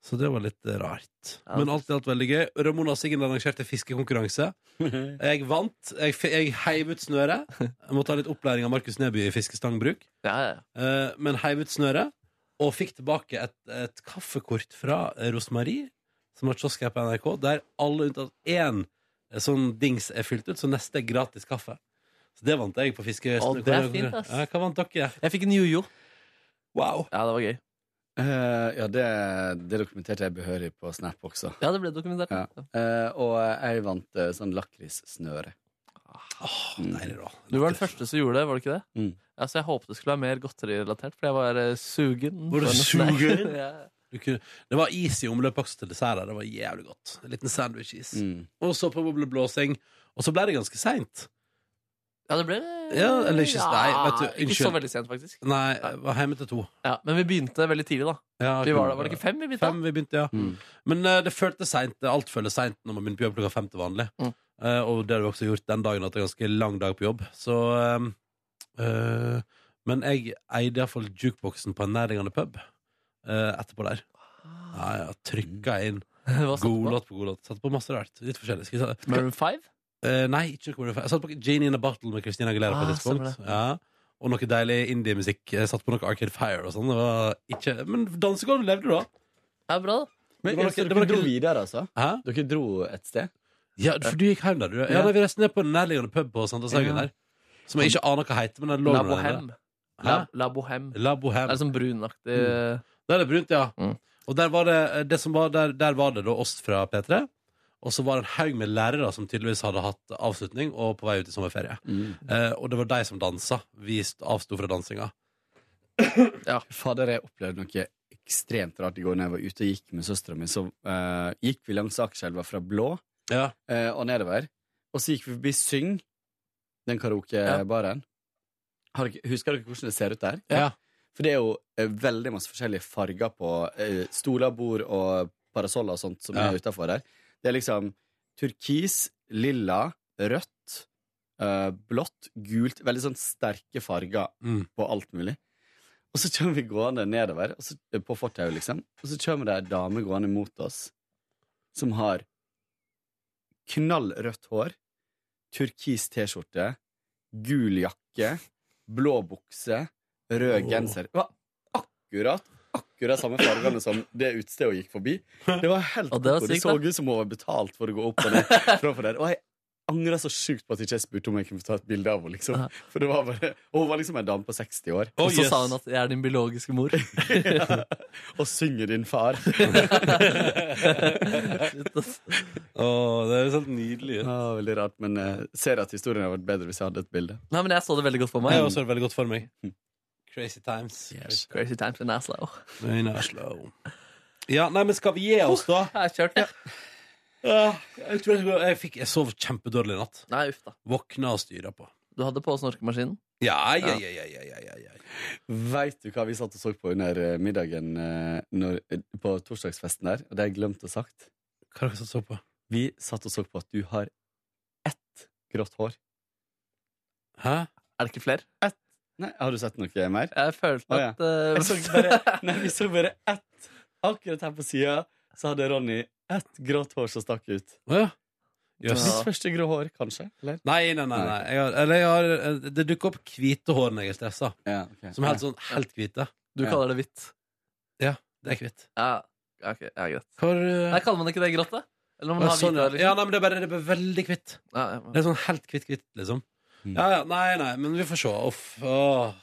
Så det var litt eh, rart.
Ja,
Men alt i alt veldig gøy. Ramona og Siggen arrangerte fiskekonkurranse. Jeg vant. Jeg, f- jeg heiv ut snøret. Jeg måtte ha litt opplæring av Markus Neby i fiskestangbruk.
Ja, ja, ja.
Eh, men heiv ut snøret og fikk tilbake et, et kaffekort fra Rosmarie, som har kiosk her på NRK, der alle unntatt én eh, sånn dings er fylt ut, så neste er gratis kaffe. Så det vant jeg på fiske...
Å, det er fint, ass.
Ja, Hva vant dere?
Jeg fikk en jojo.
Wow.
Ja, det var gøy.
<laughs> Eh, ja, det, det dokumenterte jeg behørig på Snap også.
Ja, det ble dokumentert.
Ja. Eh, og jeg vant eh, sånn lakrissnøre.
Ah, Nei, det er bra.
Du var den første som gjorde det, var du ikke det?
Mm.
Ja, så jeg håpet det skulle være mer godterirelatert, for jeg var eh, sugen.
Var du
på en-
sugen?
<laughs> ja.
Du kunne, det var is i omløpet også til dessert. der. Det var jævlig godt. En liten sandwich-is.
Mm.
Og så på bobleblåsing. Og så ble det ganske seint.
ja, det ble
Ja, eller ikke- nei, vet du,
Ikke så
unnskyld.
veldig sent, faktisk.
Nei, jeg var hjemme til to.
Ja, men vi begynte veldig tidlig, da.
Ja,
Vi var, da. var det ikke fem vi begynte?
Fem vi begynte, ja.
Mm.
Men eh, det føltes seint. Alt føles seint når man begynner på jobb klokka fem til vanlig.
Mm.
Eh, og det har vi også gjort den dagen, at det er en ganske lang dag på jobb. Så eh, eh, Men jeg eide iallfall jukeboksen på en nærliggende pub eh, etterpå der. Ja, ja, Trykka inn
Ah. <laughs> Hva satt du på?
godlåt på godlåt. Satte på masse rart. Litt forskjellig. Skal vi ta-
Maroon 5?
Eh, nei, ikke Commodore Five. Jeg satt på Genie in a Bottle med Christina Aguilera på
Ah,
et tidspunkt.
stemmer det.
Ja. Og noe deilig indie-musikk. Jeg satt på noe Arcade Fire og sånn. Det var ikke Men dansegulvet levde, da.
Ja, bra, da.
Men
Det var
så
ikke- det
dere
var
dro
ikke-
videre, altså?
Hæ?
Dere dro et sted?
Ja, for du gikk hjem der, du. Ja,
Ja.
nei, Vi reiste ned på den nærliggende pub på Sankthanshaugen
Ja.
der. Som jeg ikke aner hva heter, men den lå
La
nå der nede.
Bohème. La,
Hæ? Mm.
La Bohème.
La Bohème.
Det
Altså-
er sånn brunaktig eh,
Der er det brunt, ja.
Mm.
Og der var det, eh, det som var der, der var det da oss fra P3. Og så var det en haug med lærere som tydeligvis hadde hatt avslutning og på vei ut i sommerferie. Eh, og det var de som dansa. Vi st- avsto fra dansinga.
Fader, jeg opplevde noe ekstremt rart i går når jeg var ute og gikk med søstera mi. Så eh, gikk vi langs Akerselva fra Blå
Ja.
eh, og nedover. Og så gikk vi forbi Syng, den karaokebaren. Har dere- Husker dere hvordan det ser ut der?
<laughs> Ja.
For det er jo eh, veldig masse forskjellige farger på eh, stoler, bord og parasoller og sånt som
Ja.
er utafor der. Det er liksom turkis, lilla, rødt, eh, blått, gult. Veldig sånn sterke farger
Mm.
på alt mulig. Og så kommer vi gående nedover, og så, på fortauet, liksom. Og så kommer det ei dame gående mot oss som har knallrødt hår, turkis T-skjorte, gul jakke, blå bukse, rød
Åh.
genser. Det var akkurat akkurat samme fargene som det utestedet hun gikk forbi. Det var helt
Og det var
koko.
sykt,
så ut som hun var betalt for å gå opp og ned framfor der. Og jeg angra så sjukt på at jeg ikke spurte om jeg kunne få ta et bilde av henne. Liksom.
Ja.
For det var bare, og hun var liksom en dame på 60
Oh,
år.
Og så sa hun at 'jeg er din
<laughs>
biologiske mor'. <laughs>
Og synger din far.
Shit, ass.
det er sånn nydelig.
Ja, veldig rart, men eh, ser at historien hadde vært bedre hvis jeg hadde et bilde.
Nei, men jeg så det veldig godt for meg.
Jeg også har det veldig godt for meg.
Hm.
Crazy times.
Crazy times in Aslo.
In Oslo. Ja, nei, men skal vi gi oss, da?
Jeg kjørte, <laughs> ja.
Ja, Jeg, tror jeg, skal gå- jeg, fikk, jeg sov kjempedårlig i natt.
Nei, uff da.
Våkna og styra på.
Du hadde på snorkemaskinen?
Ja, ja, ja, ja, ja, ja, ja, ja.
Veit du hva vi satt og så på under eh, middagen eh, når, eh, på torsdagsfesten der? Og det har jeg glemt å sagt.
Hva er det dere så på?
Vi satt og så på at du har ett grått hår.
Hæ?
Er det ikke flere?
Nei, Har du sett noe <laughs> mer?
Jeg følte
Å, ja.
at eh, <laughs>
Jeg så bare, nei, vi så bare ett akkurat her på sida så hadde Ronny ett grått hår som stakk ut.
Å ja. Jøss.
Mitt første grå hår, kanskje? Eller?
Nei, nei, nei. nei. Jeg har, eller jeg har, eh, det dukker opp hvite hår når jeg er stressa.
Ja, ok.
Som er helt sånn helt hvite.
Du
Ja.
kaller det hvitt.
Det er hvitt.
Ja, ok, ja greit.
Hvor,
Nei, kaller man ikke det grått, da? Eller om man
Å,
har
sånn,
hvite
ja. ja,
hår?
nei,
Liksom?
men det er bare, det er bare veldig hvitt.
Ja, ja.
Det er sånn helt hvitt, hvitt, liksom.
Mm.
Ja, ja, nei, nei, men vi får se. Uff. åh.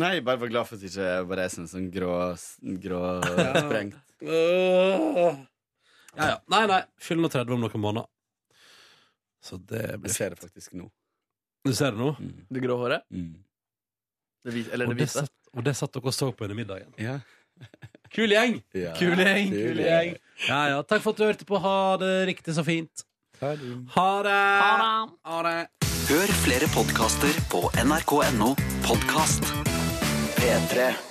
Nei, jeg bare var glad for at ikke jeg var reisende sånn grå, grå <laughs> sprengt.
Øh. Ja, ja. Nei, nei. Fyll nå 30 om noen måneder. Så det
Jeg
blir
ser det faktisk nå.
Du ser det nå?
Mm.
Det grå håret?
Mm.
Det hvite, eller
Og
det
det,
hvite?
satt, og det satt dere og så på under middagen.
Ja.
Kul gjeng!
Ja.
Kul gjeng.
Kul
gjeng. Ja, ja. Takk for at du hørte på. Ha det riktig så fint.
Ha det.
Ha det! Ha det.
Hør flere podkaster på nrk.no podkast. P3.